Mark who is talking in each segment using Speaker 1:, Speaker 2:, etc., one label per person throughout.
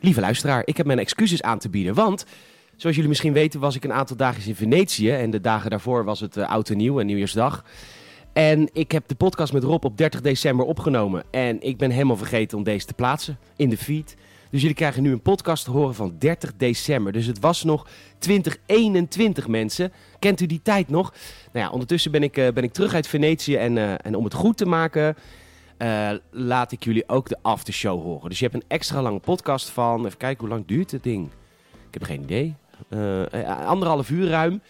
Speaker 1: Lieve luisteraar, ik heb mijn excuses aan te bieden, want... Zoals jullie misschien weten was ik een aantal dagen in Venetië en de dagen daarvoor was het eh, oud en nieuw en nieuwjaarsdag. En ik heb de podcast met Rob op 30 december opgenomen en ik ben helemaal vergeten om deze te plaatsen in de feed. Dus jullie krijgen nu een podcast te horen van 30 december. Dus het was nog 2021 mensen. Kent u die tijd nog? Nou ja, ondertussen ben ik, eh, ben ik terug uit Venetië en, eh, en om het goed te maken eh, laat ik jullie ook de aftershow horen. Dus je hebt een extra lange podcast van, even kijken hoe lang duurt het ding? Ik heb geen idee. Eh, eh, anderhalf uur ruim.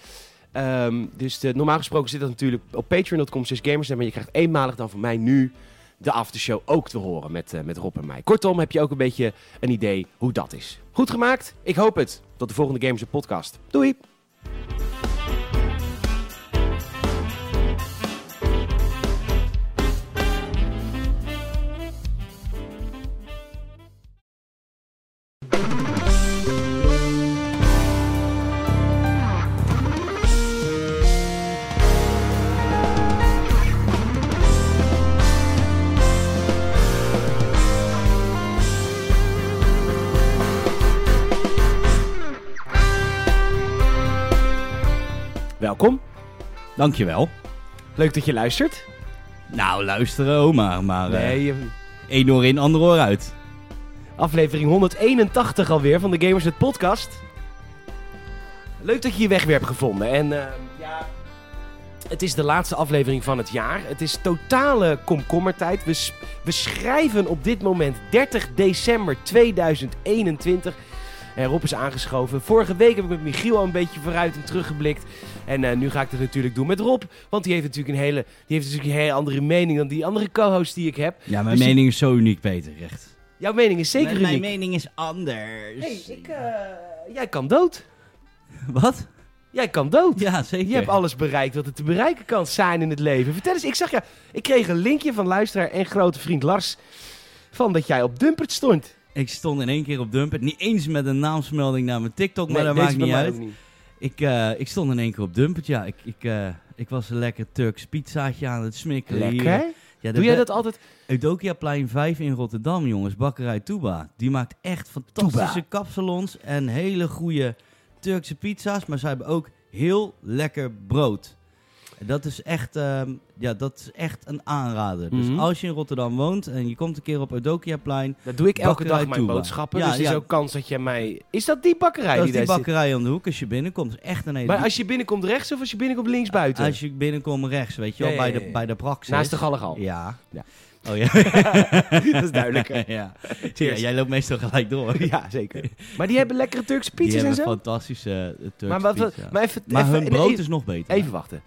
Speaker 1: Ehm, dus de, normaal gesproken zit dat natuurlijk op patreon.com slash gamers. Maar je krijgt eenmalig dan van mij nu de aftershow ook te horen met, eh, met Rob en mij. Kortom, heb je ook een beetje een idee hoe dat is. Goed gemaakt? Ik hoop het. Tot de volgende Gamers podcast. Doei! Welkom.
Speaker 2: Dankjewel.
Speaker 1: Leuk dat je luistert.
Speaker 2: Nou, luisteren, oma, maar eh,
Speaker 1: Nee,
Speaker 2: één oor in, ander oor uit.
Speaker 1: aflevering 181 alweer van de Gamers het podcast. Leuk dat je je weg weer hebt gevonden. En eh, ja, het is de laatste aflevering van het jaar. Het is totale komkommertijd. We, s- we schrijven op dit moment 30 december 2021. En Rob is aangeschoven. Vorige week heb ik met Michiel al een beetje vooruit en teruggeblikt. En eh, nu ga ik dat natuurlijk doen met Rob. Want die heeft natuurlijk een hele, die heeft natuurlijk een hele andere mening dan die andere co-host die ik heb.
Speaker 2: Ja, mijn
Speaker 1: Dus je-
Speaker 2: mening is zo uniek, Peter, echt.
Speaker 1: Jouw mening is zeker
Speaker 2: mijn,
Speaker 1: uniek.
Speaker 2: Mijn mening is anders.
Speaker 1: Hey, ik, eh, jij kan dood.
Speaker 2: Wat?
Speaker 1: Jij kan dood.
Speaker 2: Ja, zeker.
Speaker 1: Je hebt alles bereikt wat er te bereiken kan zijn in het leven. Vertel eens, ik zag ja, ik kreeg een linkje van luisteraar en grote vriend Lars van dat jij op Dumpert stond.
Speaker 2: Ik stond in één keer op Dumpert, niet eens met een naamsmelding naar mijn TikTok, maar dat
Speaker 1: deze
Speaker 2: maakt
Speaker 1: bij
Speaker 2: niet
Speaker 1: mij
Speaker 2: uit.
Speaker 1: ook
Speaker 2: Ik, eh, ik stond in één keer op Dumpert, ja. Ik, ik, eh, ik was een lekker Turks pizzaatje aan het smikkelen hier.
Speaker 1: Lekker.
Speaker 2: Ja, de
Speaker 1: Doe jij
Speaker 2: be-
Speaker 1: dat altijd?
Speaker 2: Eudokiaplein 5 in Rotterdam, jongens. Bakkerij Touba. Die maakt echt fantastische kapsalons en hele goede Turkse pizza's. Maar ze hebben ook heel lekker brood. En Dat is echt, ehm, ja, dat is echt een aanrader.
Speaker 1: Mhm.
Speaker 2: Dus als je in Rotterdam woont en je komt een keer op Eudokiaplein...
Speaker 1: Dat doe ik elke
Speaker 2: Bakkerij
Speaker 1: dag mijn
Speaker 2: Toeba.
Speaker 1: boodschappen.
Speaker 2: Ja,
Speaker 1: dus er is
Speaker 2: ja.
Speaker 1: ook kans dat jij mij. Is dat die bakkerij
Speaker 2: Dat is
Speaker 1: die
Speaker 2: die
Speaker 1: daar zit?
Speaker 2: bakkerij om de hoek als je binnenkomt. is Echt een hele...
Speaker 1: Maar als je binnenkomt rechts of als je binnenkomt links buiten?
Speaker 2: Als je binnenkomt rechts, weet je wel,
Speaker 1: Ja, ja,
Speaker 2: bij
Speaker 1: ja,
Speaker 2: de,
Speaker 1: ja.
Speaker 2: bij de praxis.
Speaker 1: Naast de gallegal.
Speaker 2: Ja.
Speaker 1: Ja.
Speaker 2: Oh ja.
Speaker 1: dat is duidelijk. hè?
Speaker 2: ja. Ja, jij loopt meestal gelijk door.
Speaker 1: ja, zeker. Maar die hebben lekkere Turkse
Speaker 2: Die
Speaker 1: pizzas en
Speaker 2: hebben
Speaker 1: zo.
Speaker 2: fantastische eh, Turkse
Speaker 1: Maar, wat, wat-
Speaker 2: pizza.
Speaker 1: maar even,
Speaker 2: Maar
Speaker 1: even-
Speaker 2: hun brood
Speaker 1: nee,
Speaker 2: is nog beter.
Speaker 1: Even wachten.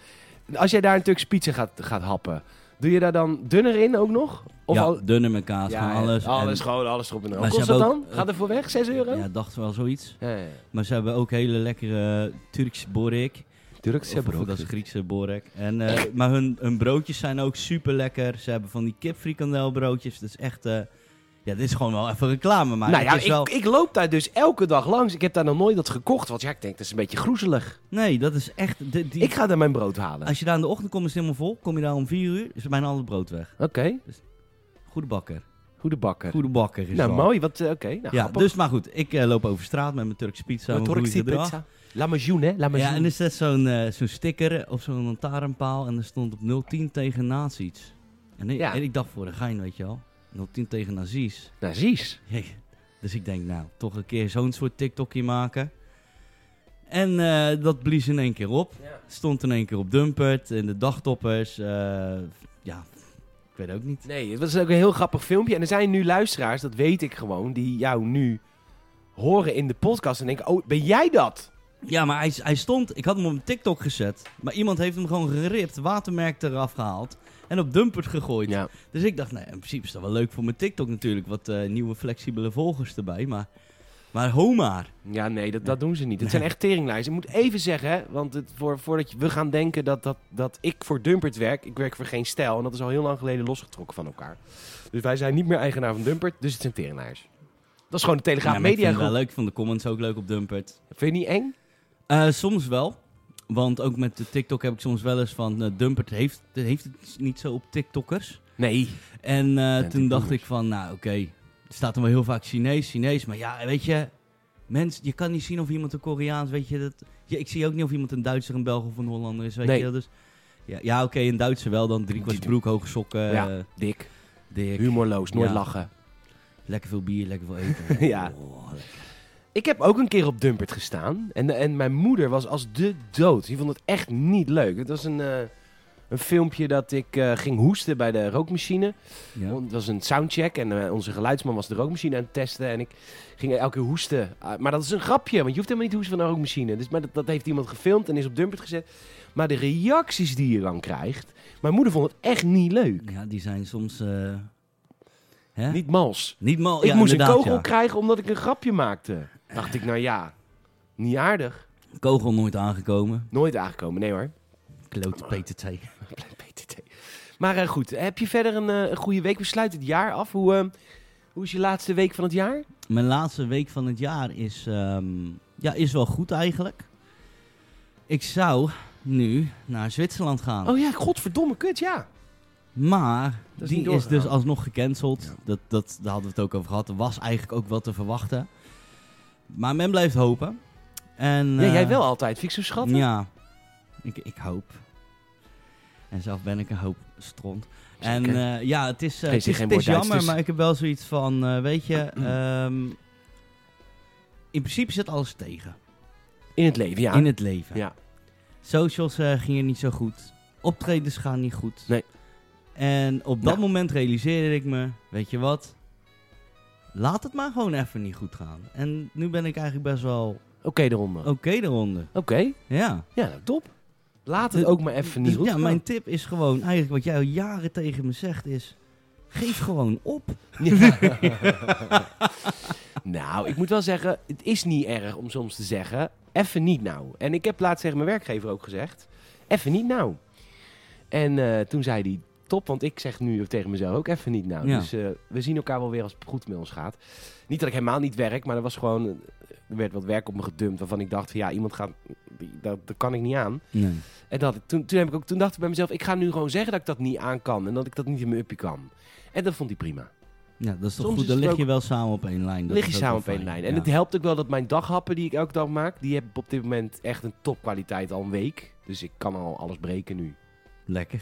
Speaker 1: Als jij daar een Turkse pizza gaat, gaat happen, doe je daar dan dunner in ook nog?
Speaker 2: Of ja,
Speaker 1: al-
Speaker 2: dunne met kaas,
Speaker 1: Ja,
Speaker 2: gewoon alles.
Speaker 1: Alles,
Speaker 2: En-
Speaker 1: gewoon alles erop en Hoe
Speaker 2: Maar ze
Speaker 1: kost dat
Speaker 2: hebben
Speaker 1: dan?
Speaker 2: ook-
Speaker 1: Gaat er voor weg? 6 euro?
Speaker 2: Ja, dacht wel zoiets.
Speaker 1: Ja, ja.
Speaker 2: Maar ze hebben ook hele lekkere eh, Turkse borek.
Speaker 1: Turkse
Speaker 2: Of,
Speaker 1: brood.
Speaker 2: dat is Griekse borek. En, eh, maar hun, hun broodjes zijn ook super lekker. Ze hebben van die kipfrikandelbroodjes. Dat is echt... eh, ja, dit is gewoon wel even reclame. Maar
Speaker 1: nou
Speaker 2: het
Speaker 1: ja,
Speaker 2: is
Speaker 1: ik,
Speaker 2: wel...
Speaker 1: ik loop daar dus elke dag langs. Ik heb daar nog nooit dat gekocht, want ja, ik denk dat is een beetje groezelig.
Speaker 2: Nee, dat is echt... de- die-
Speaker 1: Ik ga daar mijn brood halen.
Speaker 2: Als je daar in de ochtend komt, is het helemaal vol. Kom je daar om vier uur, is bijna al het brood weg.
Speaker 1: Oké,
Speaker 2: Goede bakker.
Speaker 1: goede bakker.
Speaker 2: Goede bakker is
Speaker 1: nou,
Speaker 2: dat.
Speaker 1: mooi. Wat, eh, Oké, nou,
Speaker 2: ja,
Speaker 1: grappig.
Speaker 2: dus maar goed, ik eh, loop over straat met mijn Turkse pizza.
Speaker 1: Een
Speaker 2: mijn
Speaker 1: Turkse
Speaker 2: groeigedrag.
Speaker 1: pizza. Lamazjoen, hè? Lamazjoen.
Speaker 2: Ja, en er zat zo'n eh, zo'n sticker op zo'n lantaarnpaal en er stond op 010 tegen nazi's. En ik,
Speaker 1: Ja.
Speaker 2: en ik dacht voor de gein, weet je wel, 010 tegen nazi's.
Speaker 1: Nou, zies.
Speaker 2: Jee. Dus ik denk, nou, toch een keer zo'n soort TikTokje maken. En eh, dat blies in één keer op.
Speaker 1: Ja.
Speaker 2: Stond in één keer op Dumpert, in de dagtoppers. eh, ja, ik weet ook niet.
Speaker 1: Nee, het was ook een heel grappig filmpje. En er zijn nu luisteraars, dat weet ik gewoon, die jou nu horen in de podcast en denken: Oh, ben jij dat?
Speaker 2: Ja, maar hij, hij stond... Ik had hem op mijn TikTok gezet. Maar iemand heeft hem gewoon geript, watermerk eraf gehaald. En op Dumpert gegooid.
Speaker 1: Ja.
Speaker 2: Dus ik dacht, nou, in principe is dat wel leuk voor mijn TikTok natuurlijk. Wat eh, nieuwe flexibele volgers erbij. Maar, maar Homaar.
Speaker 1: Ja, nee, dat, dat doen ze niet. Het zijn echt teringlijsten. Ik moet even zeggen, hè, want het, voor, voordat je- we gaan denken dat, dat, dat ik voor Dumpert werk, ik werk voor geen stijl. En dat is al heel lang geleden losgetrokken van elkaar. Dus wij zijn niet meer eigenaar van Dumpert, dus het zijn teringlijers. Dat is gewoon de Telegraaf
Speaker 2: Ja, maar ik
Speaker 1: Media
Speaker 2: vind het
Speaker 1: Groep.
Speaker 2: wel leuk. Ik vond de comments ook leuk op Dumpert.
Speaker 1: Vind je niet eng?
Speaker 2: Eh, soms wel. Want ook met de TikTok heb ik soms wel eens van... eh, Dumpert heeft, heeft het niet zo op TikTokkers.
Speaker 1: Nee.
Speaker 2: En eh,
Speaker 1: die
Speaker 2: toen dacht
Speaker 1: boomers.
Speaker 2: ik van, nou oké, staat er wel heel vaak Chinees, Chinees. Maar ja, weet je, mens, je kan niet zien of iemand een Koreaans, weet je. Dat, ja, ik zie ook niet of iemand een Duitser, een Belg of een Hollander is, weet
Speaker 1: Nee.
Speaker 2: je. Dus, ja, ja oké, een Duitser wel dan. Drie kwart
Speaker 1: Die-
Speaker 2: broek, hoge sokken, eh,
Speaker 1: ja, dik.
Speaker 2: dik.
Speaker 1: Humorloos, nooit
Speaker 2: Ja.
Speaker 1: lachen.
Speaker 2: Lekker veel bier, lekker veel eten.
Speaker 1: Ja.
Speaker 2: Oh, lekker.
Speaker 1: Ik heb ook een keer op Dumpert gestaan. En, en mijn moeder was als de dood. Die vond het echt niet leuk. Het was een, eh, een filmpje dat ik eh, ging hoesten bij de rookmachine.
Speaker 2: Ja.
Speaker 1: Want Het was een soundcheck en eh, onze geluidsman was de rookmachine aan het testen. En ik ging elke keer hoesten. Ah, maar dat is een grapje, want je hoeft helemaal niet te hoesten van een rookmachine. Dus, maar dat, dat heeft iemand gefilmd en is op Dumpert gezet. Maar de reacties die je dan krijgt... Mijn moeder vond het echt niet leuk.
Speaker 2: ja, die zijn soms... eh, hè?
Speaker 1: Niet mals.
Speaker 2: Niet mal.
Speaker 1: ik
Speaker 2: ja,
Speaker 1: moest een
Speaker 2: inderdaad,
Speaker 1: kogel
Speaker 2: ja.
Speaker 1: krijgen omdat ik een grapje maakte. Dacht ik, nou ja, niet aardig.
Speaker 2: Kogel nooit aangekomen.
Speaker 1: Nooit aangekomen, nee hoor.
Speaker 2: Klote PTT.
Speaker 1: PTT. Maar eh, goed, heb je verder een, eh, een goede week? We sluiten het jaar af. Hoe, eh, hoe is je laatste week van het jaar?
Speaker 2: Mijn laatste week van het jaar is, ehm, ja, is wel goed eigenlijk. Ik zou nu naar Zwitserland gaan.
Speaker 1: Oh ja, godverdomme kut, ja.
Speaker 2: Maar
Speaker 1: Dat is niet
Speaker 2: die is
Speaker 1: doorgegaan.
Speaker 2: dus alsnog gecanceld. Dat, dat, daar hadden we het ook over gehad. Dat was eigenlijk ook wel te verwachten. Maar men blijft hopen. En,
Speaker 1: ja,
Speaker 2: eh,
Speaker 1: jij wel altijd. Vind ik zo schattig.
Speaker 2: Ja, ik, ik hoop. En zelf ben ik een hoop stront. En
Speaker 1: Zeker.
Speaker 2: eh, ja, het is, eh,
Speaker 1: Geen
Speaker 2: het
Speaker 1: zin,
Speaker 2: is,
Speaker 1: geen
Speaker 2: het
Speaker 1: woord Duits,
Speaker 2: is jammer,
Speaker 1: dus-
Speaker 2: maar ik heb wel zoiets van, eh, weet je, ehm, in principe zit alles tegen
Speaker 1: In het leven, ja.
Speaker 2: in het leven.
Speaker 1: Ja.
Speaker 2: Socials eh, gingen niet zo goed, optredens gaan niet goed.
Speaker 1: Nee.
Speaker 2: En op dat
Speaker 1: Nou.
Speaker 2: moment realiseerde ik me, weet je wat, laat het maar gewoon even niet goed gaan. En nu ben ik eigenlijk best wel
Speaker 1: Oké, de ronde.
Speaker 2: oké
Speaker 1: Oké.
Speaker 2: eronder. Ja.
Speaker 1: Ja, nou, top. Laat het
Speaker 2: Dus-
Speaker 1: ook maar even niet
Speaker 2: Dus
Speaker 1: goed
Speaker 2: ja,
Speaker 1: gaan.
Speaker 2: mijn tip is gewoon eigenlijk wat jij al jaren tegen me zegt is, geef gewoon op.
Speaker 1: Ja. nou, ik moet wel zeggen, het is niet erg om soms te zeggen, even niet nou. En ik heb laatst tegen mijn werkgever ook gezegd, even niet nou. En eh, toen zei hij, top, want ik zeg nu tegen mezelf ook even niet nou.
Speaker 2: Ja.
Speaker 1: Dus eh, we zien elkaar wel weer als het goed met ons gaat. Niet dat ik helemaal niet werk, maar er was gewoon, er werd wat werk op me gedumpt waarvan ik dacht van ja, iemand gaat, die- dat, dat kan ik niet aan.
Speaker 2: Nee.
Speaker 1: En dat, toen, toen, heb ik ook, toen dacht ik bij mezelf, ik ga nu gewoon zeggen dat ik dat niet aan kan en dat ik dat niet in mijn uppie kan. En dat vond hij prima.
Speaker 2: Ja, dat is toch
Speaker 1: Soms
Speaker 2: goed.
Speaker 1: is
Speaker 2: Dan
Speaker 1: het
Speaker 2: lig
Speaker 1: ook-
Speaker 2: je wel samen op één lijn. Dat
Speaker 1: lig je
Speaker 2: is ook
Speaker 1: samen
Speaker 2: wel
Speaker 1: op één
Speaker 2: fijn.
Speaker 1: lijn. En
Speaker 2: Ja.
Speaker 1: het helpt ook wel dat mijn daghappen die ik elke dag maak, die hebben op dit moment echt een topkwaliteit al een week. Dus ik kan al alles breken nu.
Speaker 2: Lekker.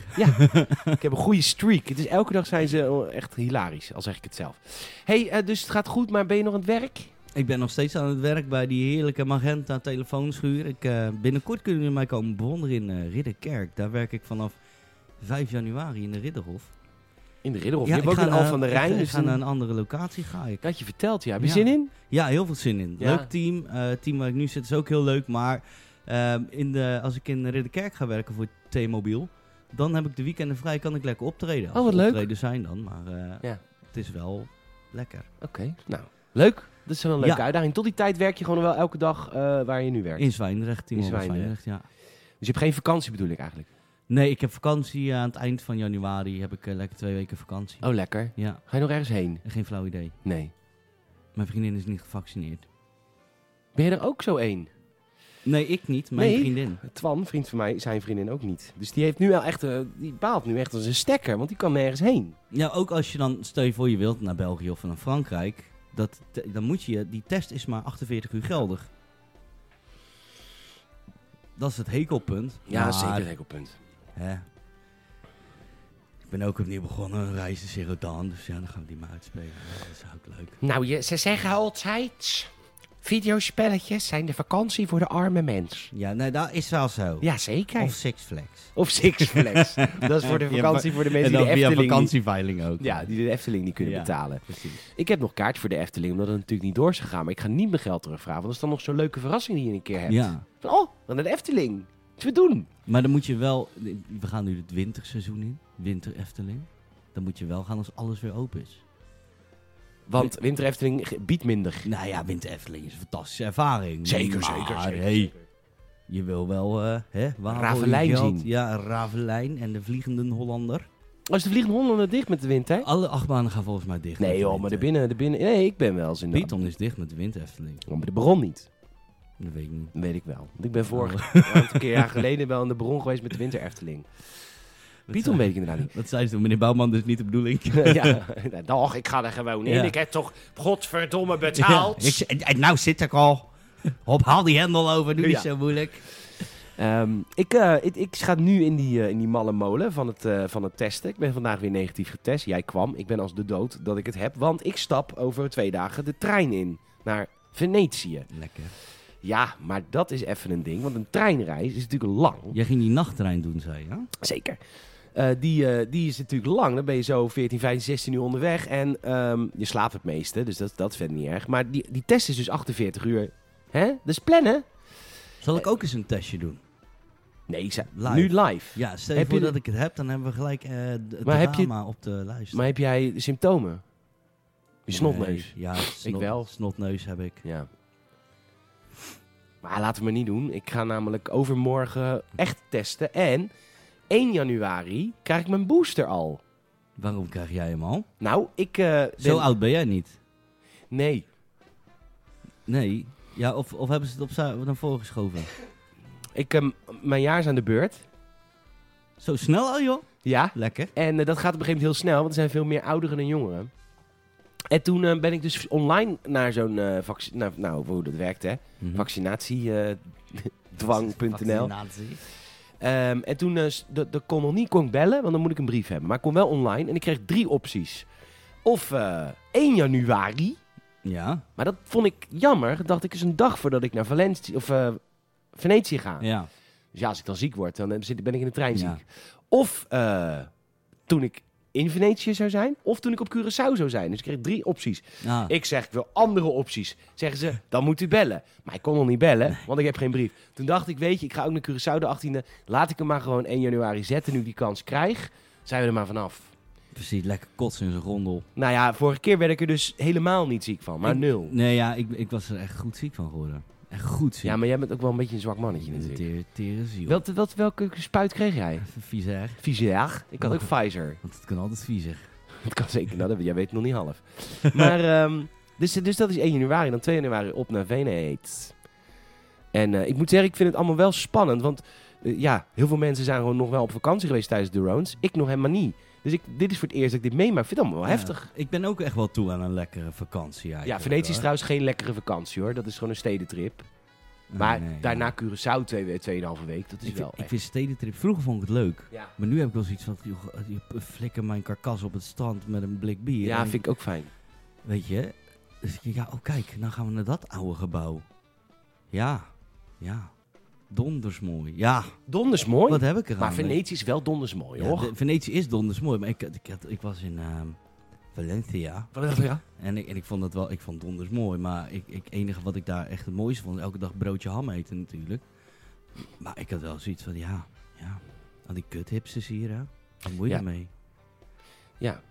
Speaker 1: ik heb een goede streak. Het is, elke dag zijn ze echt hilarisch, al zeg ik het zelf. hey, eh, dus het gaat goed, maar ben je nog aan het werk?
Speaker 2: Ik ben nog steeds aan het werk bij die heerlijke Magenta telefoonschuur. Ik, eh, binnenkort kunnen jullie mij komen bewonderen in eh, Ridderkerk. Daar werk ik vanaf 5 januari in de Ridderhof.
Speaker 1: In de Ridderhof.
Speaker 2: Ja,
Speaker 1: je
Speaker 2: ik
Speaker 1: hebt ook
Speaker 2: ga
Speaker 1: een Al
Speaker 2: naar-
Speaker 1: van de Rijn.
Speaker 2: Ik, ik
Speaker 1: dus
Speaker 2: ga
Speaker 1: dan-
Speaker 2: naar een andere locatie ga ik.
Speaker 1: dat had je verteld, ja. Heb je
Speaker 2: Ja.
Speaker 1: zin in?
Speaker 2: Ja, heel veel zin in.
Speaker 1: Ja.
Speaker 2: Leuk team. Eh, het team waar ik nu zit is ook heel leuk. Maar ehm, in de, als ik in Ridderkerk ga werken voor T-Mobiel, dan heb ik de weekenden vrij. Kan ik lekker optreden. Als
Speaker 1: Oh, wat
Speaker 2: er
Speaker 1: leuk.
Speaker 2: optreden zijn dan. Maar eh,
Speaker 1: Ja.
Speaker 2: het is wel lekker.
Speaker 1: Oké, nou. Leuk. Dat is wel een leuke
Speaker 2: Ja.
Speaker 1: uitdaging. Tot die tijd werk je gewoon wel elke dag eh, waar je nu werkt.
Speaker 2: In Zwijndrecht, team
Speaker 1: In
Speaker 2: in
Speaker 1: Zwijndrecht.
Speaker 2: Zwijndrecht ja.
Speaker 1: Dus je hebt geen vakantie bedoel ik eigenlijk.
Speaker 2: Nee, ik heb vakantie. eh, aan het eind van januari heb ik eh, lekker twee weken vakantie.
Speaker 1: Oh, lekker.
Speaker 2: Ja,
Speaker 1: Ga je nog ergens heen?
Speaker 2: geen flauw idee.
Speaker 1: Nee.
Speaker 2: Mijn vriendin is niet gevaccineerd.
Speaker 1: Ben je er ook zo één?
Speaker 2: Nee, ik niet. Mijn
Speaker 1: Nee?
Speaker 2: vriendin.
Speaker 1: Twan, vriend van mij, zijn vriendin ook niet. Dus die heeft nu wel echt, eh, die baalt nu echt als een stekker, want die kan nergens heen.
Speaker 2: Ja, ook als je dan, stel je voor je wilt naar België of naar Frankrijk, dat, te- dan moet je, die test is maar 48 uur geldig. Dat is het hekelpunt. Maar,
Speaker 1: hekelpunt.
Speaker 2: Hè, ik ben ook opnieuw begonnen, een reis de Serodan, dus ja, dan gaan we die maar uitspelen. Ja, dat is ook leuk.
Speaker 1: Nou, je, ze zeggen altijd, videospelletjes zijn de vakantie voor de arme mens.
Speaker 2: Ja, nee, dat is wel zo.
Speaker 1: Jazeker.
Speaker 2: Of
Speaker 1: Of,
Speaker 2: Six Flags.
Speaker 1: of Six Flags. Dat is voor de
Speaker 2: Ja,
Speaker 1: vakantie voor de mensen
Speaker 2: En
Speaker 1: die
Speaker 2: dan
Speaker 1: de
Speaker 2: via
Speaker 1: Efteling niet,
Speaker 2: vakantieveiling ook.
Speaker 1: ja, die de Efteling niet kunnen
Speaker 2: Ja.
Speaker 1: betalen.
Speaker 2: precies.
Speaker 1: Ik heb nog kaart voor de Efteling, omdat het natuurlijk niet door is gegaan. Maar ik ga niet mijn geld terugvragen, want dat is dan nog zo'n leuke verrassing die je een keer hebt.
Speaker 2: Ja,
Speaker 1: Van, oh, dan naar de Efteling. Iets we doen.
Speaker 2: maar dan moet je wel... We gaan nu het winterseizoen in. Winter Efteling. Dan moet je wel gaan als alles weer open is.
Speaker 1: Want Winter Efteling ge- biedt minder.
Speaker 2: Nou ja, Winter Efteling is een fantastische ervaring.
Speaker 1: Zeker,
Speaker 2: Maar,
Speaker 1: zeker, zeker.
Speaker 2: hey, je wil wel... eh hè, waar wil je
Speaker 1: Ravelijn
Speaker 2: geld?
Speaker 1: zien.
Speaker 2: Ja, Ravelijn en de Vliegende Hollander.
Speaker 1: Als Oh, de vliegende honden dicht met de wind, hè?
Speaker 2: Alle achtbanen gaan volgens mij dicht.
Speaker 1: Oh, Nee
Speaker 2: met
Speaker 1: joh,
Speaker 2: winter.
Speaker 1: maar de binnen, de binnen... Nee, ik ben wel eens in de...
Speaker 2: Python is dicht met de Winter Efteling.
Speaker 1: Oh, maar de Baron niet.
Speaker 2: Dat weet ik niet.
Speaker 1: Oh. Dat weet ik wel. Want ik ben vorig een aantal keer jaar geleden wel in de Baron geweest met de Winter Efteling. Python weet ik inderdaad niet.
Speaker 2: Dat zei ze toen, meneer Bouwman, dat is niet de bedoeling.
Speaker 1: ja, nou, dag, ik ga er gewoon in.
Speaker 2: Ja.
Speaker 1: Ik heb toch godverdomme betaald.
Speaker 2: Ja, ik zei, en nou zit ik al. Hop, haal die hendel over, doe
Speaker 1: Ja.
Speaker 2: niet zo moeilijk.
Speaker 1: Ehm, ik, eh, ik, ik ga nu in die, eh, in die malle molen van het, eh, van het testen. Ik ben vandaag weer negatief getest. Jij kwam. Ik ben als de dood dat ik het heb. Want ik stap over twee dagen de trein in naar Venetië.
Speaker 2: Lekker.
Speaker 1: Ja, maar dat is even een ding. Want een treinreis is natuurlijk lang.
Speaker 2: Jij ging die nachttrein doen, zei je? hè?
Speaker 1: Zeker. Eh, die, eh, die is natuurlijk lang. Dan ben je zo 14, 15, 16 uur onderweg. En ehm, je slaapt het meeste. Dus dat, dat vind ik niet erg. Maar die, die test is dus 48 uur. Hè? Dus plannen?
Speaker 2: Zal
Speaker 1: Eh,
Speaker 2: ik ook eens een testje doen?
Speaker 1: Nee, ik zei,
Speaker 2: Live.
Speaker 1: nu live.
Speaker 2: Ja, stel je
Speaker 1: Heb
Speaker 2: voor
Speaker 1: je-
Speaker 2: dat ik het heb, dan hebben we gelijk eh d-
Speaker 1: Maar heb je-
Speaker 2: drama op de lijst.
Speaker 1: Maar heb jij symptomen? Je snotneus.
Speaker 2: Nee, ja, snot,
Speaker 1: wel.
Speaker 2: snotneus heb ik.
Speaker 1: Ja. Maar laten we maar niet doen. Ik ga namelijk overmorgen echt testen. En 1 januari krijg ik mijn booster al.
Speaker 2: Waarom krijg jij hem al?
Speaker 1: Nou, ik. eh, ben-
Speaker 2: Zo oud ben jij niet.
Speaker 1: Nee.
Speaker 2: Nee. Ja, of, of hebben ze het opzij naar voren geschoven?
Speaker 1: Ik, eh, mijn jaar is aan de beurt.
Speaker 2: Zo snel al, joh.
Speaker 1: Ja.
Speaker 2: Lekker.
Speaker 1: En eh, dat gaat op een gegeven moment heel snel, want er zijn veel meer ouderen dan jongeren. En toen eh, ben ik dus online naar zo'n eh vac- nou, nou, hoe dat werkt hè, eh, vaccinatiedwang.nl.
Speaker 2: Vaccinatie.
Speaker 1: Ehm, en toen eh, s- de, de kon nog niet kon ik bellen, want dan moet ik een brief hebben. Maar ik kon wel online en ik kreeg drie opties. Of eh, 1 januari,
Speaker 2: Ja,
Speaker 1: maar dat vond ik jammer. Dat dacht ik is een dag voordat ik naar Valentie, of, eh, Venetië ga.
Speaker 2: ja.
Speaker 1: Dus ja, als ik dan ziek word, dan eh, zit- ben ik in de trein
Speaker 2: Ja.
Speaker 1: ziek. Of eh, toen ik in Venetië zou zijn, of toen ik op Curaçao zou zijn. Dus ik kreeg drie opties.
Speaker 2: Ah,
Speaker 1: Ik zeg, ik wil andere opties. Zeggen ze, dan moet u bellen. Maar ik kon nog niet bellen, want ik heb geen brief. Toen dacht ik, weet je, ik ga ook naar Curaçao de 18e. Laat ik hem maar gewoon 1 januari zetten, nu ik die kans krijg. Zijn we er maar vanaf.
Speaker 2: precies. Lekker kotsen in zijn rondel.
Speaker 1: Nou ja, vorige keer werd ik er dus helemaal niet ziek van, maar
Speaker 2: Ik-
Speaker 1: nul.
Speaker 2: Nee, ja, ik, ik was er echt goed ziek van geworden. Echt goed ziek.
Speaker 1: Ja, maar jij bent ook wel een beetje een zwak mannetje natuurlijk.
Speaker 2: Tere, tere ziel.
Speaker 1: Wat, wat, welke spuit kreeg jij?
Speaker 2: Even vies erg.
Speaker 1: Pfizer. Ik had ook Pfizer.
Speaker 2: Want het kan altijd viezig.
Speaker 1: Dat kan zeker. Nou, dat- jij weet het nog niet half. Maar, ehm, dus, dus dat is 1 januari. Dan 2 januari op naar Veneet. En eh, ik moet zeggen, ik vind het allemaal wel spannend. Want eh, ja, heel veel mensen zijn gewoon nog wel op vakantie geweest tijdens de Rounds. Ik nog helemaal niet. Dus ik, dit is voor het eerst dat ik dit meemaak. Ik vind het allemaal wel heftig.
Speaker 2: Ik ben ook echt wel toe aan een lekkere vakantie
Speaker 1: Ja,
Speaker 2: eigenlijk,
Speaker 1: Venetië is
Speaker 2: hoor.
Speaker 1: trouwens geen lekkere vakantie hoor. Dat is gewoon een stedentrip.
Speaker 2: Nee,
Speaker 1: Maar
Speaker 2: nee, ja.
Speaker 1: daarna Curaçao twee, we- tweeënhalve week. Dat is
Speaker 2: Ik,
Speaker 1: wel
Speaker 2: vind, ik
Speaker 1: echt-
Speaker 2: vind stedentrip. Vroeger vond ik het leuk.
Speaker 1: Ja.
Speaker 2: Maar nu heb ik wel zoiets van, joh, je flikker mijn karkas op het strand met een blik bier.
Speaker 1: ja,
Speaker 2: En-
Speaker 1: vind ik ook fijn.
Speaker 2: Weet je, dus ik denk, ja, oh kijk, nou gaan we naar dat oude gebouw. Ja, ja, donders mooi. Ja,
Speaker 1: Donders mooi.
Speaker 2: wat heb ik eraan?
Speaker 1: maar Venetië is wel donders mooi
Speaker 2: Ja,
Speaker 1: hoor.
Speaker 2: de- Venetië is donders mooi, maar ik, ik, had- ik was in ehm, Valencia
Speaker 1: Ja,
Speaker 2: en ik, en ik vond dat wel, ik vond donders mooi, maar ik, ik enige wat ik daar echt het mooiste vond, elke dag broodje ham eten natuurlijk. Maar ik had wel zoiets van, ja, ja, al die kuthipsters hier, hè, wat moet je
Speaker 1: Ja.
Speaker 2: ermee?
Speaker 1: ja.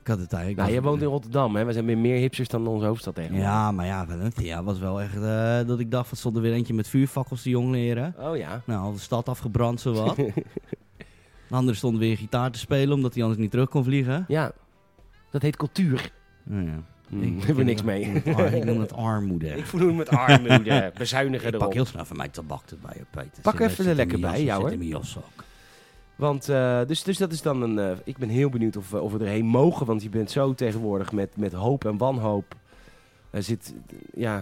Speaker 2: Ik had het eigenlijk.
Speaker 1: Nou,
Speaker 2: was-
Speaker 1: jij woont in Rotterdam, hè? We zijn weer meer hipsters dan onze hoofdstad tegenwoordig.
Speaker 2: Ja, maar ja, Valencia was wel echt eh, dat ik dacht, wat stond er weer eentje met vuurfakkels, die jongleren.
Speaker 1: Oh ja.
Speaker 2: Nou, al de stad afgebrand, zowat. een ander stond weer gitaar te spelen, omdat hij anders niet terug kon vliegen.
Speaker 1: Ja. Dat heet cultuur.
Speaker 2: Nou ja.
Speaker 1: Hm, daar hebben we niks mee.
Speaker 2: Ik noem het ar- ik noem het armoede.
Speaker 1: Ik voel hem met armoede. Bezuinigen
Speaker 2: Ik pak
Speaker 1: erop.
Speaker 2: heel snel van mijn tabak erbij, hoor, Peter.
Speaker 1: Pak
Speaker 2: Zit-
Speaker 1: even
Speaker 2: zit
Speaker 1: er
Speaker 2: in mijn
Speaker 1: lekker
Speaker 2: jas,
Speaker 1: bij,
Speaker 2: zit
Speaker 1: jou, hoor.
Speaker 2: in mijn jaszak.
Speaker 1: Want, eh, dus, dus dat is dan een... eh, ik ben heel benieuwd of, we- of we erheen mogen. Want je bent zo tegenwoordig met, met hoop en wanhoop. Er zit... Ja,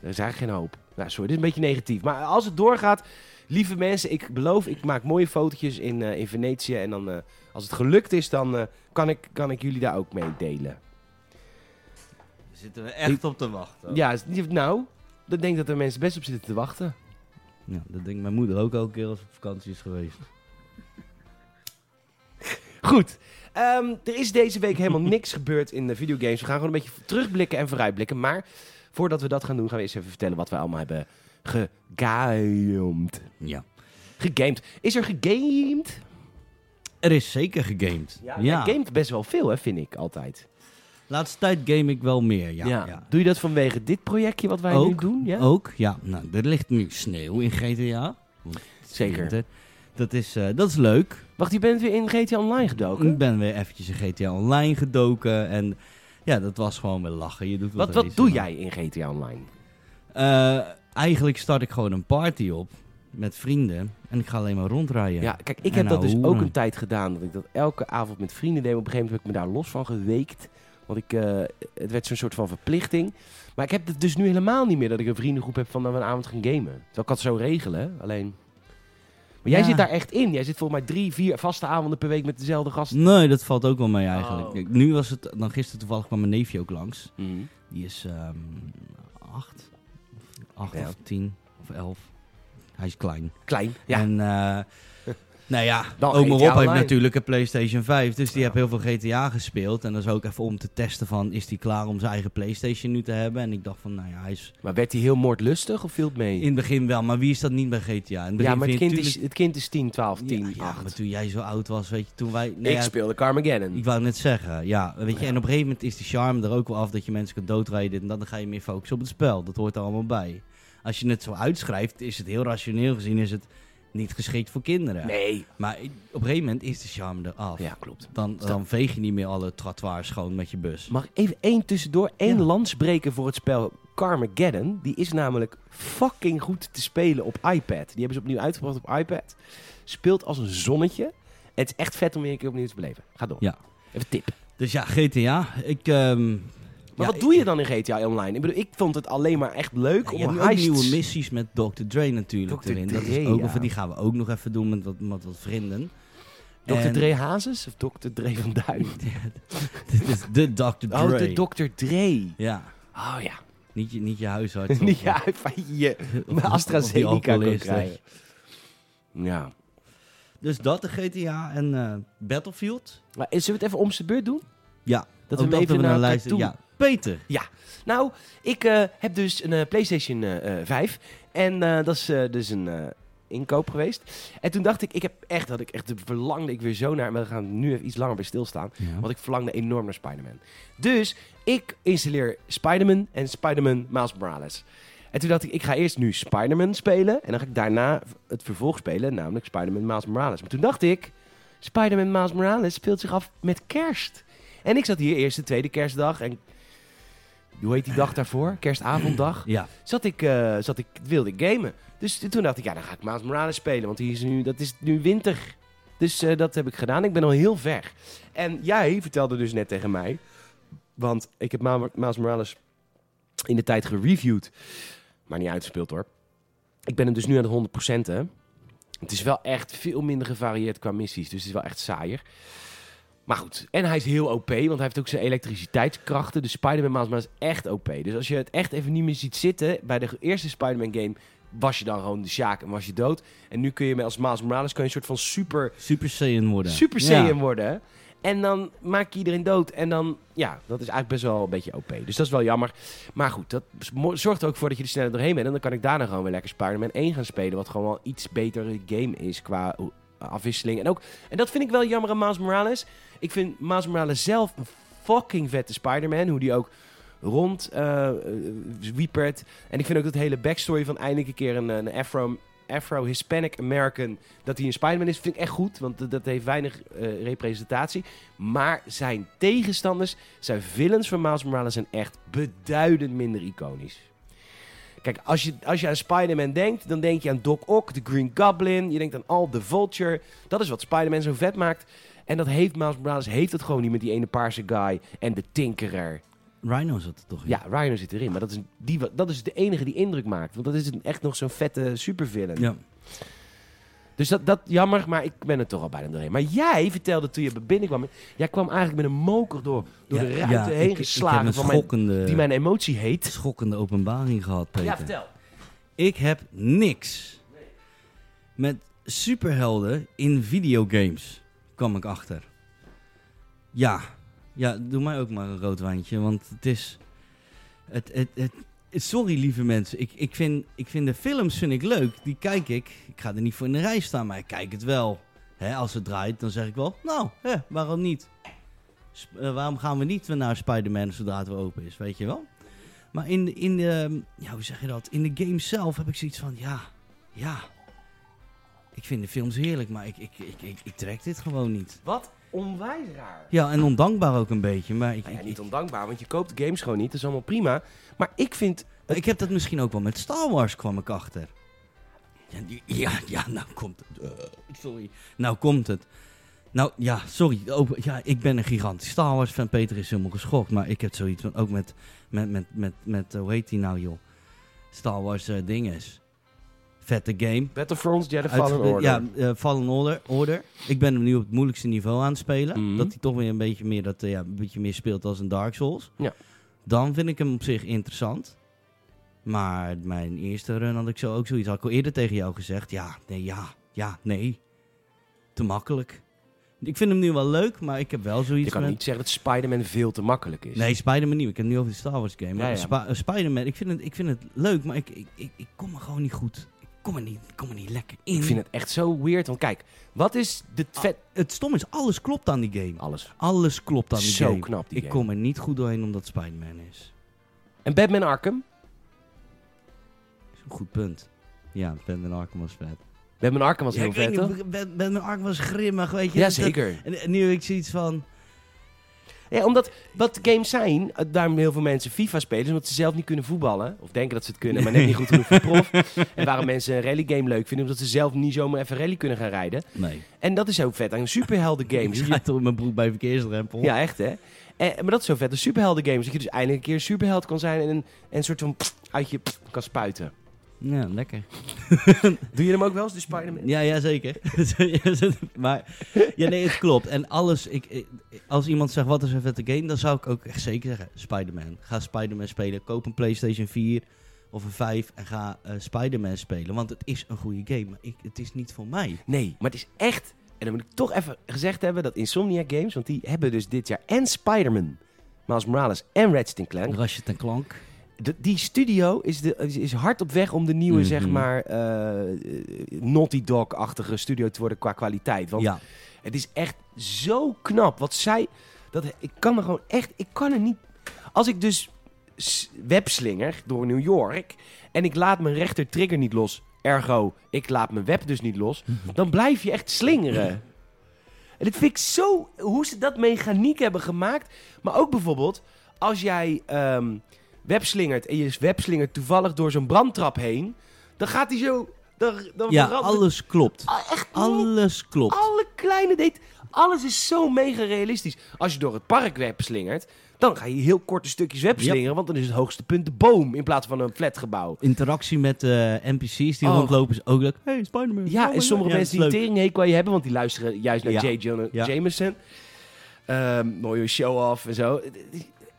Speaker 1: er is eigenlijk geen hoop. Nou, sorry, dit is een beetje negatief. Maar als het doorgaat, lieve mensen, ik beloof, ik maak mooie fotootjes in, eh, in Venetië. En dan, eh, als het gelukt is, dan eh, kan, ik, kan ik jullie daar ook mee delen.
Speaker 2: Zitten we echt op te wachten. Ja.
Speaker 1: Ja, is niet- nou, dan denk ik dat er mensen best op zitten te wachten.
Speaker 2: dat denkt mijn moeder ook elke keer als ze op vakantie is geweest.
Speaker 1: Goed, ehm, er is deze week helemaal niks gebeurd in de videogames. We gaan gewoon een beetje terugblikken en vooruitblikken. Maar voordat we dat gaan doen, gaan we eerst even vertellen wat we allemaal hebben gegamed.
Speaker 2: Ja.
Speaker 1: Gegamed. Is er gegamed?
Speaker 2: Er is zeker gegamed. Ja.
Speaker 1: Jij gamet best wel veel, hè, vind ik altijd.
Speaker 2: Laatste tijd game ik wel meer, ja. ja.
Speaker 1: Doe je dat vanwege dit projectje wat wij nu
Speaker 2: Ook,
Speaker 1: doen? Ja?
Speaker 2: Ook, ja. Nou, er ligt nu sneeuw in GTA. Want het is
Speaker 1: Zeker.
Speaker 2: winter. Dat is, eh, dat is leuk.
Speaker 1: Wacht, je bent weer in GTA Online gedoken?
Speaker 2: Ik ben weer eventjes in GTA Online gedoken. En ja, dat was gewoon weer lachen. Je doet wat
Speaker 1: Wat,
Speaker 2: er
Speaker 1: wat
Speaker 2: is.
Speaker 1: doe jij in GTA Online?
Speaker 2: Eh, eigenlijk start ik gewoon een party op. met vrienden en ik ga alleen maar rondrijden.
Speaker 1: Ja, kijk, ik
Speaker 2: En
Speaker 1: heb dat dus
Speaker 2: ouwe
Speaker 1: ook
Speaker 2: hoeren.
Speaker 1: een tijd gedaan. Dat ik dat elke avond met vrienden deed. Op een gegeven moment heb ik me daar los van geweekt. Want ik, eh, het werd zo'n soort van verplichting. Maar ik heb het dus nu helemaal niet meer dat ik een vriendengroep heb van dat we een avond gaan gamen. Terwijl ik had zo regelen, hè, alleen... Maar jij
Speaker 2: Ja.
Speaker 1: zit daar echt in. Jij zit volgens mij drie, vier vaste avonden per week met dezelfde gasten.
Speaker 2: Nee, dat valt ook wel mee eigenlijk.
Speaker 1: Oh, oké.
Speaker 2: Nu was het, dan gisteren toevallig kwam mijn neefje ook langs. Die is ehm acht, Of acht
Speaker 1: Ja.
Speaker 2: of tien of elf. Hij is klein.
Speaker 1: Klein, ja.
Speaker 2: En eh, nou ja,
Speaker 1: Dan
Speaker 2: oma
Speaker 1: GTA
Speaker 2: Rob heeft
Speaker 1: Online.
Speaker 2: natuurlijk een PlayStation 5. Dus die
Speaker 1: Ja.
Speaker 2: heeft heel veel GTA gespeeld. En dat is ook even om te testen van, is die klaar om zijn eigen PlayStation nu te hebben? En ik dacht van, nou ja, hij is
Speaker 1: Maar werd hij heel moordlustig of viel het mee?
Speaker 2: in het begin wel. Maar wie is dat niet bij GTA? In het begin
Speaker 1: ja, maar het
Speaker 2: vind je
Speaker 1: kind, is,
Speaker 2: natuurlijk-
Speaker 1: het kind is 10, 12, 10,
Speaker 2: Ja, ja,
Speaker 1: 8.
Speaker 2: maar toen jij zo oud was, weet je, toen wij... nou
Speaker 1: ik
Speaker 2: ja,
Speaker 1: speelde Carmageddon.
Speaker 2: Ik wou net zeggen, ja. Weet je,
Speaker 1: Ja.
Speaker 2: En op een gegeven moment is de charme er ook wel af dat je mensen kunt doodrijden. dit En dat, dan ga je meer focussen op het spel. Dat hoort er allemaal bij. Als je het zo uitschrijft, is het heel rationeel gezien is het niet geschikt voor kinderen.
Speaker 1: Nee.
Speaker 2: Maar i- op een gegeven moment is de charme eraf.
Speaker 1: Ja, klopt.
Speaker 2: Dan, dan veeg je niet meer alle trottoirs schoon met je bus.
Speaker 1: Mag ik even één tussendoor, één
Speaker 2: Ja.
Speaker 1: landsbreker voor het spel Carmageddon. Die is namelijk fucking goed te spelen op iPad. Die hebben ze opnieuw uitgebracht op iPad. Speelt als een zonnetje. Het is echt vet om weer een keer opnieuw te beleven. Ga door.
Speaker 2: Ja.
Speaker 1: Even tip.
Speaker 2: Dus ja, GTA. Ik, ehm,
Speaker 1: Maar
Speaker 2: ja,
Speaker 1: wat doe je
Speaker 2: ik-
Speaker 1: dan in GTA Online? Ik bedoel, ik vond het alleen maar echt leuk
Speaker 2: Ja,
Speaker 1: om
Speaker 2: je hebt
Speaker 1: een
Speaker 2: ook
Speaker 1: heist.
Speaker 2: nieuwe missies met Dr. Dre natuurlijk
Speaker 1: Dr.
Speaker 2: erin. Dat
Speaker 1: Dre,
Speaker 2: is ook,
Speaker 1: ja.
Speaker 2: of die gaan we ook nog even doen met wat, met wat vrienden.
Speaker 1: Dr.
Speaker 2: En-
Speaker 1: Dre Hazes of Dr. Dre van Duin?
Speaker 2: Dit is de Dr. Dre.
Speaker 1: Oh, de Dr. Dre.
Speaker 2: Ja.
Speaker 1: Oh ja.
Speaker 2: Niet je, niet je huisarts. of-
Speaker 1: ja, van je
Speaker 2: of- of-
Speaker 1: AstraZeneca
Speaker 2: of die
Speaker 1: kan
Speaker 2: alcoholist,
Speaker 1: krijgen. Ja.
Speaker 2: Dus dat de GTA en eh, Battlefield.
Speaker 1: Maar eh, zullen we het even om zijn beurt doen?
Speaker 2: Ja,
Speaker 1: Dat
Speaker 2: ook
Speaker 1: we hem even naar elkaar toe-
Speaker 2: Ja, Peter.
Speaker 1: Nou, ik eh, heb dus een eh, PlayStation eh, eh, 5. En eh, dat is eh, dus een eh, inkoop geweest. En toen dacht ik, ik heb echt, had ik echt verlangde ik weer zo naar. Maar we gaan nu even iets langer bij stilstaan. Want ik verlangde enorm naar Spider-Man. Dus ik installeer Spider-Man en Spider-Man Miles Morales. En toen dacht ik, ik ga eerst nu Spider-Man spelen. En dan ga ik daarna het vervolg spelen, namelijk Spider-Man Miles Morales. Maar toen dacht ik, Spider-Man Miles Morales speelt zich af met kerst. En ik zat hier eerst de tweede kerstdag en... Hoe heet die dag daarvoor? Kerstavonddag?
Speaker 2: Ja,
Speaker 1: Zat ik, eh, zat ik, wilde ik gamen. Dus toen dacht ik, ja, dan ga ik Miles Morales spelen. Want die is nu, dat is nu winter. Dus eh, dat heb ik gedaan. Ik ben al heel ver. En jij vertelde dus net tegen mij... Want ik heb Ma- Miles Morales in de tijd gereviewd. Maar niet uitgespeeld hoor. Ik ben hem dus nu aan de 100%. Hè? Het is wel echt veel minder gevarieerd qua missies. Dus het is wel echt saaier. Maar goed. En hij is heel OP. Want hij heeft ook zijn elektriciteitskrachten. Dus Spider-Man Miles Morales is echt OP. Dus als je het echt even niet meer ziet zitten. Bij de eerste Spider-Man game was je dan gewoon de Sjaak en was je dood. En nu kun je met- als Miles Morales kun je een soort van super
Speaker 2: Super Saiyan worden.
Speaker 1: Super
Speaker 2: Ja.
Speaker 1: Saiyan worden. En dan maak je iedereen dood. En dan, ja, dat is eigenlijk best wel een beetje OP. Dus dat is wel jammer. Maar goed, dat mo- zorgt er ook voor dat je er sneller doorheen bent. En dan kan ik daarna gewoon weer lekker Spider-Man 1 gaan spelen. Wat gewoon wel iets betere game is qua o- afwisseling. En, ook, en dat vind ik wel jammer aan Miles Morales. Ik vind Miles Morales zelf een fucking vette Spider-Man. Hoe die ook rond eh, eh, wiepert. En ik vind ook dat hele backstory van eindelijk een keer een, een Afro... Afro-Hispanic American, dat hij een Spider-Man is, vind ik echt goed. Want dat- dat heeft weinig eh, representatie. Maar zijn tegenstanders, zijn villains van Miles Morales zijn echt beduidend minder iconisch. Kijk, als je, als je aan Spider-Man denkt, dan denk je aan Doc Ock, de Green Goblin. Je denkt aan Al de Vulture. Dat is wat Spider-Man zo vet maakt. En dat heeft Miles Morales heeft het gewoon niet met die ene paarse guy en de Tinkerer.
Speaker 2: Rhino zat er toch in?
Speaker 1: Ja, Rhino zit erin, maar dat is, die, wa- dat is de enige die indruk maakt. Want dat is een- echt nog zo'n vette supervillain.
Speaker 2: Ja.
Speaker 1: Dus dat, dat jammer, maar ik ben er toch al bijna doorheen. Maar jij vertelde toen je binnenkwam, jij kwam eigenlijk met een moker door, door de
Speaker 2: Ja,
Speaker 1: ruiten
Speaker 2: ja,
Speaker 1: heen
Speaker 2: ik-
Speaker 1: geslagen
Speaker 2: Ik heb
Speaker 1: van
Speaker 2: een eh,
Speaker 1: mijn,
Speaker 2: schokkende,
Speaker 1: die mijn emotie heet.
Speaker 2: schokkende openbaring gehad, Peter.
Speaker 1: Ja, vertel.
Speaker 2: Ik heb niks met superhelden in videogames, kwam ik achter. Ja, ja, doe mij ook maar een rood wijntje, want het is... Het, het, het, het- sorry, lieve mensen. Ik, ik, vind, ik vind de films vind ik leuk. Die kijk ik. Ik ga er niet voor in de rij staan, maar ik kijk het wel. Hè, als het draait, dan zeg ik wel, nou, hè, waarom niet? Sp- eh, waarom gaan we niet weer naar Spider-Man zodra het weer open is, weet je wel? Maar in, in de, ja, hoe zeg je dat? In de game zelf heb ik zoiets van, ja, ja. Ik vind de films heerlijk, maar ik, ik, ik, ik, ik trek dit gewoon niet.
Speaker 1: Wat onwijs raar.
Speaker 2: Ja, en ondankbaar ook een beetje. Maar ik,
Speaker 1: Nou ja,
Speaker 2: ik,
Speaker 1: niet
Speaker 2: ik,
Speaker 1: ondankbaar, want je koopt games gewoon niet. Dat is allemaal prima. Maar ik vind...
Speaker 2: ik heb dat misschien ook wel met Star Wars kwam ik achter. Ja, die- ja, ja nou komt het. Eh, sorry. Nou komt het. Nou ja, sorry. Ook- ja, ik ben een gigantisch Star Wars fan. Peter is helemaal geschokt. Maar ik heb zoiets van, ook met, met, met, met, met eh, hoe heet die nou joh? Star Wars eh, dinges. Vette game.
Speaker 1: Battlefront, Jedi
Speaker 2: Uit-
Speaker 1: Fallen
Speaker 2: eh,
Speaker 1: Order.
Speaker 2: Ja, eh, Fallen Order, Order. Ik ben hem nu op het moeilijkste niveau aan het spelen.
Speaker 1: Mhm.
Speaker 2: Dat hij toch weer een beetje meer, dat, eh, ja, een beetje meer speelt als een Dark Souls.
Speaker 1: Ja.
Speaker 2: Dan vind ik hem op zich interessant. Maar mijn eerste run had ik zo ook zoiets. Had ik al eerder tegen jou gezegd. Ja, nee, ja, ja, nee. Te makkelijk. Ik vind hem nu wel leuk, maar ik heb wel zoiets
Speaker 1: Je kan
Speaker 2: met...
Speaker 1: niet zeggen dat Spider-Man veel te makkelijk is.
Speaker 2: Nee, Spider-Man nieuw. Ik heb het nu over de Star Wars game.
Speaker 1: Ja, ja.
Speaker 2: Spa- eh, Spider-Man, ik vind, het, ik vind het leuk, maar ik, ik, ik, ik kom er gewoon niet goed. Ik kom er niet, ik kom er niet lekker in.
Speaker 1: Ik vind het echt zo weird. Want kijk, wat is de vet...
Speaker 2: Het stom is, alles klopt aan die game.
Speaker 1: Alles.
Speaker 2: Alles klopt aan die
Speaker 1: Zo
Speaker 2: game.
Speaker 1: knap, die
Speaker 2: ik
Speaker 1: game.
Speaker 2: kom er niet goed doorheen omdat het Spider-Man is.
Speaker 1: En Batman Arkham?
Speaker 2: is een goed punt. Ja, Batman Arkham was vet.
Speaker 1: Batman Arkham was
Speaker 2: Ja,
Speaker 1: heel
Speaker 2: ik weet
Speaker 1: vet, toch?
Speaker 2: niet, Bat- Batman Arkham was grimmig, weet je.
Speaker 1: Ja,
Speaker 2: Dat-
Speaker 1: zeker.
Speaker 2: en, en nu heb ik zoiets van...
Speaker 1: Ja, omdat wat games zijn, eh, daarom heel veel mensen FIFA spelen, is omdat ze zelf niet kunnen voetballen. Of denken dat ze het kunnen, maar net niet goed genoeg voor prof. En waarom mensen een rally game leuk vinden, omdat ze zelf niet zomaar even rally kunnen gaan rijden.
Speaker 2: Nee.
Speaker 1: En dat is zo vet aan superhelden
Speaker 2: Games.
Speaker 1: games.
Speaker 2: Je toch in mijn broek bij verkeersdrempel.
Speaker 1: Ja, echt hè. En, eh, maar dat is zo vet aan superhelden games, dat je dus eindelijk een keer een superheld kan zijn en een, en een soort van uit je kan spuiten.
Speaker 2: Ja, lekker.
Speaker 1: Doe je hem ook wel eens, de Spider-Man?
Speaker 2: Ja, ja, zeker. maar, ja, nee, het klopt. En alles, ik, ik- als iemand zegt wat is een vette game, dan zou ik ook echt zeker zeggen Spider-Man. Ga Spider-Man spelen. Koop een PlayStation 4 of een 5 en ga eh, Spider-Man spelen. Want het is een goede game, maar ik, het is niet voor mij.
Speaker 1: Nee, maar het is echt, en dan moet ik toch even gezegd hebben, dat Insomniac Games, want die hebben dus dit jaar en Spider-Man, Miles Morales en Ratchet Clank.
Speaker 2: Rasje ten klank.
Speaker 1: De- die studio is, de, is, is hard op weg om de nieuwe,
Speaker 2: Mhm.
Speaker 1: zeg maar, eh, eh, Naughty Dog-achtige studio te worden qua kwaliteit. Want
Speaker 2: Ja,
Speaker 1: het is echt zo knap wat zij... Dat, ik kan er gewoon echt... Ik kan er niet... Als ik dus s- webslinger door New York en ik laat mijn rechter trigger niet los, ergo, ik laat mijn web dus niet los, dan blijf je echt slingeren. En dit vind ik zo... Hoe ze dat mechaniek hebben gemaakt. Maar ook bijvoorbeeld, als jij ehm, webslingert en je webslingert toevallig door zo'n brandtrap heen, dan gaat hij zo... Dan, dan
Speaker 2: ja
Speaker 1: verandert-
Speaker 2: alles klopt.
Speaker 1: Ah, echt niet
Speaker 2: Alles klopt.
Speaker 1: alle kleine details. Alles is zo mega realistisch. Als je door het park web slingert, dan ga je heel korte stukjes web slingeren. Want dan is het hoogste punt de boom in plaats van een flatgebouw.
Speaker 2: Interactie met eh, NPC's die
Speaker 1: Oh.
Speaker 2: rondlopen is ook leuk. Hey, Spider-Man.
Speaker 1: Ja, en sommige mensen die
Speaker 2: tegen.
Speaker 1: teringhekel aan je hebben, want die luisteren juist naar
Speaker 2: Ja.
Speaker 1: J. Jonah
Speaker 2: Ja.
Speaker 1: Jameson. Ehm, mooie show-off en zo.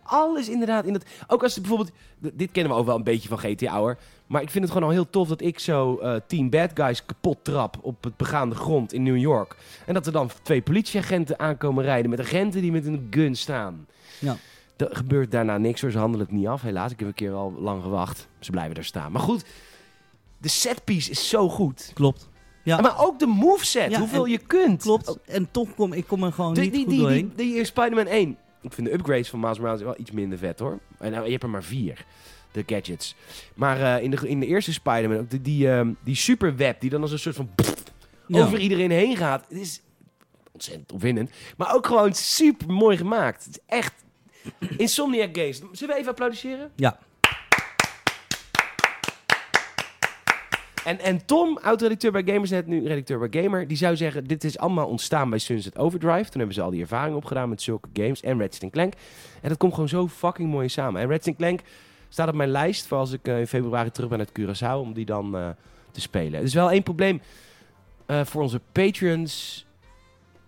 Speaker 1: Alles inderdaad. In dat, ook als het bijvoorbeeld... d- Dit kennen we ook wel een beetje van GTA, hoor. Maar ik vind het gewoon al heel tof dat ik zo eh, Team Bad Guys kapot trap op het begaande grond in New York. En dat er dan twee politieagenten aankomen rijden met agenten die met een gun staan.
Speaker 2: Ja.
Speaker 1: Er gebeurt daarna niks hoor, ze handelen het niet af helaas. Ik heb een keer al lang gewacht. Ze blijven daar staan. Maar goed, de setpiece is zo goed.
Speaker 2: Klopt. Ja,
Speaker 1: Ja, Maar ook de moveset,
Speaker 2: Ja,
Speaker 1: hoeveel
Speaker 2: en-
Speaker 1: je kunt.
Speaker 2: klopt. En toch kom ik kom er gewoon
Speaker 1: Die,
Speaker 2: niet
Speaker 1: die,
Speaker 2: goed
Speaker 1: die,
Speaker 2: doorheen.
Speaker 1: die, die in Spider-Man 1. Ik vind de upgrades van Miles Morales wel iets minder vet hoor. En nou, je hebt er maar vier, de gadgets. Maar eh, in, de, in de eerste Spider-Man, ook die, die, ehm, die superweb die dan als een soort van pff
Speaker 2: Ja.
Speaker 1: over iedereen heen gaat. Het is ontzettend opwindend. Maar ook gewoon super mooi gemaakt. Het is echt Insomniac Games. Zullen we even applaudisseren?
Speaker 2: Ja.
Speaker 1: En, en Tom, oud-redacteur bij Gamersnet, nu redacteur bij Gamer, die zou zeggen: Dit is allemaal ontstaan bij Sunset Overdrive. Toen hebben ze al die ervaring opgedaan met zulke games en Ratchet Clank. En dat komt gewoon zo fucking mooi samen. En Ratchet Clank staat op mijn lijst voor als ik eh, in februari terug ben uit Curaçao, om die dan eh, te spelen. Er is wel één probleem eh, voor onze patrons.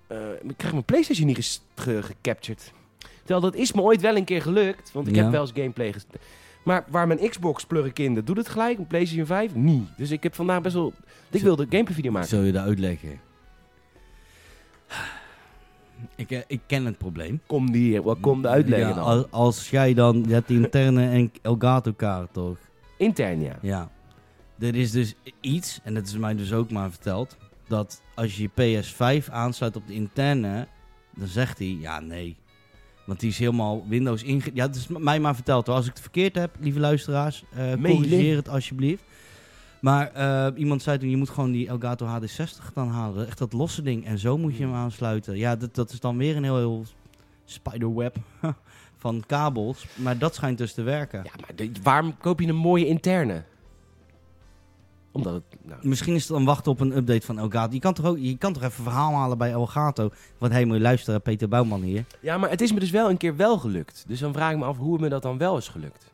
Speaker 1: Eh, ik krijg mijn PlayStation niet ges- ge- gecaptured. Terwijl dat is me ooit wel een keer gelukt, want ik
Speaker 2: Ja.
Speaker 1: heb wel eens gameplay ges- maar waar mijn Xbox pluggen kinderen, doet het gelijk. Een PlayStation 5 niet. Dus ik heb vandaag best wel. Ik wilde een gameplay video maken.
Speaker 2: Zul je dat uitleggen? Ik, eh, ik ken het probleem.
Speaker 1: Kom die hier, wat kom de uitleggen
Speaker 2: Ja,
Speaker 1: dan?
Speaker 2: al- Als, jij dan, je hebt die interne en Elgato kaart toch?
Speaker 1: Intern, ja.
Speaker 2: Ja. Er is dus iets, en dat is mij dus ook maar verteld, dat als je je PS5 aansluit op de interne, dan zegt hij ja nee. Want die is helemaal Windows inge... Ja, dat is m- mij maar verteld hoor. Als ik het verkeerd heb, lieve luisteraars, eh,
Speaker 1: Mailen.
Speaker 2: corrigeer het alsjeblieft. Maar eh, iemand zei toen, je moet gewoon die Elgato HD60 dan halen. Echt dat losse ding. En zo moet je hem aansluiten. Ja, dat, dat is dan weer een heel, heel spiderweb van kabels. Maar dat schijnt dus te werken.
Speaker 1: Ja, maar de- waarom koop je een mooie interne? Omdat het... Nou,
Speaker 2: Misschien is het dan wachten op een update van Elgato. Je kan toch, ook, je kan toch even verhaal halen bij Elgato. Want hé, hey, moet je luisteren, Peter Bouwman hier.
Speaker 1: Ja, maar het is me dus wel een keer wel gelukt. Dus dan vraag ik me af hoe me dat dan wel is gelukt.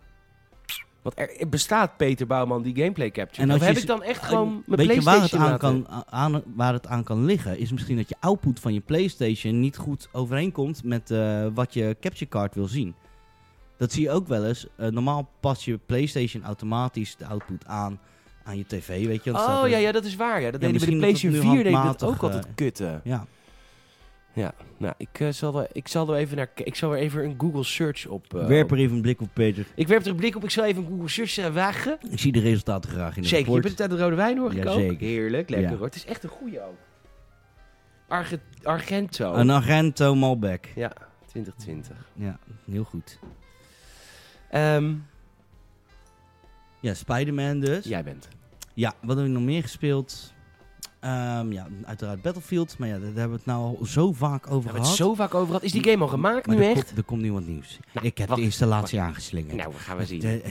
Speaker 1: Want er er bestaat Peter Bouwman die gameplay capture.
Speaker 2: En
Speaker 1: En
Speaker 2: als
Speaker 1: of
Speaker 2: je
Speaker 1: heb
Speaker 2: z- Ah,
Speaker 1: ik dan echt gewoon mijn
Speaker 2: Weet je
Speaker 1: PlayStation
Speaker 2: waar het, aan
Speaker 1: laten-
Speaker 2: kan, aan, waar het aan kan liggen? Is misschien dat je output van je PlayStation niet goed overeenkomt met eh, wat je capture card wil zien. Dat zie je ook wel eens. Eh, normaal pas je PlayStation automatisch de output aan aan je tv, weet je. want het staat
Speaker 1: Oh
Speaker 2: er-
Speaker 1: ja, ja, dat is waar. Ja. Dat
Speaker 2: Ja,
Speaker 1: deden we bij de
Speaker 2: misschien dat het
Speaker 1: PlayStation
Speaker 2: nu
Speaker 1: 4 deed ik dat
Speaker 2: handmatig,
Speaker 1: ook altijd
Speaker 2: eh,
Speaker 1: kutten.
Speaker 2: ja.
Speaker 1: Ja, nou, ik, eh, zal, wel, ik zal er even naar... k- Ik zal er even een Google search op... eh,
Speaker 2: Werp
Speaker 1: op-
Speaker 2: er even een blik op, Peter.
Speaker 1: Ik werp er een blik op. Ik zal even een Google search eh, wagen.
Speaker 2: Ik zie de resultaten graag in de
Speaker 1: Zeker. Je
Speaker 2: rapport.
Speaker 1: bent uit de rode wijn hoor, ik
Speaker 2: Ja,
Speaker 1: ook.
Speaker 2: zeker.
Speaker 1: Heerlijk, lekker
Speaker 2: Ja.
Speaker 1: hoor. Het is echt een goeie ook. Arge- Argento.
Speaker 2: Een Argento Malbec.
Speaker 1: Ja, 2020.
Speaker 2: Ja, heel goed.
Speaker 1: Ehm,
Speaker 2: Ja, Spider-Man dus.
Speaker 1: jij bent.
Speaker 2: Ja, wat heb ik nog meer gespeeld? Ehm, ja, uiteraard Battlefield. Maar ja, daar hebben we het nou al zo vaak over
Speaker 1: Daar hebben we
Speaker 2: gehad.
Speaker 1: het zo vaak over gehad. Is die game al gemaakt
Speaker 2: Maar
Speaker 1: nu
Speaker 2: er
Speaker 1: echt?
Speaker 2: Komt, er komt nu wat nieuws.
Speaker 1: Nou,
Speaker 2: ik heb
Speaker 1: wacht,
Speaker 2: de installatie aangeslingerd.
Speaker 1: Nou, we gaan we zien.
Speaker 2: Eh,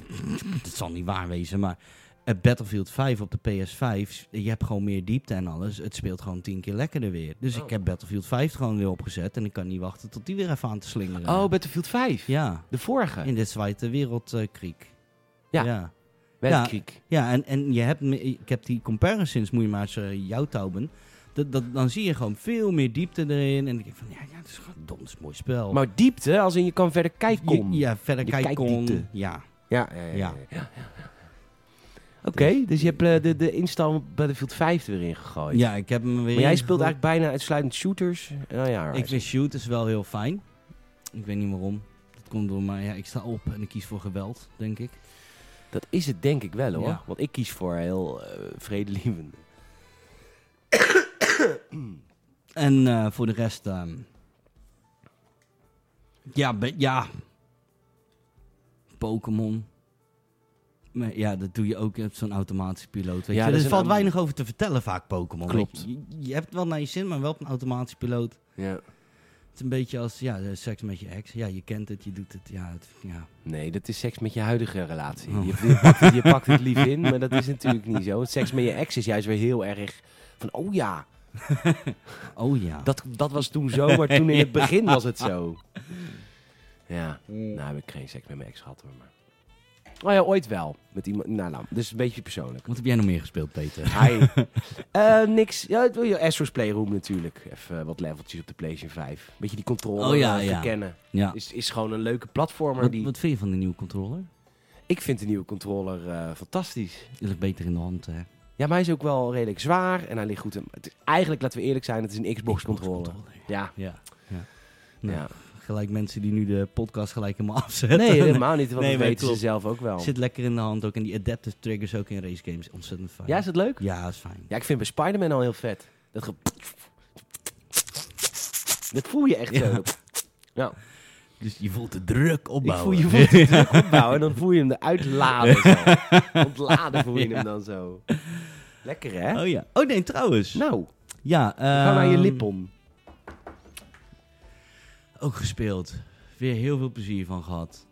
Speaker 2: dat zal niet waar wezen, maar eh, Battlefield 5 op de PS5, je hebt gewoon meer diepte en alles. Het speelt gewoon tien keer lekkerder weer. Dus
Speaker 1: Oh.
Speaker 2: ik heb Battlefield 5 gewoon weer opgezet en ik kan niet wachten tot die weer even aan te slingeren.
Speaker 1: Oh, Battlefield 5.
Speaker 2: ja,
Speaker 1: De vorige.
Speaker 2: in de Zweite Wereldkrieg.
Speaker 1: Ja.
Speaker 2: ja.
Speaker 1: Weltkrieg.
Speaker 2: Ja, en, en je hebt, me- ik heb die comparisons, moet je maar eens eh, jou touwen. Dat, dat, dan zie je gewoon veel meer diepte erin. En ik denk van, ja, ja het is gewoon dom, het is een mooi spel.
Speaker 1: Maar diepte, als in je kan verder kijken.
Speaker 2: Je- ja, verder
Speaker 1: Je
Speaker 2: kijk
Speaker 1: kijkdiepte.
Speaker 2: kon. Ja,
Speaker 1: Ja, ja, ja. ja,
Speaker 2: Ja.
Speaker 1: ja, ja, ja. Oké, dus je hebt eh, de, de install op Battlefield 5 er weer ingegooid.
Speaker 2: ja, ik heb hem weer...
Speaker 1: Maar jij speelt eigenlijk bijna uitsluitend shooters. Nou ja,
Speaker 2: Ik
Speaker 1: alright.
Speaker 2: vind shooters wel heel fijn. Ik weet niet waarom. Dat komt door, maar ja, ik sta op en ik kies voor geweld, denk ik.
Speaker 1: dat is het denk ik wel hoor.
Speaker 2: Ja.
Speaker 1: Want ik kies voor heel eh vredelievende.
Speaker 2: En eh, voor de rest... ehm, ja, be- ja. Pokémon. Maar Ja, dat doe je ook op zo'n automatische piloot. Weet
Speaker 1: Ja, dat
Speaker 2: je. Er
Speaker 1: is een
Speaker 2: valt
Speaker 1: am-
Speaker 2: weinig over te vertellen vaak, Pokémon.
Speaker 1: Klopt.
Speaker 2: Weet Je, je- je hebt het wel naar je zin, maar wel op een automatische piloot.
Speaker 1: Ja.
Speaker 2: Het is een beetje als ja, eh, seks met je ex. Ja, je kent het, je doet het. Ja, het, ja.
Speaker 1: Nee, dat is seks met je huidige relatie.
Speaker 2: Oh.
Speaker 1: Je, je, pakt het, je pakt het lief in, maar dat is natuurlijk niet zo. Seks met je ex is juist weer heel erg van, oh ja,
Speaker 2: Oh ja.
Speaker 1: dat, dat was toen zo, maar toen in het begin was het zo. Ja, nou heb ik geen seks met mijn ex gehad hoor. Maar... Oh ja, ooit wel. Met iemand, nou, nou, dus een beetje persoonlijk.
Speaker 2: Wat heb jij nog meer gespeeld, Peter?
Speaker 1: Hi. Eh, niks. Ja, het- ja, Astro's Playroom natuurlijk. Even wat leveltjes op de PlayStation 5. Beetje die controle
Speaker 2: Oh ja,
Speaker 1: eh,
Speaker 2: ja.
Speaker 1: verkennen.
Speaker 2: Ja.
Speaker 1: Is, is gewoon een leuke platformer.
Speaker 2: Wat,
Speaker 1: die...
Speaker 2: wat vind je van de nieuwe controller?
Speaker 1: Ik vind de nieuwe controller eh, fantastisch.
Speaker 2: Die ligt beter in de hand, hè?
Speaker 1: Ja, maar hij is ook wel redelijk zwaar en hij ligt goed. In, het is- eigenlijk, laten we eerlijk zijn, het is een Xbox-controller. Ja,
Speaker 2: Ja. ja. Nou,
Speaker 1: ja.
Speaker 2: Gelijk mensen die nu de podcast gelijk helemaal afzetten.
Speaker 1: Nee, helemaal niet, want
Speaker 2: Nee,
Speaker 1: dat
Speaker 2: maar
Speaker 1: weten ze
Speaker 2: klopt.
Speaker 1: zelf ook wel.
Speaker 2: Zit lekker in de hand ook. En die adaptive triggers ook in race games. Ontzettend fijn.
Speaker 1: Ja, is het leuk?
Speaker 2: Ja, is fijn.
Speaker 1: Ja, ik vind bij Spider-Man al heel vet. Dat ge... Dat voel je echt
Speaker 2: Ja.
Speaker 1: zo. Ja.
Speaker 2: Dus je voelt de druk
Speaker 1: Ik voel
Speaker 2: opbouwen.
Speaker 1: je voelt de druk opbouwen en dan voel je hem eruit laden zo. Ontladen voel je hem dan zo. Lekker, hè?
Speaker 2: Oh ja. Oh nee, trouwens.
Speaker 1: Nou,
Speaker 2: ja.
Speaker 1: ga naar je
Speaker 2: ehm,
Speaker 1: lip om.
Speaker 2: Ook gespeeld. Weer heel veel plezier van gehad.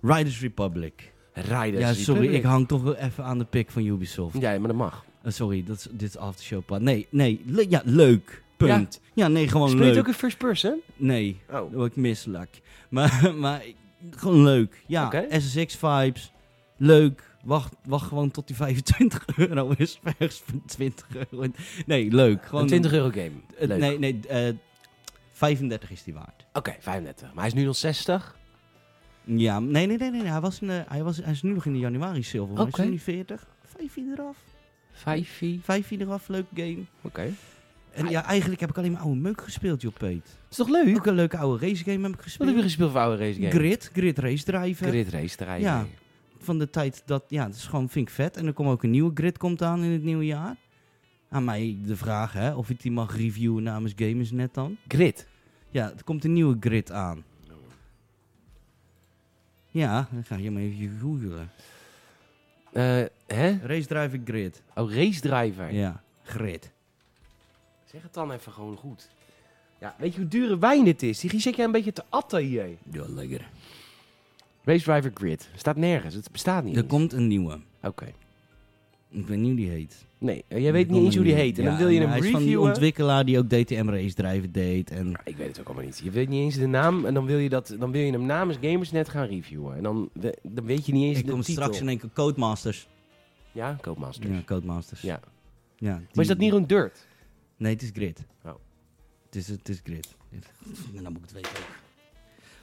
Speaker 2: Riders Republic.
Speaker 1: Riders
Speaker 2: ja, sorry.
Speaker 1: Republic.
Speaker 2: Ik hang toch wel even aan de pik van Ubisoft.
Speaker 1: Ja, maar dat mag.
Speaker 2: Eh, sorry, dat is, dit is aftershow. part. Nee, nee. le- ja, leuk. Punt. Ja, nee, gewoon
Speaker 1: Speel je het
Speaker 2: leuk.
Speaker 1: ook in first person?
Speaker 2: Nee.
Speaker 1: Oh.
Speaker 2: Dan word ik misselijk. Maar, maar ik- gewoon leuk. Ja,
Speaker 1: Oké.
Speaker 2: SSX vibes. Leuk. Wacht, wacht gewoon tot die 25 euro is. Ergens voor 20 euro. Nee, leuk. Gewoon,
Speaker 1: Een 20 euro game.
Speaker 2: eh,
Speaker 1: Leuk.
Speaker 2: Nee, nee. eh, 35 is die waard.
Speaker 1: Oké, 35. Maar hij is nu nog 60.
Speaker 2: Ja, nee, nee, nee. nee, nee. Hij, was in de, hij, was, hij is nu nog in de januari silver. maar Is
Speaker 1: Oké.
Speaker 2: hij nu 40? 5 eraf.
Speaker 1: 5
Speaker 2: 5 eraf. Leuk game.
Speaker 1: Oké.
Speaker 2: En ja, eigenlijk heb ik alleen maar oude meuk gespeeld, joh, Peet.
Speaker 1: Is toch leuk?
Speaker 2: Ook een leuke oude racegame heb ik
Speaker 1: Wat
Speaker 2: gespeeld.
Speaker 1: heb je gespeeld voor oude race game?
Speaker 2: Grid, Grid Race Driver.
Speaker 1: Grid race te rijden.
Speaker 2: Ja. van de tijd dat, ja, dat is gewoon, vind ik vet. En er komt ook een nieuwe grid komt aan in het nieuwe jaar. Aan mij de vraag, hè, of ik die mag reviewen namens Gamers net dan.
Speaker 1: Grid.
Speaker 2: Ja, er komt een nieuwe grid aan. Ja, dan ga je maar even googelen.
Speaker 1: Eh, hè?
Speaker 2: Race Driver Grid.
Speaker 1: Oh, race driver.
Speaker 2: Ja, grid.
Speaker 1: Zeg het dan even gewoon goed. Ja, weet je hoe dure wijn dit is? Die zit jij een beetje te atten hier.
Speaker 2: Ja, lekker.
Speaker 1: Race driver grid. Staat nergens. Het bestaat niet.
Speaker 2: Er
Speaker 1: eens.
Speaker 2: komt een nieuwe.
Speaker 1: Oké.
Speaker 2: Ik weet niet hoe die heet.
Speaker 1: Nee, eh, jij weet niet eens hoe die heet. En dan wil je
Speaker 2: een
Speaker 1: hem
Speaker 2: hij is van die
Speaker 1: reviewen.
Speaker 2: ontwikkelaar die ook DTM-race drijven deed. En
Speaker 1: Ik weet het ook allemaal niet. Je weet niet eens de naam en dan wil je, dat, dan wil je hem namens Gamersnet gaan reviewen. En dan, we- dan weet je niet eens
Speaker 2: ik
Speaker 1: de
Speaker 2: kom
Speaker 1: titel.
Speaker 2: straks in één keer Codemasters.
Speaker 1: Ja, Koopmasters.
Speaker 2: Ja, Codemasters.
Speaker 1: Ja.
Speaker 2: ja die-
Speaker 1: Maar is dat niet een dirt?
Speaker 2: Nee, het is grid.
Speaker 1: Oh.
Speaker 2: Het is, het is grid. En dan moet ik het weten ook.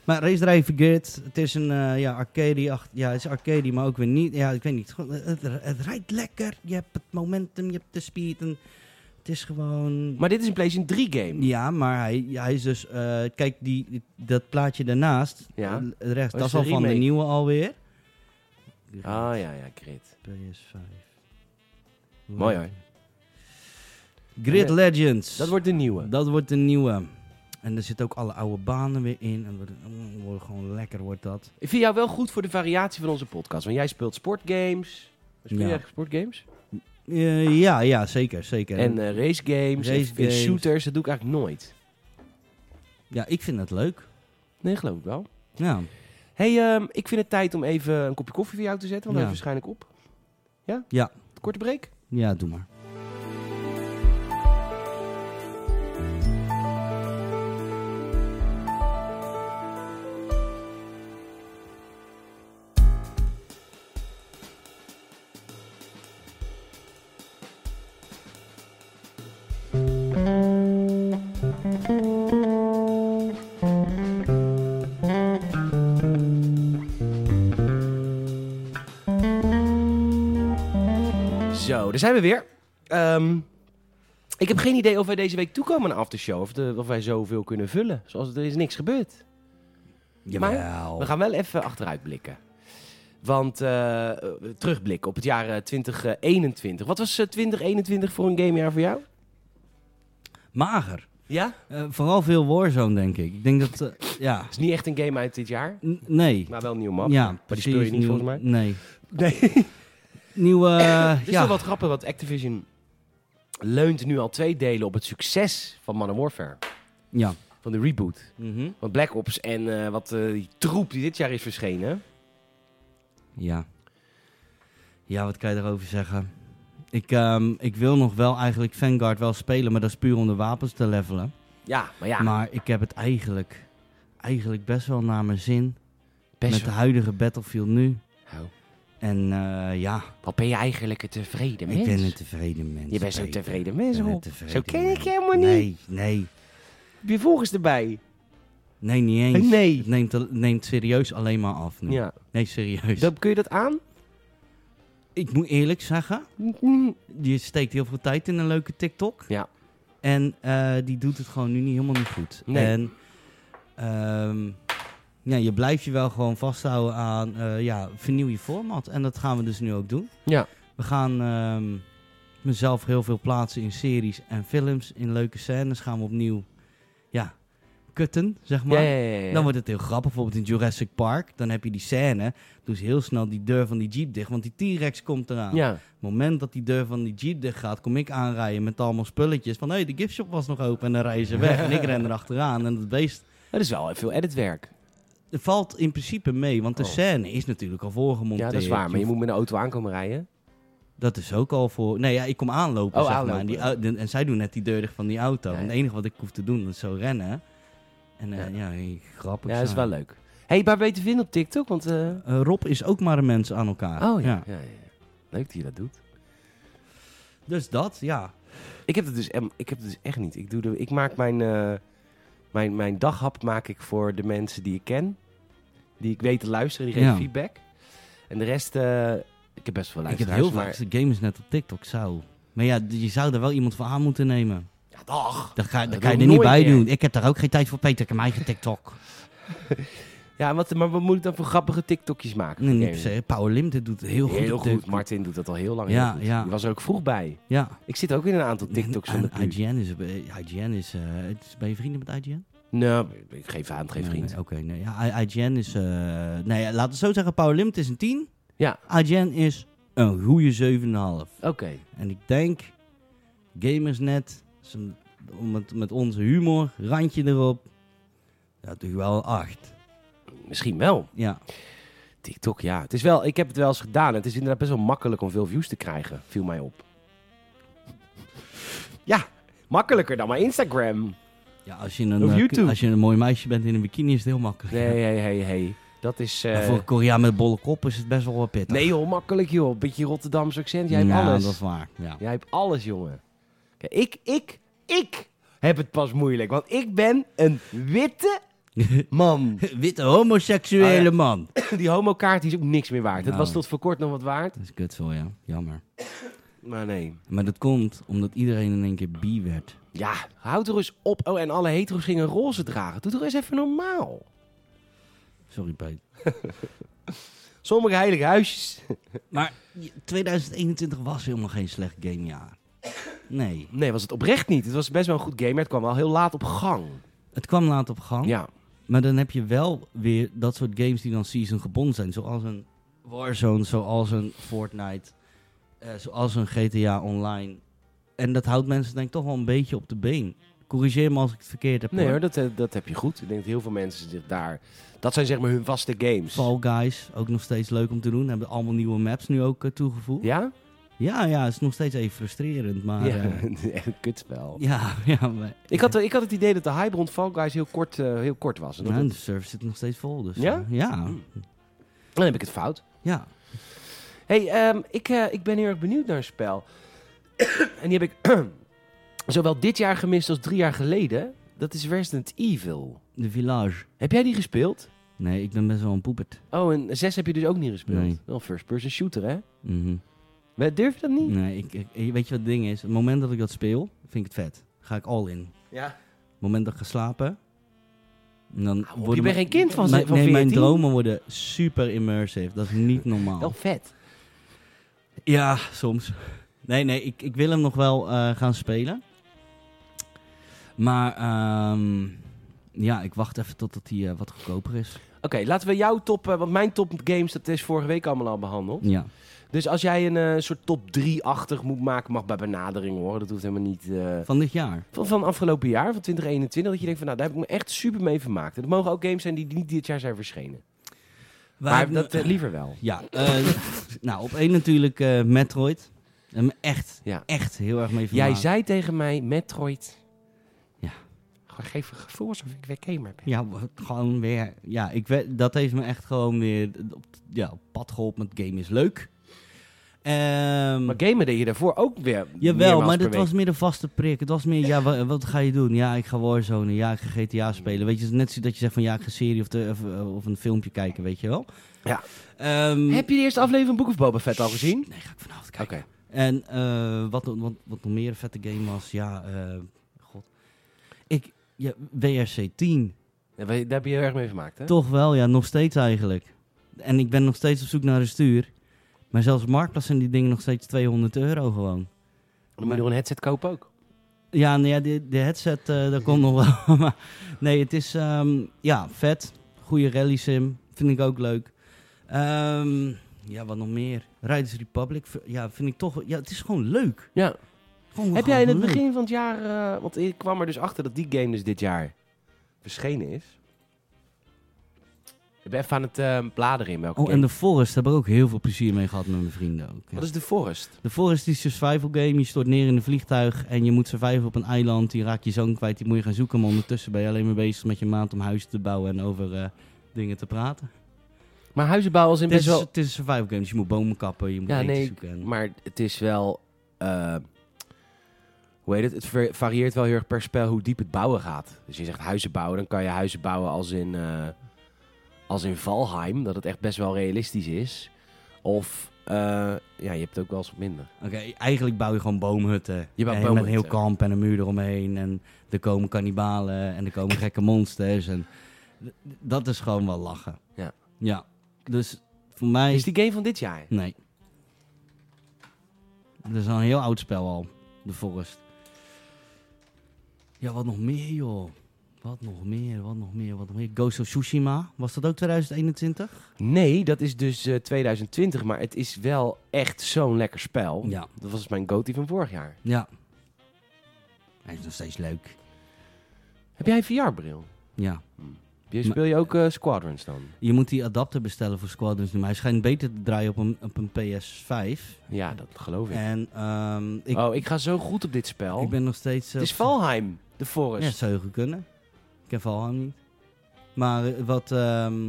Speaker 2: Maar Race Drive Grid, het is een eh, ja, arcade Ja, het is arcade, maar ook weer niet. Ja, ik weet niet. Gewoon, Het, het rijdt lekker. Je hebt het momentum, je hebt de speed. En het is gewoon...
Speaker 1: Maar dit is een PlayStation 3 game.
Speaker 2: Ja, maar hij, hij is dus... eh, kijk, die, dat plaatje daarnaast,
Speaker 1: Ja.
Speaker 2: eh, rechts,
Speaker 1: Oh,
Speaker 2: dat
Speaker 1: is
Speaker 2: is
Speaker 1: de
Speaker 2: al van de
Speaker 1: remake.
Speaker 2: nieuwe alweer.
Speaker 1: Ah ja, ja, Crit.
Speaker 2: PS5.
Speaker 1: Mooi hoor.
Speaker 2: Grid
Speaker 1: Ja.
Speaker 2: Legends.
Speaker 1: Dat wordt de nieuwe.
Speaker 2: Dat wordt de nieuwe. En er zitten ook alle oude banen weer in. En het wordt, mm, wordt gewoon lekker wordt dat.
Speaker 1: Ik vind jou wel goed voor de variatie van onze podcast. Want jij speelt sportgames. Speel
Speaker 2: Ja.
Speaker 1: jij echt sportgames?
Speaker 2: Eh, ja, ja, zeker, zeker.
Speaker 1: En eh racegames.
Speaker 2: Racegames.
Speaker 1: en- En shooters. Dat doe ik eigenlijk nooit.
Speaker 2: ja, ik vind dat leuk.
Speaker 1: Nee, geloof ik wel.
Speaker 2: Ja,
Speaker 1: hey, ehm, ik vind het tijd om even een kopje koffie voor jou te zetten. Want
Speaker 2: Ja.
Speaker 1: hij is waarschijnlijk op. Ja?
Speaker 2: Ja.
Speaker 1: Korte break?
Speaker 2: ja doe maar.
Speaker 1: Zo, daar zijn we weer. Ehm, ik heb geen idee of wij deze week toekomen aan aftershow. Of, de, of wij zoveel kunnen vullen. Zoals er is niks gebeurd.
Speaker 2: Jawel.
Speaker 1: We gaan wel even achteruit blikken. Want eh, eh, terugblik op het jaar eh, 2021. Wat was eh, 2021 voor een gamejaar voor jou?
Speaker 2: Mager.
Speaker 1: Ja? Het
Speaker 2: Eh, vooral veel Warzone, denk ik. Ik denk dat... eh, ja,
Speaker 1: is niet echt een game uit dit jaar,
Speaker 2: N- nee.
Speaker 1: maar wel een nieuwe map.
Speaker 2: ja,
Speaker 1: maar die speel je niet
Speaker 2: nieuw-
Speaker 1: volgens mij.
Speaker 2: Nee.
Speaker 1: Nee. Het
Speaker 2: Nieuwe... eh,
Speaker 1: is
Speaker 2: ja.
Speaker 1: wel wat grappig, want Activision leunt nu al twee delen op het succes van Modern Warfare.
Speaker 2: ja.
Speaker 1: Van de reboot.
Speaker 2: Mhm.
Speaker 1: Want Black Ops en eh, wat eh, die troep die dit jaar is verschenen.
Speaker 2: Ja. Ja, wat kan je daarover zeggen? Ik, ehm, ik wil nog wel eigenlijk Vanguard wel spelen, maar dat is puur om de wapens te levelen.
Speaker 1: Ja, maar ja,
Speaker 2: Maar ik heb het eigenlijk, eigenlijk best wel naar mijn zin.
Speaker 1: best
Speaker 2: met de huidige Battlefield nu.
Speaker 1: wel. Oh,
Speaker 2: En eh, ja,
Speaker 1: Wat ben je eigenlijk een tevreden mens?
Speaker 2: ik ben een tevreden mens.
Speaker 1: Je bent zo'n
Speaker 2: Peter.
Speaker 1: tevreden
Speaker 2: Ik
Speaker 1: mens,
Speaker 2: ben een
Speaker 1: Rob.
Speaker 2: tevreden
Speaker 1: Zo ken ik
Speaker 2: mens.
Speaker 1: je helemaal niet.
Speaker 2: Nee, nee.
Speaker 1: Heb je volgers erbij?
Speaker 2: Nee, niet eens.
Speaker 1: Nee.
Speaker 2: Het neemt, het neemt serieus alleen maar af nu.
Speaker 1: Ja.
Speaker 2: Nee, serieus.
Speaker 1: Dat, kun je dat aan?
Speaker 2: Ik moet eerlijk zeggen, je steekt heel veel tijd in een leuke TikTok.
Speaker 1: Ja.
Speaker 2: En eh, die doet het gewoon nu niet helemaal niet goed.
Speaker 1: Nee.
Speaker 2: En ehm, ja, je blijft je wel gewoon vasthouden aan eh, ja, vernieuw je format. En dat gaan we dus nu ook doen.
Speaker 1: Ja.
Speaker 2: We gaan ehm, mezelf heel veel plaatsen in series en films. In leuke scènes gaan we opnieuw ja, kutten, zeg maar.
Speaker 1: ja, ja, ja, ja.
Speaker 2: Dan wordt het heel grappig. Bijvoorbeeld in Jurassic Park, dan heb je die scène. Doe ze heel snel die deur van die jeep dicht, want die T-Rex komt eraan
Speaker 1: ja.
Speaker 2: moment dat die deur van die jeep dicht gaat, kom ik aanrijden met allemaal spulletjes. Van, hé, hey, de giftshop was nog open. En dan rijden ze weg. en ik ren erachteraan. En dat beest
Speaker 1: Dat is wel veel editwerk.
Speaker 2: valt in principe mee. Want de
Speaker 1: Oh.
Speaker 2: scène is natuurlijk al
Speaker 1: Ja,
Speaker 2: voorgemonteerd.
Speaker 1: dat is waar. Maar je
Speaker 2: hoeft-
Speaker 1: moet met een auto aankomen rijden.
Speaker 2: Dat is ook al voor... Nee, ja, ik kom aanlopen,
Speaker 1: Oh,
Speaker 2: zeg maar.
Speaker 1: aanlopen.
Speaker 2: En, die, au- en- en zij doen net die deur dicht van die auto.
Speaker 1: Nee.
Speaker 2: En het enige wat ik hoef te doen, is zo rennen. En eh, ja. grappig.
Speaker 1: Ja, dat is
Speaker 2: zijn.
Speaker 1: wel leuk. Hé, hey, waar ben je te vinden op TikTok? Want, eh,
Speaker 2: Eh, Rob is ook maar een mens aan elkaar.
Speaker 1: Oh ja. Ja, ja, ja. Leuk dat je dat doet.
Speaker 2: Dus dat, ja.
Speaker 1: Ik heb het dus, em- ik heb het dus echt niet. Ik, doe de, ik maak mijn, eh, mijn, mijn daghap maak ik voor de mensen die ik ken. Die ik weet te luisteren, die geven
Speaker 2: Ja.
Speaker 1: feedback. En de rest, eh, ik heb best wel
Speaker 2: Ik heb
Speaker 1: luisteraars.
Speaker 2: heel
Speaker 1: maar-
Speaker 2: vaak gamers net op TikTok, zou. Maar ja, je zou er wel iemand voor aan moeten nemen.
Speaker 1: Ja, dag.
Speaker 2: Dat ga, dat
Speaker 1: Dat
Speaker 2: kan je
Speaker 1: doe
Speaker 2: er
Speaker 1: ik
Speaker 2: niet
Speaker 1: nooit
Speaker 2: bij
Speaker 1: meer.
Speaker 2: doen. Ik heb daar ook geen tijd voor, Peter. Ik heb mijn eigen TikTok.
Speaker 1: Ja, en wat, maar wat moet ik dan voor grappige TikTokjes maken?
Speaker 2: Nee,
Speaker 1: voor
Speaker 2: niet per
Speaker 1: games?
Speaker 2: se. eh, Power Limited doet het heel goed.
Speaker 1: Heel
Speaker 2: op de-
Speaker 1: goed. Martin doet dat al heel lang.
Speaker 2: Ja,
Speaker 1: heel goed.
Speaker 2: ja.
Speaker 1: Die was er ook vroeg bij.
Speaker 2: Ja.
Speaker 1: Ik zit ook in een aantal TikToks van de plu.
Speaker 2: En IGN is... eh, IGN is, eh, het is ben je vrienden met IGN?
Speaker 1: Nou, ik geef aan, het geeft
Speaker 2: Nee,
Speaker 1: vriend.
Speaker 2: nee, Oké, nee. Ja, I- IGN is... eh nee, laten we het zo zeggen. Power Limited is een 10.
Speaker 1: Ja.
Speaker 2: IGN is een goede 7,5.
Speaker 1: Oké.
Speaker 2: En ik denk... Gamersnet... is een- om het- met onze humor, randje erop... Ja, toch wel een 8.
Speaker 1: Misschien wel.
Speaker 2: Ja.
Speaker 1: TikTok, ja. Het is wel, ik heb het wel eens gedaan. Het is inderdaad best wel makkelijk om veel views te krijgen, viel mij op. Ja, makkelijker dan maar Instagram.
Speaker 2: Ja, als je, een,
Speaker 1: Op
Speaker 2: eh,
Speaker 1: YouTube.
Speaker 2: als je een mooi meisje bent in een bikini is het heel makkelijk.
Speaker 1: Nee, hey, hey, hey. Dat is... eh,
Speaker 2: Maar voor een Koreaan met bolle kop is het best wel wat pittig.
Speaker 1: nee joh, makkelijk joh. Beetje Rotterdams accent. Jij hebt
Speaker 2: Ja,
Speaker 1: alles.
Speaker 2: Nou, dat is waar. Ja.
Speaker 1: Jij hebt alles, jongen. Kijk, ik, ik, ik heb het pas moeilijk. Want ik ben een witte man.
Speaker 2: Witte homoseksuele
Speaker 1: Oh, ja.
Speaker 2: man.
Speaker 1: Die homokaart die is ook niks meer waard. Het
Speaker 2: Nou.
Speaker 1: was tot voor kort nog wat waard.
Speaker 2: Dat is kut zo, ja. Jammer.
Speaker 1: Maar nee.
Speaker 2: Maar dat komt omdat iedereen in één keer bi werd.
Speaker 1: Ja, houd er eens op. Oh, en alle hetero's gingen roze dragen. Doe toch eens even normaal.
Speaker 2: Sorry, Peet.
Speaker 1: Sommige heilige huisjes.
Speaker 2: Maar 2021 was helemaal geen slecht gamejaar. Nee.
Speaker 1: Nee, was het oprecht niet. Het was best wel een goed game, maar het kwam wel heel laat op gang.
Speaker 2: Het kwam laat op gang.
Speaker 1: Ja.
Speaker 2: Maar dan heb je wel weer dat soort games die dan season gebonden zijn. Zoals een Warzone, zoals een Fortnite, eh, zoals een GTA Online. En dat houdt mensen denk ik toch wel een beetje op de been. Corrigeer me als ik het verkeerd heb.
Speaker 1: Nee
Speaker 2: hoor.
Speaker 1: hoor, dat, eh, dat heb je goed. Ik denk dat heel veel mensen zich daar... Dat zijn zeg maar hun vaste games.
Speaker 2: Fall Guys, ook nog steeds leuk om te doen. Hebben allemaal nieuwe maps nu ook eh, toegevoegd.
Speaker 1: Ja?
Speaker 2: Ja, ja, het is nog steeds even frustrerend, maar...
Speaker 1: Ja,
Speaker 2: eh,
Speaker 1: een kutspel.
Speaker 2: ja, ja, maar...
Speaker 1: Ik had, ik had het idee dat de hype rond Fall Guys heel kort, eh, heel kort was. En dat
Speaker 2: Nou,
Speaker 1: het-
Speaker 2: de server zit nog steeds vol, dus...
Speaker 1: Ja?
Speaker 2: eh, Ja,
Speaker 1: dan heb ik het fout.
Speaker 2: ja.
Speaker 1: hey, ehm, ik, eh, ik ben heel erg benieuwd naar een spel. en die heb ik zowel dit jaar gemist als drie jaar geleden. Dat is Resident Evil.
Speaker 2: De Village.
Speaker 1: Heb jij die gespeeld?
Speaker 2: Nee, ik ben best wel een poepert.
Speaker 1: Oh, en 6 heb je dus ook niet gespeeld.
Speaker 2: Nee.
Speaker 1: Wel first person shooter, hè?
Speaker 2: Mhm.
Speaker 1: Maar Durf je dat niet?
Speaker 2: Nee, ik, ik- weet je wat het ding is? Het moment dat ik dat speel, vind ik het vet. Ga ik all in.
Speaker 1: Ja.
Speaker 2: Het moment dat ik ga slapen... en Dan
Speaker 1: op,
Speaker 2: worden
Speaker 1: je bent
Speaker 2: mijn-
Speaker 1: geen kind van ze-
Speaker 2: mijn-
Speaker 1: van
Speaker 2: Nee, mijn
Speaker 1: 14.
Speaker 2: dromen worden super immersive. Dat is niet normaal.
Speaker 1: Wel vet.
Speaker 2: Ja, soms. Nee, nee, ik, ik wil hem nog wel eh, gaan spelen. Maar ehm, ja, ik wacht even totdat hij eh, wat goedkoper is.
Speaker 1: Oké, laten we jouw top... eh, want mijn top games, dat is vorige week allemaal al behandeld.
Speaker 2: Ja.
Speaker 1: Dus als jij een eh, soort top 3-achtig moet maken, mag bij benadering hoor. Dat hoeft helemaal niet... eh,
Speaker 2: Van dit jaar.
Speaker 1: van, van afgelopen jaar, van 2021, dat je denkt van nou, daar heb ik me echt super mee vermaakt. En het mogen ook games zijn die niet dit jaar zijn verschenen. maar dat eh, liever wel.
Speaker 2: Ja, eh, nou, op één natuurlijk eh, Metroid. En me echt,
Speaker 1: Ja.
Speaker 2: echt heel erg mee
Speaker 1: Jij
Speaker 2: vermaakt.
Speaker 1: zei tegen mij, Metroid.
Speaker 2: Ja.
Speaker 1: Gewoon Geef een gevoel alsof ik weer gamer ben.
Speaker 2: Ja, wat- gewoon weer. Ja, ik weet, dat heeft me echt gewoon weer op, ja, op pad geholpen. Het game is leuk. Ehm,
Speaker 1: Maar gamen deed je daarvoor ook weer.
Speaker 2: Jawel,
Speaker 1: meermaals
Speaker 2: maar
Speaker 1: per
Speaker 2: dat
Speaker 1: week.
Speaker 2: was meer de vaste prik. Het was meer, ja, wat, wat ga je doen? Ja, ik ga Warzone. Ja, ik ga
Speaker 1: Mm.
Speaker 2: GTA spelen. Weet je, het is net zo dat je zegt van, ja, ik ga een serie of, de, of, eh, of een filmpje kijken, weet je wel.
Speaker 1: Ja.
Speaker 2: Ehm,
Speaker 1: Heb je de eerste aflevering van Book of Boba Fett al gezien?
Speaker 2: Nee, ga ik vanavond
Speaker 1: Oké.
Speaker 2: kijken. En eh, wat, wat, wat nog meer een vette game was, ja, eh, god. Ik, ja, WRC 10.
Speaker 1: Ja, we- Daar heb je heel erg mee vermaakt, hè?
Speaker 2: Toch wel, ja, nog steeds eigenlijk. En ik ben nog steeds op zoek naar een stuur. Maar zelfs op Marktplaats zijn die dingen nog steeds 200 euro gewoon.
Speaker 1: Dan moet je nog een headset kopen ook.
Speaker 2: Ja, nou ja, de, de headset, eh dat komt nog wel. Maar nee, het is ehm, ja, vet. Goede rally sim. Vind ik ook leuk. Ehm, ja, wat nog meer? Riders Republic. v- Ja, vind ik toch... Ja, het is gewoon leuk.
Speaker 1: Ja.
Speaker 2: Gewoon-
Speaker 1: Heb jij in het
Speaker 2: gewoon leuk.
Speaker 1: begin van het jaar... eh, want ik kwam er dus achter dat die game dus dit jaar verschenen is. Ik ben even aan het eh, bladeren in welke
Speaker 2: Oh,
Speaker 1: game.
Speaker 2: en The Forest. Daar heb ik ook heel veel plezier mee gehad met mijn vrienden ook. ja.
Speaker 1: Wat is de Forest?
Speaker 2: The Forest is een survival game. Je stort neer in een vliegtuig en je moet surviven op een eiland. Die raak je zoon kwijt, die moet je gaan zoeken. Maar ondertussen ben je alleen maar bezig met je maand om huizen te bouwen en over eh, dingen te praten.
Speaker 1: Maar huizenbouw was in
Speaker 2: Het is,
Speaker 1: best wel...
Speaker 2: het is een survival game, dus je moet bomen kappen, je moet
Speaker 1: Ja,
Speaker 2: eten
Speaker 1: nee,
Speaker 2: zoeken. En...
Speaker 1: Maar het is wel... eh, hoe heet het? Het ver- varieert wel heel erg per spel hoe diep het bouwen gaat. Dus je zegt huizen bouwen, dan kan je huizen bouwen als in, eh, als in Valheim. Dat het echt best wel realistisch is. Of, eh, ja, je hebt het ook wel eens wat minder.
Speaker 2: Oké, eigenlijk bouw je gewoon boomhutten.
Speaker 1: Je bouwt
Speaker 2: En Met een
Speaker 1: boomhutten.
Speaker 2: heel kamp en een muur eromheen. En er komen kannibalen en er komen gekke monsters. En d- dat is gewoon wel lachen.
Speaker 1: Ja.
Speaker 2: Ja. Dus voor mij...
Speaker 1: Is die game van dit jaar?
Speaker 2: Nee. Dat is al een heel oud spel al. De Forest. Ja, wat nog meer, joh. Wat nog meer, wat nog meer, wat nog meer. Ghost of Tsushima. Was dat ook 2021?
Speaker 1: Nee, dat is dus eh, 2020. Maar het is wel echt zo'n lekker spel.
Speaker 2: Ja.
Speaker 1: Dat was dus mijn goatee van vorig jaar.
Speaker 2: Ja. Hij is nog steeds leuk.
Speaker 1: Heb jij een VR-bril?
Speaker 2: Ja.
Speaker 1: Je speel je ook eh, Squadrons dan?
Speaker 2: Je moet die adapter bestellen voor Squadrons nu. Maar hij schijnt beter te draaien op een, op een PS5.
Speaker 1: Ja, dat geloof ik.
Speaker 2: En ehm, ik,
Speaker 1: oh, ik ga zo goed op dit spel.
Speaker 2: ik ben nog steeds... eh,
Speaker 1: Oh. Het is Valheim, de Forest.
Speaker 2: Ja, dat zou heel goed kunnen. Ik ken Valheim niet. Maar eh, wat... ehm,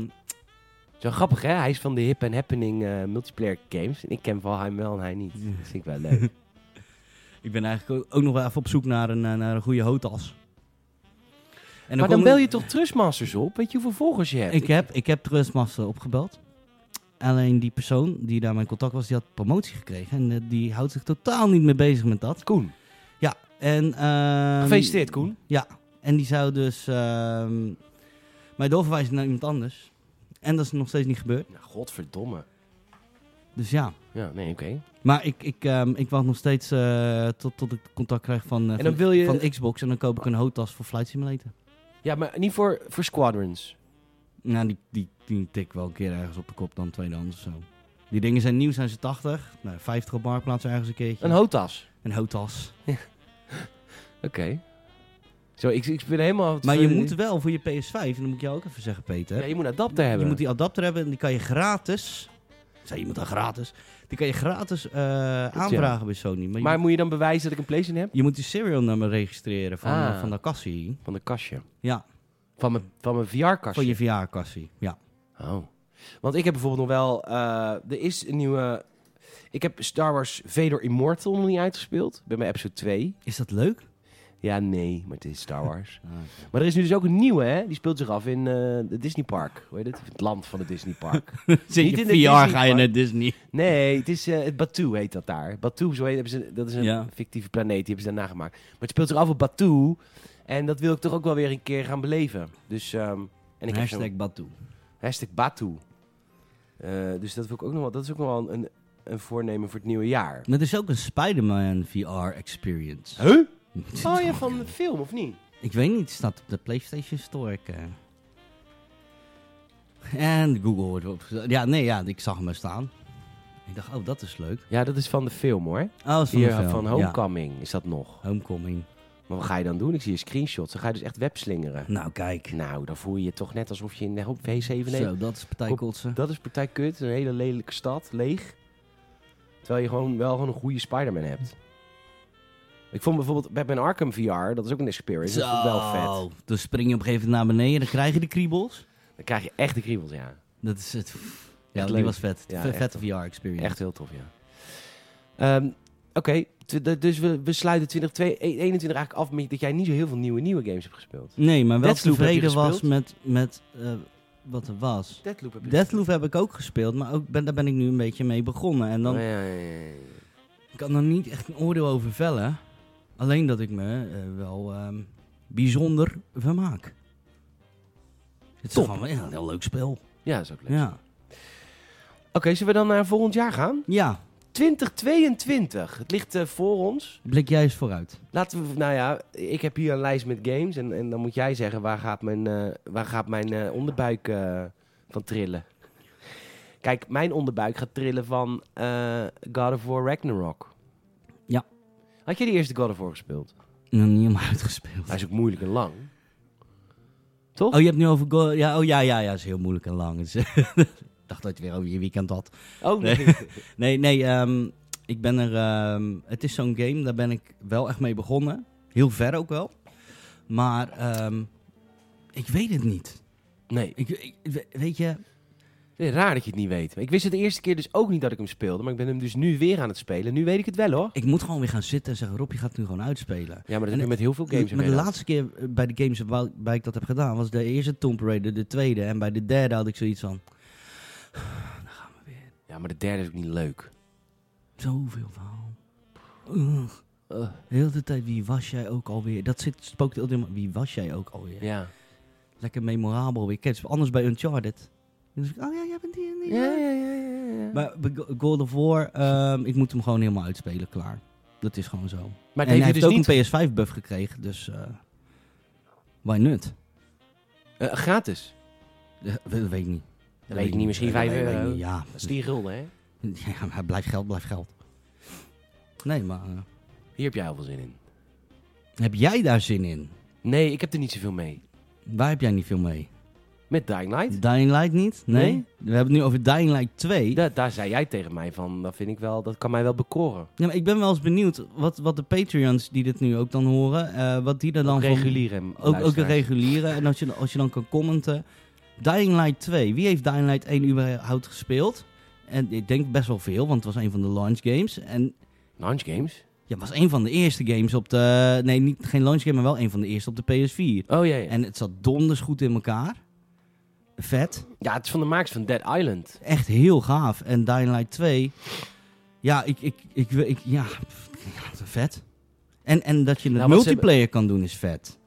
Speaker 1: Zo grappig, hè? Hij is van de hip en happening eh, multiplayer games. En ik ken Valheim wel en hij niet. Dat vind ik wel leuk.
Speaker 2: ik ben eigenlijk ook- ook nog wel even op zoek naar een, eh, naar een goede hotas. En
Speaker 1: maar dan
Speaker 2: komt-
Speaker 1: bel je toch Trustmasters op? Weet je hoeveel volgers je hebt?
Speaker 2: Ik heb, ik heb Trustmaster opgebeld. Alleen die persoon die daar mijn contact was, die had promotie gekregen. En eh, die houdt zich totaal niet meer bezig met dat.
Speaker 1: Koen.
Speaker 2: Ja, en... ehm,
Speaker 1: Gefeliciteerd, Koen.
Speaker 2: Ja, en die zou dus ehm, mij doorverwijzen naar iemand anders. En dat is nog steeds niet gebeurd.
Speaker 1: Nou, godverdomme.
Speaker 2: Dus ja.
Speaker 1: Ja, nee, oké.
Speaker 2: Maar ik, ik, ehm, ik wacht nog steeds eh, tot, tot ik contact krijg van, eh,
Speaker 1: En
Speaker 2: van,
Speaker 1: dan wil je-
Speaker 2: van Xbox. En dan koop ik een hotas voor Flight Simulator.
Speaker 1: Ja, maar niet voor, voor Squadrons.
Speaker 2: Nou, die, die, die tik wel een keer ergens op de kop dan tweedehands of zo. Die dingen zijn nieuw, zijn ze 80. Nou, 50 op marktplaats ergens een keertje.
Speaker 1: Een hotas.
Speaker 2: een hotas.
Speaker 1: Oké. Zo, ik, ik ben helemaal... eh,
Speaker 2: Maar je moet wel voor je PS5, en dat moet ik jou ook even zeggen, Peter.
Speaker 1: Ja, je moet een adapter hebben.
Speaker 2: Je moet die adapter hebben en die kan je gratis. Ik zei, je moet dan gratis. Die kan je gratis eh, aanvragen bij Sony. Maar,
Speaker 1: Maar
Speaker 2: je,
Speaker 1: moet je dan bewijzen dat ik een PlayStation heb?
Speaker 2: je moet die serial number registreren van,
Speaker 1: Ah.
Speaker 2: eh, van de kassie.
Speaker 1: Van de kastje.
Speaker 2: Ja,
Speaker 1: Van mijn, van mijn VR-kastje.
Speaker 2: van je VR-kassie. Ja.
Speaker 1: Oh. Want ik heb bijvoorbeeld nog wel... eh, er is een nieuwe... Ik heb Star Wars Vader Immortal nog niet uitgespeeld. Ik ben bij episode 2.
Speaker 2: Is dat leuk?
Speaker 1: Ja, nee, maar het is Star Wars.
Speaker 2: Ah, oké.
Speaker 1: maar er is nu dus ook een nieuwe, hè? Die speelt zich af in eh het Disney Park. Hoe heet het? Het land van het Disney Park.
Speaker 2: Zit
Speaker 1: Niet
Speaker 2: je
Speaker 1: in
Speaker 2: VR,
Speaker 1: de
Speaker 2: ga je
Speaker 1: Disney-park.
Speaker 2: naar Disney.
Speaker 1: nee, het is eh, het Batu heet dat daar. Batu, zo heet, hebben ze, dat is een
Speaker 2: Ja.
Speaker 1: fictieve planeet, die hebben ze daar nagemaakt. Maar het speelt zich af op Batu. En dat wil ik toch ook wel weer een keer gaan beleven. Dus, ehm, en ik heb zo'n-
Speaker 2: Hashtag Batu.
Speaker 1: Hashtag Batu. Eh, dus dat, wil ik ook nog wel, dat is ook nog wel een, een voornemen voor het nieuwe jaar.
Speaker 2: Maar er is ook een Spider-Man VR-experience.
Speaker 1: Huh? Oh ja, van de film, of niet?
Speaker 2: Ik weet niet, het staat op de PlayStation Store. ik, eh. En Google wordt op. Ja, nee, ja, ik zag hem er staan. Ik dacht, oh, dat is leuk.
Speaker 1: Ja, dat is van de film hoor.
Speaker 2: Oh, dat is van de
Speaker 1: Hier
Speaker 2: film.
Speaker 1: van
Speaker 2: Ja,
Speaker 1: Homecoming is dat nog.
Speaker 2: Homecoming.
Speaker 1: Maar wat ga je dan doen? Ik zie je screenshots. Dan ga je dus echt webslingeren.
Speaker 2: Nou, kijk.
Speaker 1: Nou, dan voel je je toch net alsof je in de hoop V7
Speaker 2: Zo, dat is partij
Speaker 1: Kom-
Speaker 2: kotsen.
Speaker 1: Dat is partij kut. Een hele lelijke stad. Leeg. Terwijl je gewoon wel gewoon een goede Spider-Man hebt. Ik vond bijvoorbeeld Batman Arkham VR. Dat is ook een experience. Dat vond ik wel vet.
Speaker 2: Zo, Dan spring je op een gegeven moment naar beneden, dan krijg je de kriebels.
Speaker 1: Dan krijg je echt de kriebels, ja.
Speaker 2: Dat is het. Ja, die
Speaker 1: leuk.
Speaker 2: was vet.
Speaker 1: Ja,
Speaker 2: Ve-
Speaker 1: echt
Speaker 2: vette VR-experience.
Speaker 1: Echt heel tof, ja. Ehm, Oké, tw- d- dus we, we sluiten 2021 eigenlijk af met dat jij niet zo heel veel nieuwe, nieuwe games hebt gespeeld.
Speaker 2: Nee, maar wel
Speaker 1: Deathloop heb je
Speaker 2: tevreden was
Speaker 1: gespeeld?
Speaker 2: met, met eh, wat er was.
Speaker 1: Deadloop heb
Speaker 2: Deathloop heb ik ook gespeeld, maar ook ben, daar ben ik nu een beetje mee begonnen. En dan
Speaker 1: Oh, Ja, ja, ja, ja, ja.
Speaker 2: ik kan er niet echt een oordeel over vellen. Alleen dat ik me eh, wel ehm, bijzonder vermaak. Het is
Speaker 1: Top.
Speaker 2: gewoon ja, een heel leuk spel.
Speaker 1: Ja, dat is ook leuk.
Speaker 2: Ja.
Speaker 1: Oké, zullen we dan naar volgend jaar gaan?
Speaker 2: ja,
Speaker 1: 2022. Het ligt eh, voor ons.
Speaker 2: blik jij eens vooruit.
Speaker 1: Laten we, nou ja, ik heb hier een lijst met games. En, en dan moet jij zeggen, waar gaat mijn, eh, waar gaat mijn eh, onderbuik eh, van trillen? Kijk, mijn onderbuik gaat trillen van eh, God of War Ragnarok.
Speaker 2: Ja.
Speaker 1: Had jij de eerste God of War gespeeld?
Speaker 2: Nog niet helemaal uitgespeeld.
Speaker 1: Hij is ook moeilijk en lang. Toch?
Speaker 2: Oh, je hebt nu over... Go- ja, oh ja, ja, ja, is heel moeilijk en lang. Dus, Ik dacht dat je weer over je weekend had.
Speaker 1: Oh,
Speaker 2: nee.
Speaker 1: nee.
Speaker 2: Nee, nee, ehm, ik ben er. ehm, het is zo'n game, daar ben ik wel echt mee begonnen. Heel ver ook wel. Maar ehm, ik weet het niet.
Speaker 1: nee.
Speaker 2: Ik, ik- we- weet je,
Speaker 1: Nee, Raar dat je het niet weet. Ik wist het de eerste keer dus ook niet dat ik hem speelde. Maar ik ben hem dus nu weer aan het spelen. Nu weet ik het wel hoor.
Speaker 2: ik moet gewoon weer gaan zitten en zeggen: Rob, je gaat het nu gewoon uitspelen.
Speaker 1: Ja, maar dat
Speaker 2: En-
Speaker 1: heb je met heel veel games.
Speaker 2: maar de
Speaker 1: inderdaad.
Speaker 2: laatste keer eh, bij de games waarbij ik dat heb gedaan was de eerste Tomb Raider, de tweede. En bij de derde had ik zoiets van:
Speaker 1: Ja, maar de derde is ook niet leuk.
Speaker 2: zoveel verhaal. Ugh.
Speaker 1: Ugh.
Speaker 2: De hele tijd, wie was jij ook alweer? Dat zit, spookt heel helemaal. Wie was jij ook alweer?
Speaker 1: Ja.
Speaker 2: lekker memorabel weer. Ik ken het anders bij Uncharted. Dan zeg ik, oh ja, jij bent die en die.
Speaker 1: Ja, ja, ja, ja. ja. Maar,
Speaker 2: Maar bij Go- God of War, ehm, ik moet hem gewoon helemaal uitspelen, klaar. Dat is gewoon zo.
Speaker 1: het
Speaker 2: en
Speaker 1: heeft
Speaker 2: hij
Speaker 1: je
Speaker 2: heeft
Speaker 1: dus
Speaker 2: ook
Speaker 1: niet...
Speaker 2: een PS5-buff gekregen, dus... eh why not?
Speaker 1: eh, gratis.
Speaker 2: Eh, we- Dat weet ik niet.
Speaker 1: Dat weet ik niet, misschien
Speaker 2: Dat
Speaker 1: 5
Speaker 2: weet ik
Speaker 1: euro.
Speaker 2: niet, Ja,
Speaker 1: Dat is 4 gulden, hè?
Speaker 2: ja maar blijf geld, blijf geld. Nee, maar eh,
Speaker 1: Hier heb jij heel veel zin in.
Speaker 2: heb jij daar zin in?
Speaker 1: Nee, ik heb er niet zoveel mee.
Speaker 2: Waar heb jij niet veel mee?
Speaker 1: Met Dying Light.
Speaker 2: Dying Light niet? Nee?
Speaker 1: Nee.
Speaker 2: We hebben het nu over Dying Light 2.
Speaker 1: Da- daar zei jij tegen mij van, dat vind ik wel, dat kan mij wel bekoren.
Speaker 2: Ja, maar ik ben wel eens benieuwd wat, wat de Patreons die dit nu ook dan horen, eh, wat die er dan van-
Speaker 1: Reguliere
Speaker 2: Ook, ook de
Speaker 1: luisteraars.
Speaker 2: reguliere. En als je, als je dan kan commenten. Dying Light 2. Wie heeft Dying Light 1 überhaupt gespeeld? En ik denk best wel veel, want het was een van de launch games. En
Speaker 1: Launch games?
Speaker 2: ja, het was een van de eerste games op de... Nee, niet, geen launch game, maar wel een van de eerste op de PS4.
Speaker 1: Oh ja, ja.
Speaker 2: En het zat donders goed in elkaar. Vet.
Speaker 1: ja, het is van de makers van Dead Island.
Speaker 2: Echt heel gaaf. En Dying Light 2... Ja, ik... ik, ik, wil- ik ja, pff, ja, vet. En, en dat je het
Speaker 1: Nou, wat ze
Speaker 2: multiplayer kan doen is vet.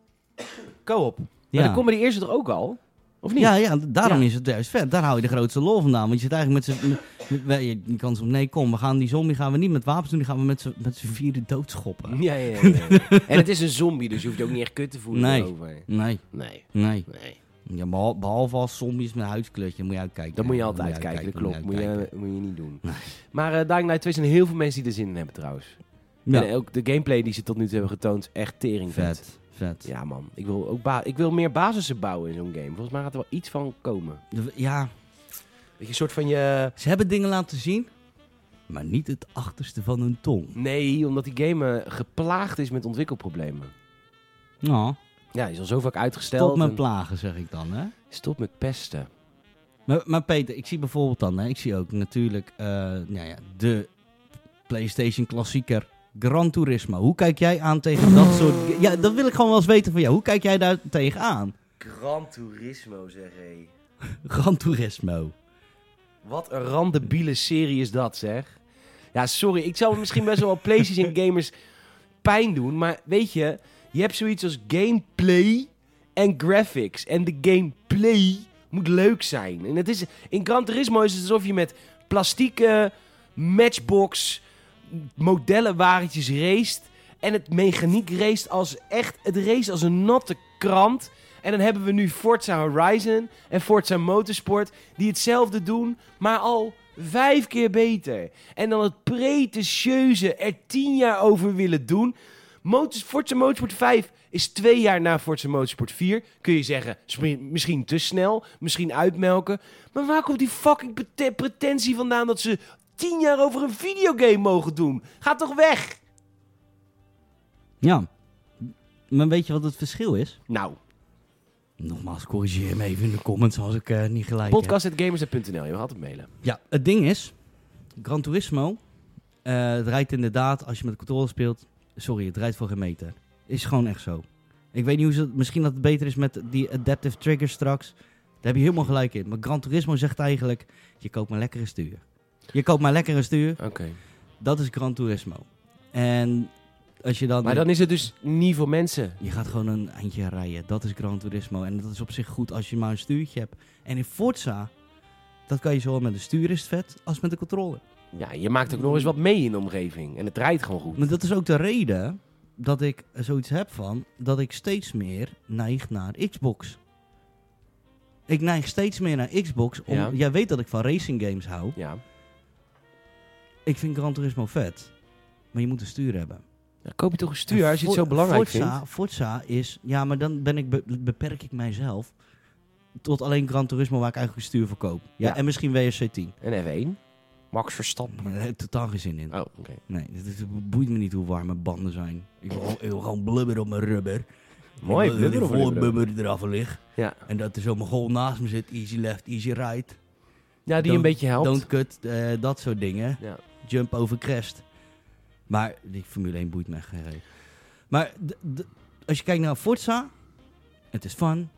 Speaker 1: Co-op. Maar
Speaker 2: Ja.
Speaker 1: dan komen die eerste er ook al? Of niet?
Speaker 2: Ja, ja, d- daarom
Speaker 1: Ja.
Speaker 2: is het juist vet. Daar hou je de grootste lol vandaan. Want je zit eigenlijk met z'n... met- met- wij- Je je kan soms... Nee, kom, we gaan die zombie gaan we niet met wapens doen. Die gaan we met z'n met z'n vieren doodschoppen.
Speaker 1: Ja, ja, ja, ja, ja. en het is een zombie, dus je hoeft je ook niet echt kut te voelen
Speaker 2: Nee.
Speaker 1: over.
Speaker 2: Nee,
Speaker 1: Nee,
Speaker 2: nee.
Speaker 1: nee.
Speaker 2: Ja, behal- behalve als zombies met een huidskleurtje. Moet je uitkijken.
Speaker 1: Dat moet je altijd
Speaker 2: uitkijken,
Speaker 1: kijken, dat
Speaker 2: moet
Speaker 1: klopt. Moet
Speaker 2: uitkijken.
Speaker 1: je, moet je niet doen. Maar eh, Dying Light 2 zijn heel veel mensen die er zin in hebben trouwens.
Speaker 2: Ja,
Speaker 1: En ook de gameplay die ze tot nu toe hebben getoond, echt tering vet.
Speaker 2: vet. Vet.
Speaker 1: Ja man, ik wil, ook ba- ik wil meer basissen bouwen in zo'n game. Volgens mij gaat er wel iets van komen.
Speaker 2: De- Ja,
Speaker 1: Weet je, een soort van je...
Speaker 2: ze hebben dingen laten zien. Maar niet het achterste van hun tong.
Speaker 1: Nee, omdat die game eh, geplaagd is met ontwikkelproblemen.
Speaker 2: Nou,
Speaker 1: Ja, die is al zo vaak uitgesteld.
Speaker 2: tot met
Speaker 1: en-
Speaker 2: plagen zeg ik dan, hè.
Speaker 1: Stop met pesten.
Speaker 2: Maar, maar Peter, ik zie bijvoorbeeld dan, hè, ik zie ook natuurlijk eh, nou ja, de PlayStation klassieker Gran Turismo. Hoe kijk jij aan tegen dat soort... ga- Ja, dat wil ik gewoon wel eens weten van jou. Hoe kijk jij daar tegenaan?
Speaker 1: Gran Turismo, zeg hé.
Speaker 2: Gran Turismo.
Speaker 1: Wat een randebiele serie is dat, zeg. Ja, sorry. Ik zou misschien best wel wat PlayStation gamers pijn doen. Maar weet je, je hebt zoiets als gameplay en graphics. En de gameplay moet leuk zijn. En het is, in Gran Turismo is het alsof je met plastieke matchbox modellenwagentjes raced. En het mechaniek race als echt, het race als een natte krant. En dan hebben we nu Forza Horizon en Forza Motorsport die hetzelfde doen, maar al vijf keer beter. En dan het pretentieuze er tien jaar over willen doen. Motors, Forza Motorsport 5 is twee jaar na Forza Motorsport 4. Kun je zeggen, smi- misschien te snel, misschien uitmelken. Maar waar komt die fucking prete- pretentie vandaan dat ze tien jaar over een videogame mogen doen? Ga toch weg!
Speaker 2: Ja. Maar weet je wat het verschil is?
Speaker 1: Nou,
Speaker 2: Nogmaals, corrigeer me even in de comments als ik eh, niet gelijk heb.
Speaker 1: podcast.gamers.nl, je mag altijd mailen.
Speaker 2: Ja, het ding is, Gran Turismo, eh, het rijdt inderdaad, als je met de controller speelt, sorry, het rijdt voor geen meter. Is gewoon echt zo. Ik weet niet hoe ze, misschien dat het beter is met die adaptive triggers straks. Daar heb je helemaal gelijk in. Maar Gran Turismo zegt eigenlijk, je koopt maar lekkere stuur. Je koopt maar lekkere stuur,
Speaker 1: Oké.
Speaker 2: dat is Gran Turismo. En als je dan...
Speaker 1: Maar dan is het dus niet voor mensen.
Speaker 2: Je gaat gewoon een eindje rijden. Dat is Gran Turismo. En dat is op zich goed als je maar een stuurtje hebt. En in Forza, dat kan je zowel met een stuur is het vet, als met de controller.
Speaker 1: Ja, je maakt ook nog eens wat mee in de omgeving. En het rijdt gewoon goed.
Speaker 2: Maar dat is ook de reden dat ik zoiets heb van dat ik steeds meer neig naar Xbox. Ik neig steeds meer naar Xbox. Om,
Speaker 1: Ja.
Speaker 2: Jij weet dat ik van racing games hou.
Speaker 1: Ja.
Speaker 2: Ik vind Gran Turismo vet. Maar je moet een stuur hebben.
Speaker 1: Dan koop je toch een stuur als je het
Speaker 2: Fo-
Speaker 1: zo belangrijk
Speaker 2: Forza,
Speaker 1: vindt.
Speaker 2: Forza is... Ja, maar dan ben ik be- beperk ik mijzelf tot alleen Gran Turismo waar ik eigenlijk een stuur voor koop. Ja,
Speaker 1: Ja.
Speaker 2: en misschien WRC 10.
Speaker 1: En F1. Max Verstappen.
Speaker 2: Maar daar heb ik totaal geen zin in.
Speaker 1: Oh, oké.
Speaker 2: Nee, het, is- het boeit me niet hoe warm mijn banden zijn. Ik wil, ik wil gewoon blubber op mijn rubber.
Speaker 1: Mooi,
Speaker 2: Ik wil dat die
Speaker 1: blubber op mijn rubber.
Speaker 2: voorbubber eraf ligt.
Speaker 1: Ja.
Speaker 2: En dat er zo mijn goal naast me zit. Easy left, easy right.
Speaker 1: Ja, die
Speaker 2: Don't-
Speaker 1: een beetje helpt.
Speaker 2: Don't cut, eh, dat soort dingen.
Speaker 1: Ja.
Speaker 2: Jump over crest. Maar die Formule 1 boeit me echt geen reet. Maar d- d- als je kijkt naar Forza, het is fun.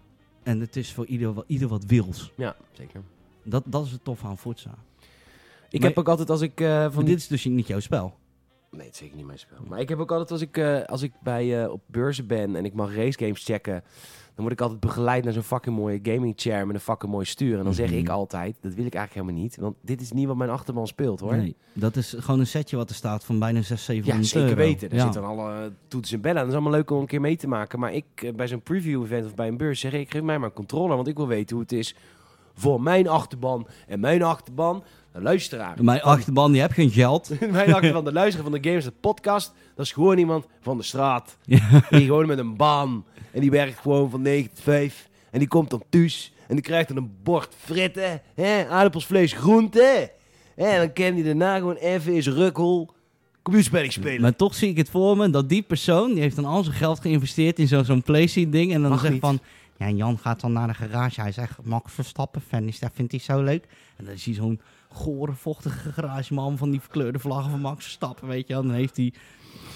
Speaker 2: En het is voor ieder, wa- ieder wat wils.
Speaker 1: Ja, zeker.
Speaker 2: Dat, dat is het tof aan Forza.
Speaker 1: Ik
Speaker 2: Maar-
Speaker 1: heb ook altijd als ik eh, van
Speaker 2: Want dit is dus niet jouw spel.
Speaker 1: Nee, het is zeker niet mijn spel. Maar ik heb ook altijd als ik, eh, als ik bij, eh, op beurzen ben en ik mag racegames checken... dan word ik altijd begeleid naar zo'n fucking mooie gaming chair met een fucking mooi stuur. En dan zeg
Speaker 2: Mhm.
Speaker 1: ik altijd, dat wil ik eigenlijk helemaal niet. Want dit is niet wat mijn achterban speelt, hoor.
Speaker 2: Nee, dat is gewoon een setje wat er staat van bijna 6, 700
Speaker 1: Ja, zeker
Speaker 2: euro.
Speaker 1: weten. Daar
Speaker 2: Ja.
Speaker 1: zitten dan alle toetsen en bellen. aan. Dat is allemaal leuk om een keer mee te maken. Maar ik, eh, bij zo'n preview-event of bij een beurs, zeg ik, ik geef mij maar een controller. Want ik wil weten hoe het is voor mijn achterban. En mijn achterban, de luisteraar.
Speaker 2: Mijn achterban, die heb geen geld.
Speaker 1: mijn achterban, de luisteraar van de Games, de podcast. Dat is gewoon iemand van de straat.
Speaker 2: Ja.
Speaker 1: Die gewoon met een baan. En die werkt gewoon van 9 tot 5. En die komt dan thuis. En die krijgt dan een bord fritten, hè? aardappels, vlees, groenten. Hè, En dan kan hij daarna gewoon even in zijn rukhol computerspelling spelen.
Speaker 2: Maar toch zie ik het voor me dat die persoon, die heeft dan al zijn geld geïnvesteerd in zo- zo'n PlayStation ding. En dan
Speaker 1: Mag
Speaker 2: zegt
Speaker 1: niet.
Speaker 2: van, ja Jan gaat dan naar de garage. Hij zegt, Max Verstappen fan is, dat vindt hij zo leuk. En dan is hij zo'n gore, vochtige garageman van die verkleurde vlaggen van Max Verstappen, weet je wel. Dan heeft hij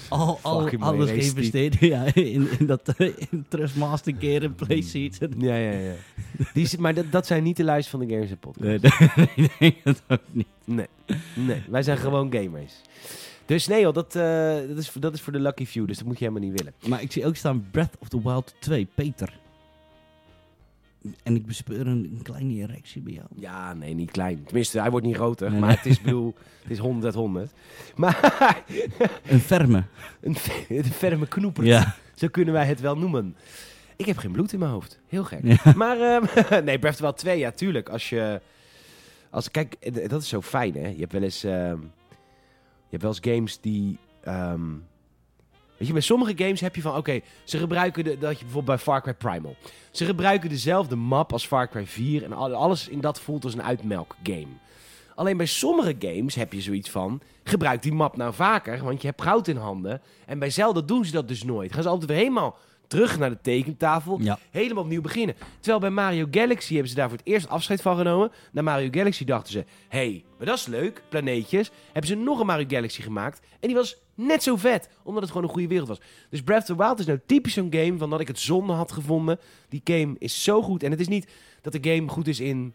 Speaker 2: al, al
Speaker 3: Fucking mooi
Speaker 2: alles
Speaker 3: race type.
Speaker 2: geïnvesteerd ja, in, in dat eh, in Trustmaster keer in PlayStation.
Speaker 1: Ja, ja, ja. Die zit, maar dat, dat zijn niet de lijst van de games en podcast.
Speaker 2: Nee, dat- nee, nee, dat ook niet.
Speaker 1: Nee. nee, wij zijn gewoon gamers. Dus nee joh, dat, eh, dat, is, dat is voor de lucky few, dus dat moet je helemaal niet willen.
Speaker 2: Maar ik zie ook staan Breath of the Wild 2, Peter. En ik bespeur een, een kleine erectie bij jou.
Speaker 1: Ja, nee, niet klein. Tenminste, hij wordt niet groter,
Speaker 2: Nee,
Speaker 1: maar
Speaker 2: nee.
Speaker 1: het is, ik bedoel, het is 100 uit 100. Maar
Speaker 2: Een ferme.
Speaker 1: een, fe- een ferme knoeper,
Speaker 2: Ja.
Speaker 1: zo kunnen wij het wel noemen. Ik heb geen bloed in mijn hoofd, heel gek.
Speaker 2: Ja.
Speaker 1: Maar ehm, nee, Breath of the Wild 2, ja, tuurlijk. Als je, als, kijk, eh, dat is zo fijn, hè. Je hebt wel eens, ehm, je hebt wel eens games die, ehm, weet je, bij sommige games heb je van, oké, ze gebruiken, de, dat je bijvoorbeeld bij Far Cry Primal, ze gebruiken dezelfde map als Far Cry 4 en al- alles in dat voelt als een uitmelkgame. Alleen bij sommige games heb je zoiets van, gebruik die map nou vaker, want je hebt goud in handen. En bij Zelda doen ze dat dus nooit. Gaan ze altijd weer helemaal terug naar de tekentafel
Speaker 2: ja.
Speaker 1: helemaal opnieuw beginnen. Terwijl bij Mario Galaxy hebben ze daar voor het eerst afscheid van genomen. Na Mario Galaxy dachten ze, hey, maar dat is leuk, planeetjes. Hebben ze nog een Mario Galaxy gemaakt. En die was net zo vet, omdat het gewoon een goede wereld was. Dus Breath of the Wild is nou typisch zo'n game van dat ik het zonde had gevonden. Die game is zo goed. En het is niet dat de game goed is in...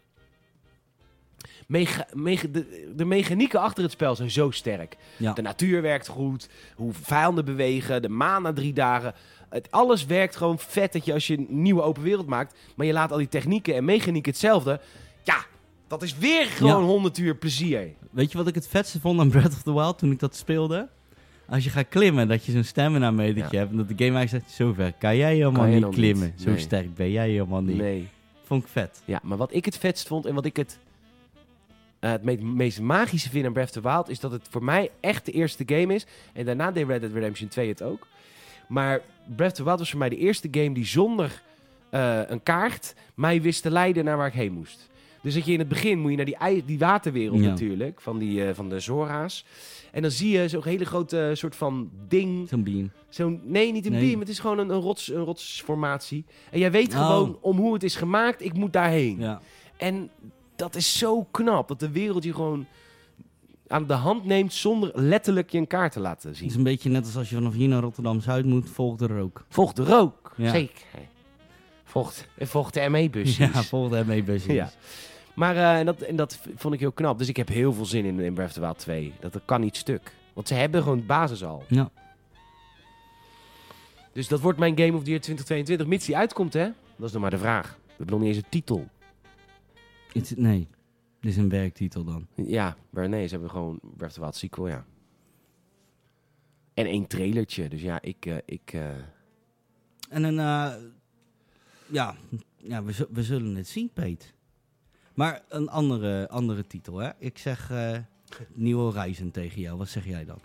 Speaker 1: Mega, mega- de, de mechanieken achter het spel zijn zo sterk.
Speaker 2: Ja.
Speaker 1: Nou. De natuur werkt goed, hoe vijanden bewegen, de maan na drie dagen. Het, alles werkt gewoon vet dat je als je een nieuwe open wereld maakt, maar je laat al die technieken en mechanieken hetzelfde. Ja, dat is weer gewoon
Speaker 2: Ja.
Speaker 1: 100 uur plezier.
Speaker 2: Weet je wat ik het vetste vond aan Breath of the Wild toen ik dat speelde? Als je gaat klimmen, dat je zo'n stamina metertje hebt. En dat de game eigenlijk zegt, zover kan jij helemaal
Speaker 1: Kan jij
Speaker 2: niet
Speaker 1: nog
Speaker 2: klimmen.
Speaker 1: niet.
Speaker 2: Zo
Speaker 1: Nee.
Speaker 2: sterk ben jij helemaal niet.
Speaker 1: Nee.
Speaker 2: Vond ik vet.
Speaker 1: Ja, maar wat ik het vetst vond en wat ik het, eh, het me- meest magische vind aan Breath of the Wild... is dat het voor mij echt de eerste game is. En daarna deed Red Dead Redemption 2 het ook. Maar Breath of the Wild was voor mij de eerste game die zonder eh, een kaart... mij wist te leiden naar waar ik heen moest. Dus dat je in het begin moet je naar die, ij- die waterwereld
Speaker 2: Ja.
Speaker 1: natuurlijk, van, die, eh, van de Zora's. En dan zie je zo'n hele grote eh, soort van ding.
Speaker 2: Zo'n beam.
Speaker 1: Zo'n, nee, niet een
Speaker 2: Nee.
Speaker 1: beam, het is gewoon een, een, rots, een rotsformatie. En jij weet
Speaker 2: Oh.
Speaker 1: gewoon om hoe het is gemaakt, ik moet daarheen.
Speaker 2: Ja.
Speaker 1: En dat is zo knap, dat de wereld je gewoon aan de hand neemt zonder letterlijk je een kaart te laten
Speaker 2: Het is
Speaker 1: zien.
Speaker 2: een beetje net als als je vanaf hier naar Rotterdam-Zuid moet, volgt de rook.
Speaker 1: Volg de rook,
Speaker 2: Ja.
Speaker 1: zeker. Volg, volg de ME-busjes.
Speaker 2: Ja, volgt daarmee bezig.
Speaker 1: Ja. Maar eh, en dat, en dat v- vond ik heel knap. Dus ik heb heel veel zin in, in Breath of the Wild 2. Dat, dat kan niet stuk. Want ze hebben gewoon de basis al.
Speaker 2: Ja.
Speaker 1: Dus dat wordt mijn Game of the Year 2022. Mits die uitkomt, hè? Dat is nog maar de vraag. We hebben nog niet eens een titel.
Speaker 2: Is het- nee, dit is een werktitel dan.
Speaker 1: Ja, maar nee, ze hebben gewoon Breath of the Wild sequel, ja. En één trailertje. Dus ja, ik... eh, ik eh,
Speaker 2: En een, eh, ja, ja we, zu- we zullen het zien, Peet. Maar een andere, andere titel, hè? Ik zeg eh, Nieuw Horizon tegen jou. Wat zeg jij dan?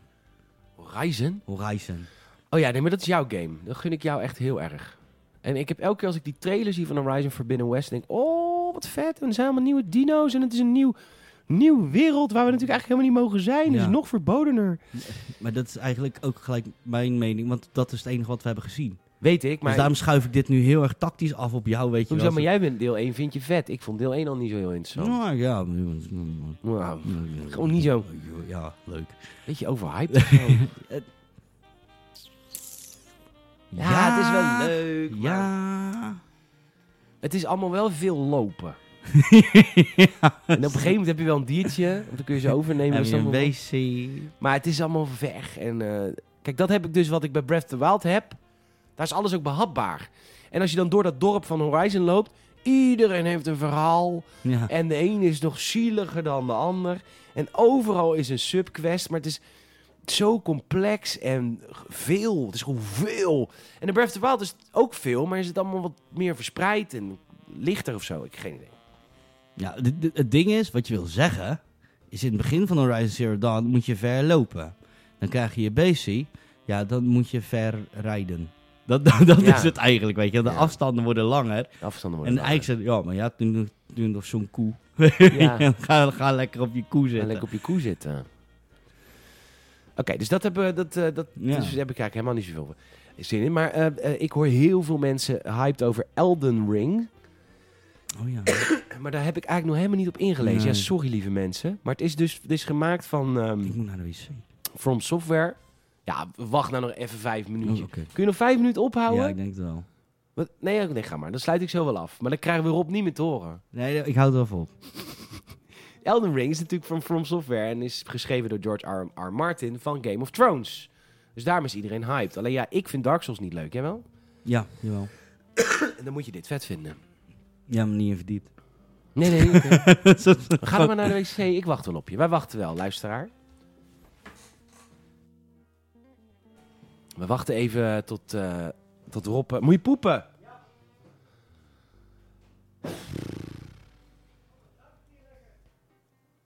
Speaker 1: Horizon?
Speaker 2: Horizon.
Speaker 1: Oh ja, nee, maar dat is jouw game. Dat gun ik jou echt heel erg. En ik heb elke keer als ik die trailer zie van Horizon Forbidden West, denk ik, oh, wat vet. En er zijn allemaal nieuwe dino's en het is een nieuw, nieuw wereld waar we natuurlijk eigenlijk helemaal niet mogen zijn. Dus
Speaker 2: Ja.
Speaker 1: nog verbodener.
Speaker 2: Maar dat is eigenlijk ook gelijk mijn mening, want dat is het enige wat we hebben gezien.
Speaker 1: Weet ik, maar
Speaker 2: Dus daarom schuif ik dit nu heel erg tactisch af op jou, weet je
Speaker 1: hoezo,
Speaker 2: wel.
Speaker 1: maar jij bent deel 1, vind je vet. Ik vond deel 1 al niet zo heel interessant.
Speaker 2: Nou, ja.
Speaker 1: Nou, Gewoon niet zo.
Speaker 2: Ja, leuk.
Speaker 1: Weet je, overhyped of zo. ja, het is wel leuk. maar
Speaker 2: Ja.
Speaker 1: Het is allemaal wel veel lopen. En op een gegeven moment heb je wel een diertje, want dan kun je ze overnemen.
Speaker 2: Heb
Speaker 1: dus
Speaker 2: je
Speaker 1: dan
Speaker 2: een
Speaker 1: moet-
Speaker 2: WC?
Speaker 1: Maar het is allemaal weg. En eh, kijk, dat heb ik dus wat ik bij Breath of the Wild heb. Daar is alles ook behapbaar. En als je dan door dat dorp van Horizon loopt, iedereen heeft een verhaal.
Speaker 2: Ja.
Speaker 1: En de een is nog zieliger dan de ander. En overal is een subquest, maar het is zo complex en veel. Het is gewoon veel. En in Breath of the Wild is het ook veel, maar is het allemaal wat meer verspreid en lichter of zo. Ik heb geen idee.
Speaker 2: Ja, d- d- het ding is, wat je wil zeggen, is in het begin van Horizon Zero Dawn moet je ver lopen. Dan krijg je je BC, ja, dan moet je ver rijden. Dat, dat, dat
Speaker 1: Ja.
Speaker 2: is het eigenlijk, weet je. De
Speaker 1: Ja.
Speaker 2: afstanden worden langer.
Speaker 1: De afstanden
Speaker 2: En
Speaker 1: worden
Speaker 2: eigenlijk zei ja, maar ja, toen, nog- toen nog zo'n koe.
Speaker 1: Ja.
Speaker 2: ga, ga lekker op je koe
Speaker 1: langer. En
Speaker 2: zitten.
Speaker 1: lekker op je koe zitten. Oké, dus dat, hebben, we- dat, eh, dat dus
Speaker 2: Ja.
Speaker 1: daar heb ik eigenlijk helemaal niet zoveel zin in. Maar eh, eh, ik hoor heel veel mensen hyped over Elden Ring.
Speaker 2: Oh ja.
Speaker 1: Maar daar heb ik eigenlijk nog helemaal niet op ingelezen. Ja,
Speaker 2: Nee.
Speaker 1: sorry lieve mensen. Maar het is dus het is gemaakt van ehm,
Speaker 2: Ik moet naar de wc.
Speaker 1: From Software. Ja, wacht nou nog even vijf minuutjes.
Speaker 2: Oh, oké.
Speaker 1: Kun je nog vijf minuten
Speaker 2: Ja,
Speaker 1: ophouden?
Speaker 2: ik denk het wel.
Speaker 1: Wat? Nee, ook- nee, ga maar. Dan sluit ik zo wel af. Maar dan krijgen we Rob niet meer te horen.
Speaker 2: Nee, ik hou er even op.
Speaker 1: Elden Ring is natuurlijk van From Software en is geschreven door George R. R. Martin van Game of Thrones. Dus daarom is iedereen hyped. Alleen ja, ik vind Dark Souls niet leuk, jij wel?
Speaker 2: Ja, jawel.
Speaker 1: En dan moet je dit vet vinden.
Speaker 2: Ja, maar niet in verdiept.
Speaker 1: Nee, nee. oké.
Speaker 2: Zo-
Speaker 1: Ga dan maar naar de wc. Ik wacht wel op je. Wij wachten wel, luisteraar. We wachten even tot, eh tot Rob... eh, Moet je poepen?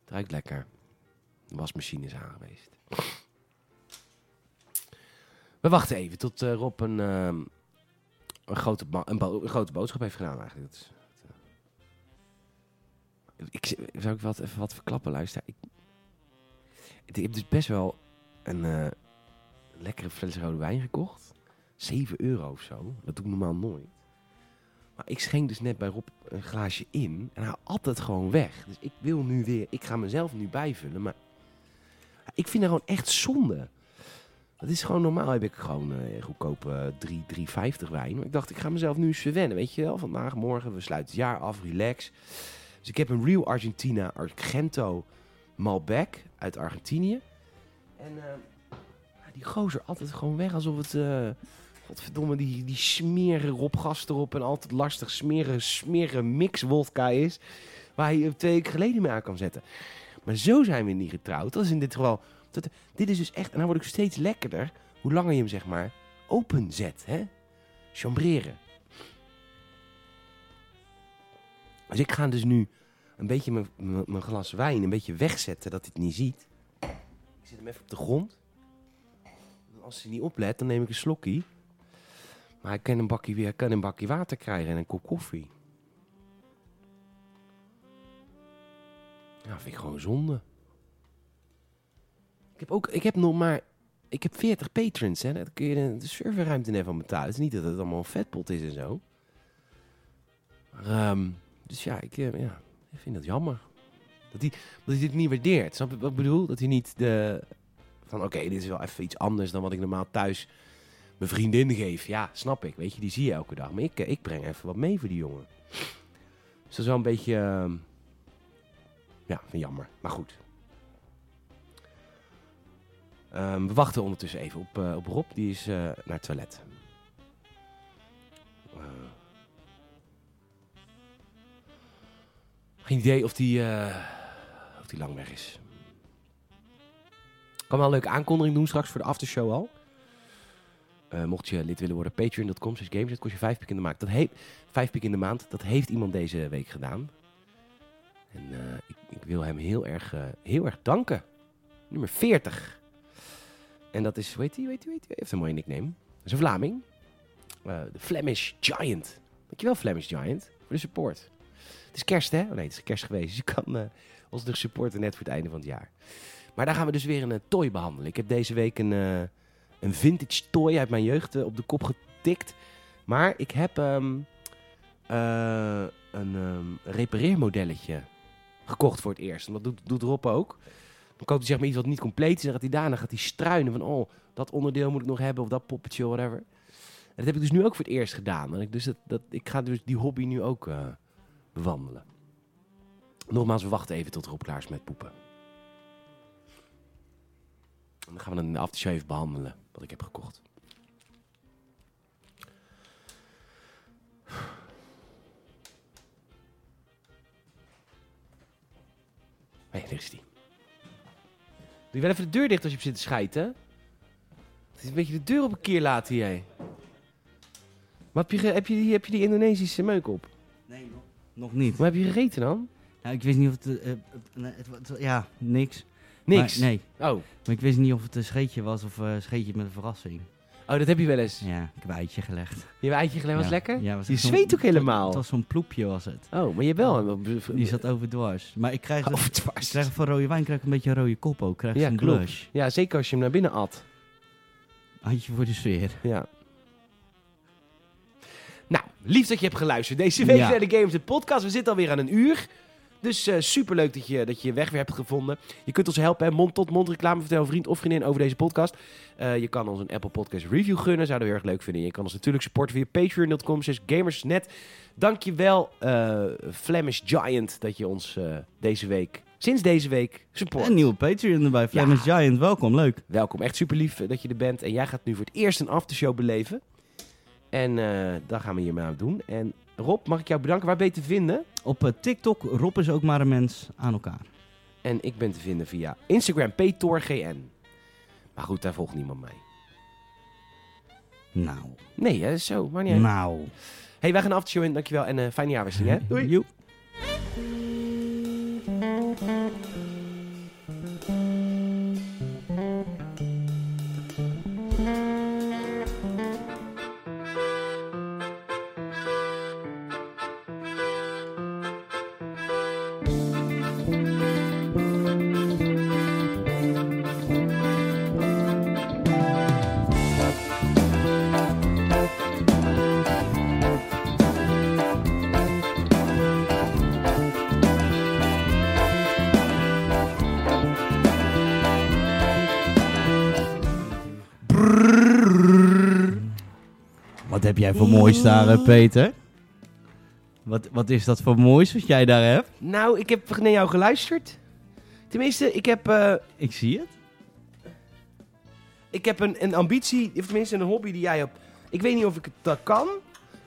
Speaker 1: Het ruikt lekker. De wasmachine is aan geweest. We wachten even tot eh, Rob een, ehm, een, grote ba- een, bo- een grote boodschap heeft gedaan eigenlijk. Dat is, ik, z- zou ik wat, even wat verklappen, luister. Ik, ik heb dus best wel een eh, lekkere fles rode wijn gekocht. 7 euro of zo. Dat doe ik normaal nooit. Maar ik schenk dus net bij Rob een glaasje in. En hij at het gewoon weg. Dus ik wil nu weer... Ik ga mezelf nu bijvullen, maar... Ik vind dat gewoon echt zonde. Dat is gewoon normaal. Heb ik gewoon eh goedkope 3, 3,50 wijn. Maar ik dacht, ik ga mezelf nu eens verwennen. Weet je wel, vandaag, morgen, we sluiten het jaar af, relax. Dus ik heb een Real Argentina Argento Malbec uit Argentinië. En eh, ja, die gozer altijd gewoon weg alsof het... eh, godverdomme, die, die smeren Rob Gast erop en altijd lastig smeren, smeren mix wodka is. Waar je twee weken geleden mee aan kan zetten. Maar zo zijn we niet getrouwd. Dat is in dit geval... Dat, dit is dus echt... En dan word ik steeds lekkerder hoe langer je hem zeg maar openzet. Hè? Chambreren. Dus ik ga dus nu een beetje mijn- mijn mijn glas wijn een beetje wegzetten dat hij het niet ziet. Ik zet hem even op de grond. Als hij niet oplet, dan neem ik een slokkie. Maar hij kan een bakje, hij kan een bakje water krijgen en een kop koffie. Ja, vind ik gewoon zonde. Ik heb ook, ik heb nog maar, ik heb 40 patrons hè. Daar kun je de, de serverruimte net van betalen. Het is niet dat het allemaal een vetpot is en zo. Maar, ehm, dus ja ik, eh, ja, ik vind dat jammer. Dat hij, dat hij dit niet waardeert. Snap je wat ik bedoel? Dat hij niet de... Van oké, dit is wel even iets anders dan wat ik normaal thuis mijn vriendin geef. Ja, snap ik. Weet je, die zie je elke dag. Maar ik, eh, ik breng even wat mee voor die jongen. Dus dat is wel een beetje... ehm, ja, vind ik jammer. Maar goed. Ehm, we wachten ondertussen even op, eh, op Rob. Die is eh, naar het toilet. Eh, Geen idee of die, eh, of die lang weg is. Ik kan wel een leuke aankondiging doen straks voor de aftershow al. Eh, mocht je lid willen worden, patreon.com slash games. Dat kost je vijf piek in de maand. Dat heeft, vijf piek in de maand, dat heeft iemand deze week gedaan. En eh, ik, ik wil hem heel erg, eh, heel erg danken. Nummer 40. En dat is, weet je, weet je, weet je, heeft een mooie nickname. Dat is een Vlaming. Eh, de Flemish Giant. Dankjewel Flemish Giant voor de support. Het is kerst, hè? Oh, nee, het is kerst geweest. Dus je kan eh, ons nog supporten net voor het einde van het jaar. Maar daar gaan we dus weer een eh, toy behandelen. Ik heb deze week een, eh, een vintage toy uit mijn jeugd eh, op de kop getikt. Maar ik heb ehm, eh, een ehm, repareermodelletje gekocht voor het eerst. En dat doet, doet Rob ook. Dan koopt hij zeg maar iets wat niet compleet is. En dan gaat hij daarna gaat hij struinen van... oh, dat onderdeel moet ik nog hebben of dat poppetje of whatever. En dat heb ik dus nu ook voor het eerst gedaan. En ik, dus dat, dat, ik ga dus die hobby nu ook... eh, wandelen. Nogmaals, we wachten even tot Rob klaar is met poepen. En dan gaan we dan in de aftershow even behandelen wat ik heb gekocht. Hé, daar is die. Doe je wel even de deur dicht als je hebt zitten schijten. Het is een beetje de deur op een keer laten jij. Maar heb je, ge- heb, je, die- heb je die Indonesische meuk op?
Speaker 2: Nee, nog, nog niet.
Speaker 1: Maar heb je gegeten dan?
Speaker 2: Nou, ik wist niet of het... eh, eh, nee, het wa- het- ja, niks.
Speaker 1: Niks.
Speaker 2: Maar, nee,
Speaker 1: Oh.
Speaker 2: maar ik wist niet of het een scheetje was of eh, een scheetje met een verrassing.
Speaker 1: Oh, dat heb je wel eens.
Speaker 2: Ja, ik heb een eitje gelegd.
Speaker 1: Je eitje gelegd was
Speaker 2: Ja.
Speaker 1: lekker?
Speaker 2: Ja, was
Speaker 1: Je
Speaker 2: echt zo'n-
Speaker 1: zweet ook helemaal.
Speaker 2: Het was zo'n ploepje was het.
Speaker 1: Oh, maar je wel. Oh,
Speaker 2: Die zat overdwars. Maar ik krijg, dus-
Speaker 1: Of
Speaker 2: ik
Speaker 1: dwars.
Speaker 2: krijg van rode wijn krijg ik een beetje een rode kop ook. Ik Krijg
Speaker 1: Ja,
Speaker 2: zo'n
Speaker 1: klopt.
Speaker 2: blush.
Speaker 1: Ja, zeker als je hem naar binnen at.
Speaker 2: Handje voor de sfeer.
Speaker 1: Ja. Nou, lief dat je hebt geluisterd. Deze week
Speaker 2: Ja.
Speaker 1: naar de Games de Podcast. We zitten alweer aan een uur. Dus eh superleuk dat je, dat je je weg weer hebt gevonden. Je kunt ons helpen, hè. mond-tot-mond reclame vertel een vriend of vriendin over deze podcast. Eh, je kan ons een Apple Podcast review gunnen, zouden we heel erg leuk vinden. Je kan ons natuurlijk supporten via patreon.com, slash gamersnet. Dankjewel, eh Flemish Giant, dat je ons eh, deze week, sinds deze week, support.
Speaker 2: En nieuwe Patreon erbij. Flemish Giant, welkom. Leuk.
Speaker 1: Welkom, echt super lief dat je er bent. En jij gaat nu voor het eerst een aftershow beleven. En eh dat gaan we hiermee aan doen. En Rob, mag ik jou bedanken? Waar ben je te vinden?
Speaker 2: Op eh, TikTok, Rob is ook maar een mens aan elkaar.
Speaker 1: En ik ben te vinden via Instagram, PTORGN. Maar goed, daar volgt niemand mij.
Speaker 2: Nou,
Speaker 1: Nee, hè? zo, maar niet uit.
Speaker 2: nou.
Speaker 1: Hey, wij gaan een aftershow in. Dankjewel en eh fijne jaarwisseling, hè? Doei!
Speaker 2: Joep. Wat heb jij voor moois daar, eh, Peter? Wat, wat is dat voor moois wat jij daar hebt?
Speaker 1: Nou, ik heb naar jou geluisterd. Tenminste, ik heb, eh,
Speaker 2: Ik zie het.
Speaker 1: ik heb een, een ambitie, of tenminste een hobby die jij hebt. Ik weet niet of ik het dat kan.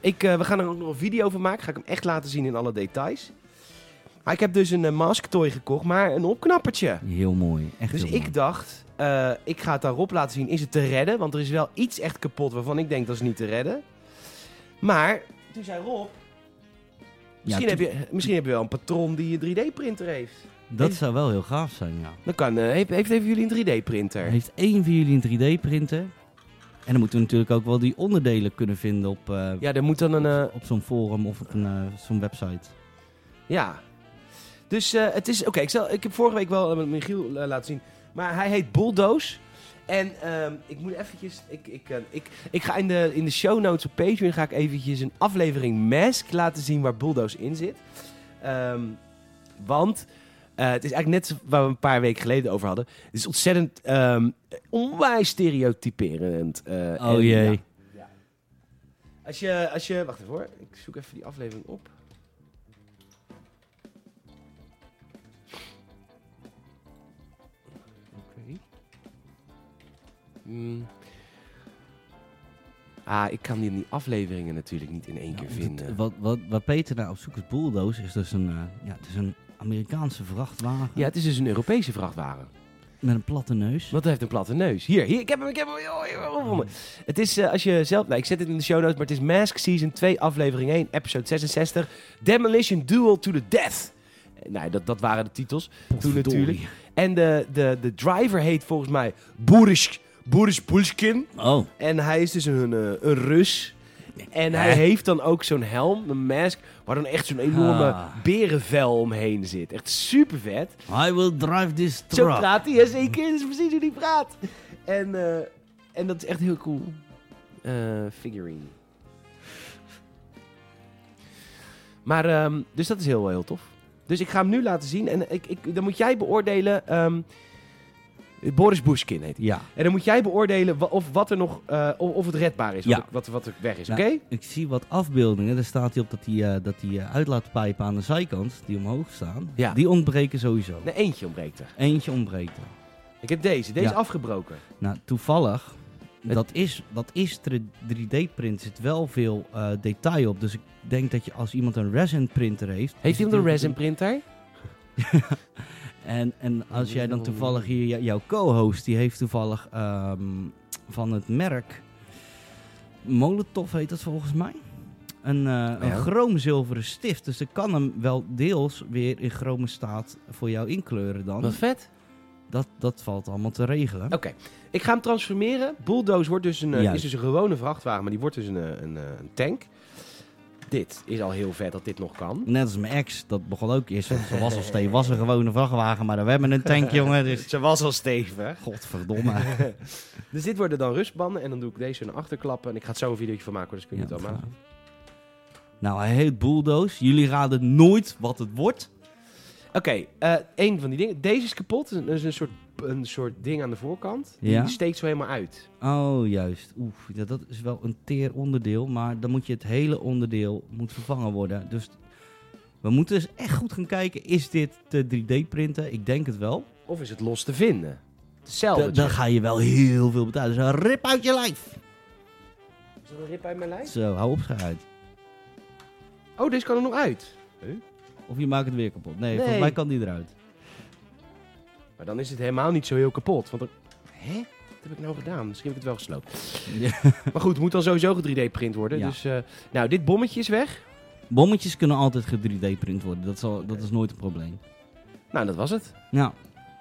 Speaker 1: Ik, eh, we gaan er ook nog een video over maken. Ga ik hem echt laten zien in alle details. Maar ik heb dus een eh, masktoy gekocht, maar een opknappertje.
Speaker 2: Heel mooi. Echt
Speaker 1: Dus
Speaker 2: heel mooi.
Speaker 1: ik dacht, eh, ik ga het daarop laten zien. Is het te redden? Want er is wel iets echt kapot waarvan ik denk dat is niet te redden. Maar toen zei Rob, misschien,
Speaker 2: Ja,
Speaker 1: heb, je, misschien heb je wel een patroon die een 3D-printer heeft.
Speaker 2: Dat zou wel heel gaaf zijn, ja.
Speaker 1: Dan kan, eh, heeft, heeft even jullie een 3D-printer.
Speaker 2: Heeft één van jullie een 3D-printer? En dan moeten we natuurlijk ook wel die onderdelen kunnen vinden op, eh,
Speaker 1: Ja, er moet dan een... eh,
Speaker 2: op, op zo'n forum of op een, eh, zo'n website.
Speaker 1: Ja. Dus eh, het is... Oké, ik, zal- ik heb vorige week wel eh, met Michiel eh, laten zien. Maar hij heet Bulldoze. En ehm, ik moet eventjes... Ik, ik, eh, ik, ik ga in de, in de show notes op Patreon ga ik eventjes een aflevering Mask laten zien waar Bulldoze in zit. Ehm, want eh, het is eigenlijk net waar we een paar weken geleden over hadden. Het is ontzettend ehm, onwijs stereotyperend. eh, en,
Speaker 2: oh jee.
Speaker 1: ja. Als je, als je... Wacht even hoor. Ik zoek even die aflevering op. Oké. Mm. Ah, ik kan die, die afleveringen natuurlijk niet in één keer
Speaker 2: Ja,
Speaker 1: vinden.
Speaker 2: het- Wat, wat, wat Peter nou op zoek is, Bulldoze, is dus een, eh, ja, het is een Amerikaanse vrachtwagen
Speaker 1: Ja, het is dus een Europese vrachtwagen.
Speaker 2: met een platte neus.
Speaker 1: Want hij heeft een platte neus. Hier, hier, ik heb hem, ik heb hem. oh, hier, oh, oh, oh. Het is, eh, als je zelf... Nou, ik zet het in de show notes, maar het is Mask Season 2, aflevering 1, episode 66. Demolition Duel to the Death. Eh, Nou, dat, dat waren de titels. Toen
Speaker 2: Potverdorie.
Speaker 1: natuurlijk. En de, de, de driver heet volgens mij Boris, Boris Pushkin.
Speaker 2: Oh,
Speaker 1: En hij is dus een, eh, een Rus. En hij
Speaker 2: Hè?
Speaker 1: heeft dan ook zo'n helm, een mask, waar dan echt zo'n enorme
Speaker 2: Ah.
Speaker 1: berenvel omheen zit. Echt super vet.
Speaker 2: I will drive this
Speaker 1: Zo
Speaker 2: truck.
Speaker 1: praat hij, ja zeker. Dat is precies hoe hij praat. En, eh, en dat is echt heel cool. Eh, figurine. Maar, ehm, dus dat is heel, heel tof. Dus ik ga hem nu laten zien. En ik, ik, dan moet jij beoordelen... ehm, Boris Bushkin heet hij.
Speaker 2: ja.
Speaker 1: En dan moet jij beoordelen wa- of, wat er nog, eh, of, of het redbaar is.
Speaker 2: Ja.
Speaker 1: Wat, er- wat, er- wat er weg is,
Speaker 2: Nou,
Speaker 1: oké?
Speaker 2: Ik zie wat afbeeldingen. Daar staat hij op dat die, eh, dat die eh, uitlaatpijpen aan de zijkant, die omhoog staan,
Speaker 1: Ja.
Speaker 2: die ontbreken sowieso.
Speaker 1: Nee, eentje ontbreekt er.
Speaker 2: Eentje ontbreekt er.
Speaker 1: Ik heb deze. Deze
Speaker 2: Ja.
Speaker 1: is afgebroken.
Speaker 2: Nou, toevallig, dat is, dat is 3D-print, zit wel veel eh, detail op. Dus ik denk dat je als iemand een resin-printer heeft...
Speaker 1: Heeft
Speaker 2: is
Speaker 1: iemand
Speaker 2: het
Speaker 1: een
Speaker 2: heel
Speaker 1: resin
Speaker 2: goed-
Speaker 1: printer?
Speaker 2: En, en als jij dan toevallig hier, jou- jouw co-host, die heeft toevallig ehm, van het merk Molotov heet dat volgens mij. Een, eh een chroomzilveren stift. Dus ik kan hem wel deels weer in chrome staat voor jou inkleuren dan.
Speaker 1: Wat vet.
Speaker 2: dat, dat valt allemaal te regelen.
Speaker 1: Oké, ik ga hem transformeren. Bulldoze wordt dus een, eh,
Speaker 2: Juist.
Speaker 1: is dus een gewone vrachtwagen, maar die wordt dus een, eh, een, eh, een tank. Dit is al heel vet dat dit nog kan.
Speaker 2: Net als mijn ex, dat begon ook eerst. Ze was al steeds, was een gewone vrachtwagen, maar we hebben een tank, jongen. Dus
Speaker 1: Ze was al stevig.
Speaker 2: godverdomme.
Speaker 1: Dus dit worden dan rustbanden en dan doe ik deze een achterklappen. En ik ga het zo een videootje van maken, hoor, dus kun je het allemaal.
Speaker 2: Ja, Nou, hij heet Bulldoze. Jullie raden nooit wat het wordt.
Speaker 1: Oké, eh één van die dingen. Deze is kapot. Dat is een soort, een soort ding aan de voorkant.
Speaker 2: Ja.
Speaker 1: Die steekt zo helemaal uit.
Speaker 2: Oh, juist. Oef, dat, dat is wel een teer onderdeel. Maar dan moet je het hele onderdeel moet vervangen worden. Dus we moeten dus echt goed gaan kijken. Is dit te 3D-printen? Ik denk het wel.
Speaker 1: Of is het los te vinden?
Speaker 2: Da-
Speaker 1: Hetzelfde.
Speaker 2: dan ga je wel heel veel betalen. Dus een rip uit je lijf.
Speaker 1: Is dat een rip uit mijn lijst?
Speaker 2: Zo, hou op, schijt.
Speaker 1: Oh, deze kan er nog uit.
Speaker 2: Of je maakt het weer kapot. Nee,
Speaker 1: Nee.
Speaker 2: volgens mij kan die eruit.
Speaker 1: Maar dan is het helemaal niet zo heel kapot. Want dan... Hè? Wat heb ik nou gedaan? Misschien heb ik het wel gesloopt.
Speaker 2: Ja.
Speaker 1: Maar goed, het moet dan sowieso 3D-print worden.
Speaker 2: Ja.
Speaker 1: Dus, eh, nou, dit bommetje is weg.
Speaker 2: Bommetjes kunnen altijd ge 3D-print worden. Dat is, al, dat is nooit een probleem.
Speaker 1: Nou, dat was het.
Speaker 2: Nou,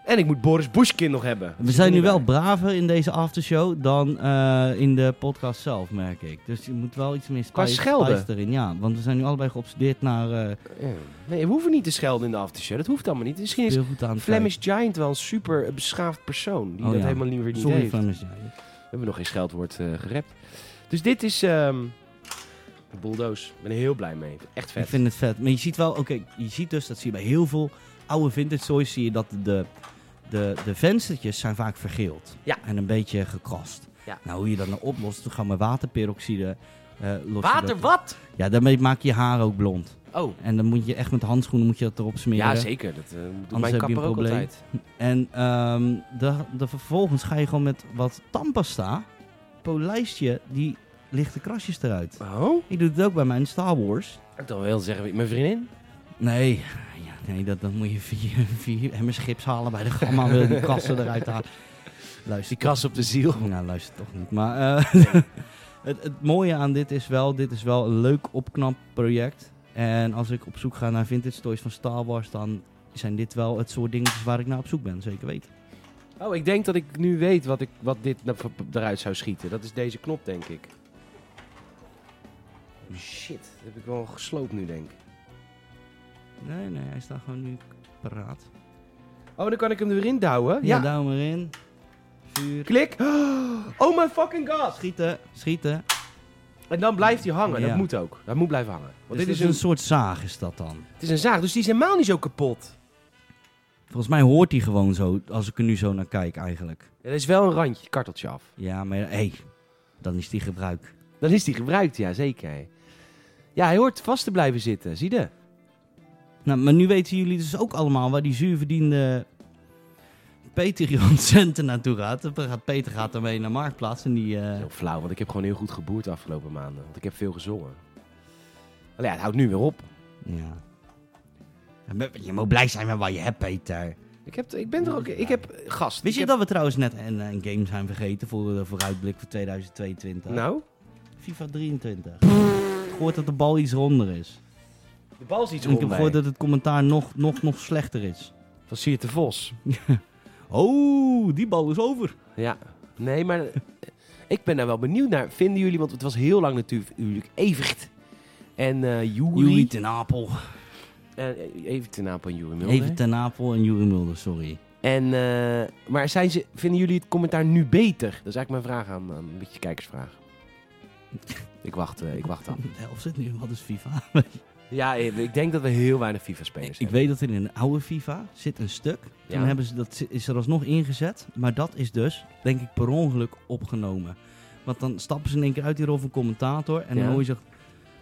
Speaker 1: En ik moet Boris Bushkin nog hebben.
Speaker 2: we zijn nu wel braver in deze aftershow dan eh, in de podcast zelf, merk ik. Dus je moet wel iets meer
Speaker 1: Qua
Speaker 2: spice,
Speaker 1: schelden.
Speaker 2: spice erin. Ja, want we zijn nu allebei geobsedeerd naar eh
Speaker 1: Ja. Nee, we hoeven niet te schelden in de aftershow. Dat hoeft allemaal niet. Misschien is
Speaker 2: speelgoed aan het
Speaker 1: Flemish Giant wel een super eh, beschaafd persoon. Die
Speaker 2: Oh,
Speaker 1: dat
Speaker 2: ja.
Speaker 1: helemaal niet weer
Speaker 2: kijken.
Speaker 1: niet
Speaker 2: Sorry,
Speaker 1: heeft.
Speaker 2: Flemish Giant.
Speaker 1: We hebben nog geen scheldwoord eh gerept. Dus dit is ehm een bulldoze. Ik ben er heel blij mee. Echt vet.
Speaker 2: Ik vind het vet. Maar je ziet wel, oké, je ziet dus, dat zie je bij heel veel oude vintage toys, zie je dat de, de, de venstertjes zijn vaak vergeeld.
Speaker 1: Ja.
Speaker 2: En een beetje gekrast.
Speaker 1: Ja.
Speaker 2: Nou, hoe je dat nou oplost, toen gaan we waterperoxide... eh los je
Speaker 1: Water
Speaker 2: dat-
Speaker 1: wat?
Speaker 2: Ja, daarmee maak je je haar ook blond.
Speaker 1: Oh.
Speaker 2: En dan moet je echt met handschoenen moet je dat erop smeren.
Speaker 1: Ja, zeker. Dat eh, doet
Speaker 2: heb
Speaker 1: mijn
Speaker 2: je
Speaker 1: kapper
Speaker 2: een
Speaker 1: ook
Speaker 2: probleem.
Speaker 1: altijd.
Speaker 2: En ehm, de, de, vervolgens ga je gewoon met wat tandpasta, polijst je die lichte krasjes eruit.
Speaker 1: Oh?
Speaker 2: Ik doe het ook bij mijn Star Wars.
Speaker 1: Dan wil zeggen, mijn vriendin?
Speaker 2: Nee, ja, nee dat, dan moet je vier, vier emmers gips halen bij de gamma, wil je die krassen eruit halen. Luister,
Speaker 1: Die kras op de ziel.
Speaker 2: Nou, luister toch niet. Maar eh, het, het mooie aan dit is wel, dit is wel een leuk opknapproject. En als ik op zoek ga naar vintage toys van Star Wars, dan zijn dit wel het soort dingetjes waar ik naar op zoek ben, zeker weten.
Speaker 1: Oh, ik denk dat ik nu weet wat, ik, wat dit na- eruit zou schieten. Dat is deze knop, denk ik. Oh, Shit, dat heb ik wel gesloopt nu, denk ik.
Speaker 2: Nee, nee, hij staat gewoon nu paraat.
Speaker 1: Oh, dan kan ik hem er weer in douwen.
Speaker 2: Ja,
Speaker 1: Ja.
Speaker 2: duim erin. Vuur.
Speaker 1: Klik. Oh my fucking god.
Speaker 2: Schieten, schieten.
Speaker 1: En dan blijft hij hangen.
Speaker 2: Ja.
Speaker 1: Dat moet ook. Dat moet blijven hangen. Want
Speaker 2: Dus
Speaker 1: dit is
Speaker 2: een
Speaker 1: een,
Speaker 2: soort zaag is dat dan.
Speaker 1: het is een zaag, dus die is helemaal niet zo kapot.
Speaker 2: Volgens mij hoort hij gewoon zo, als ik er nu zo naar kijk eigenlijk.
Speaker 1: Er is wel een randje, karteltje af.
Speaker 2: Ja, maar hé, hey, dan is die gebruik.
Speaker 1: Dan is die gebruikt, ja zeker. Ja, hij hoort vast te blijven zitten, zie je?
Speaker 2: Nou, maar nu weten jullie dus ook allemaal waar die zuurverdiende Patreon centen naartoe gaat. Dan gaat- Peter gaat daarmee naar Marktplaats en die... eh,
Speaker 1: Heel flauw, want ik heb gewoon heel goed geboerd de afgelopen maanden. Want ik heb veel gezongen. Allee, ja, het houdt nu weer op.
Speaker 2: ja. Je moet blij zijn met wat je hebt, Peter.
Speaker 1: Ik, heb, ik ben er ook... Ik heb... eh, Gast.
Speaker 2: Wist
Speaker 1: ik
Speaker 2: je dat we trouwens net een, een game zijn vergeten voor de vooruitblik voor 2022?
Speaker 1: heb- Nou?
Speaker 2: FIFA 23. Ik hoor dat de bal iets ronder is.
Speaker 1: De bal is iets
Speaker 2: En ik heb
Speaker 1: rond
Speaker 2: gehoord dat het commentaar nog, nog, nog slechter is.
Speaker 1: Van Siert de Vos.
Speaker 2: Oh, die bal is over.
Speaker 1: Ja. Nee, maar... eh, ik ben daar wel benieuwd naar. Vinden jullie... Want het was heel lang natuurlijk Evert. En eh
Speaker 2: Juri
Speaker 1: Juri.
Speaker 2: ten Apel.
Speaker 1: Eh, even ten naam van Juri Mulder.
Speaker 2: Even ten Apel en Juri Mulder, sorry.
Speaker 1: En, eh, maar zijn ze, vinden jullie het commentaar nu beter? Dat is eigenlijk mijn vraag aan, aan een beetje kijkersvraag. ik wacht, eh, ik wacht af.
Speaker 2: De helft zit nu, wat is FIFA?
Speaker 1: Ja, eh, ik denk dat we heel weinig FIFA-spelers
Speaker 2: ik
Speaker 1: hebben.
Speaker 2: weet dat er in een oude FIFA zit een stuk. Toen
Speaker 1: Ja.
Speaker 2: hebben ze dat, is er alsnog ingezet. Maar dat is dus, denk ik, per ongeluk opgenomen. Want dan stappen ze in één keer uit die rol van commentator. En
Speaker 1: Ja.
Speaker 2: dan hoor je zegt...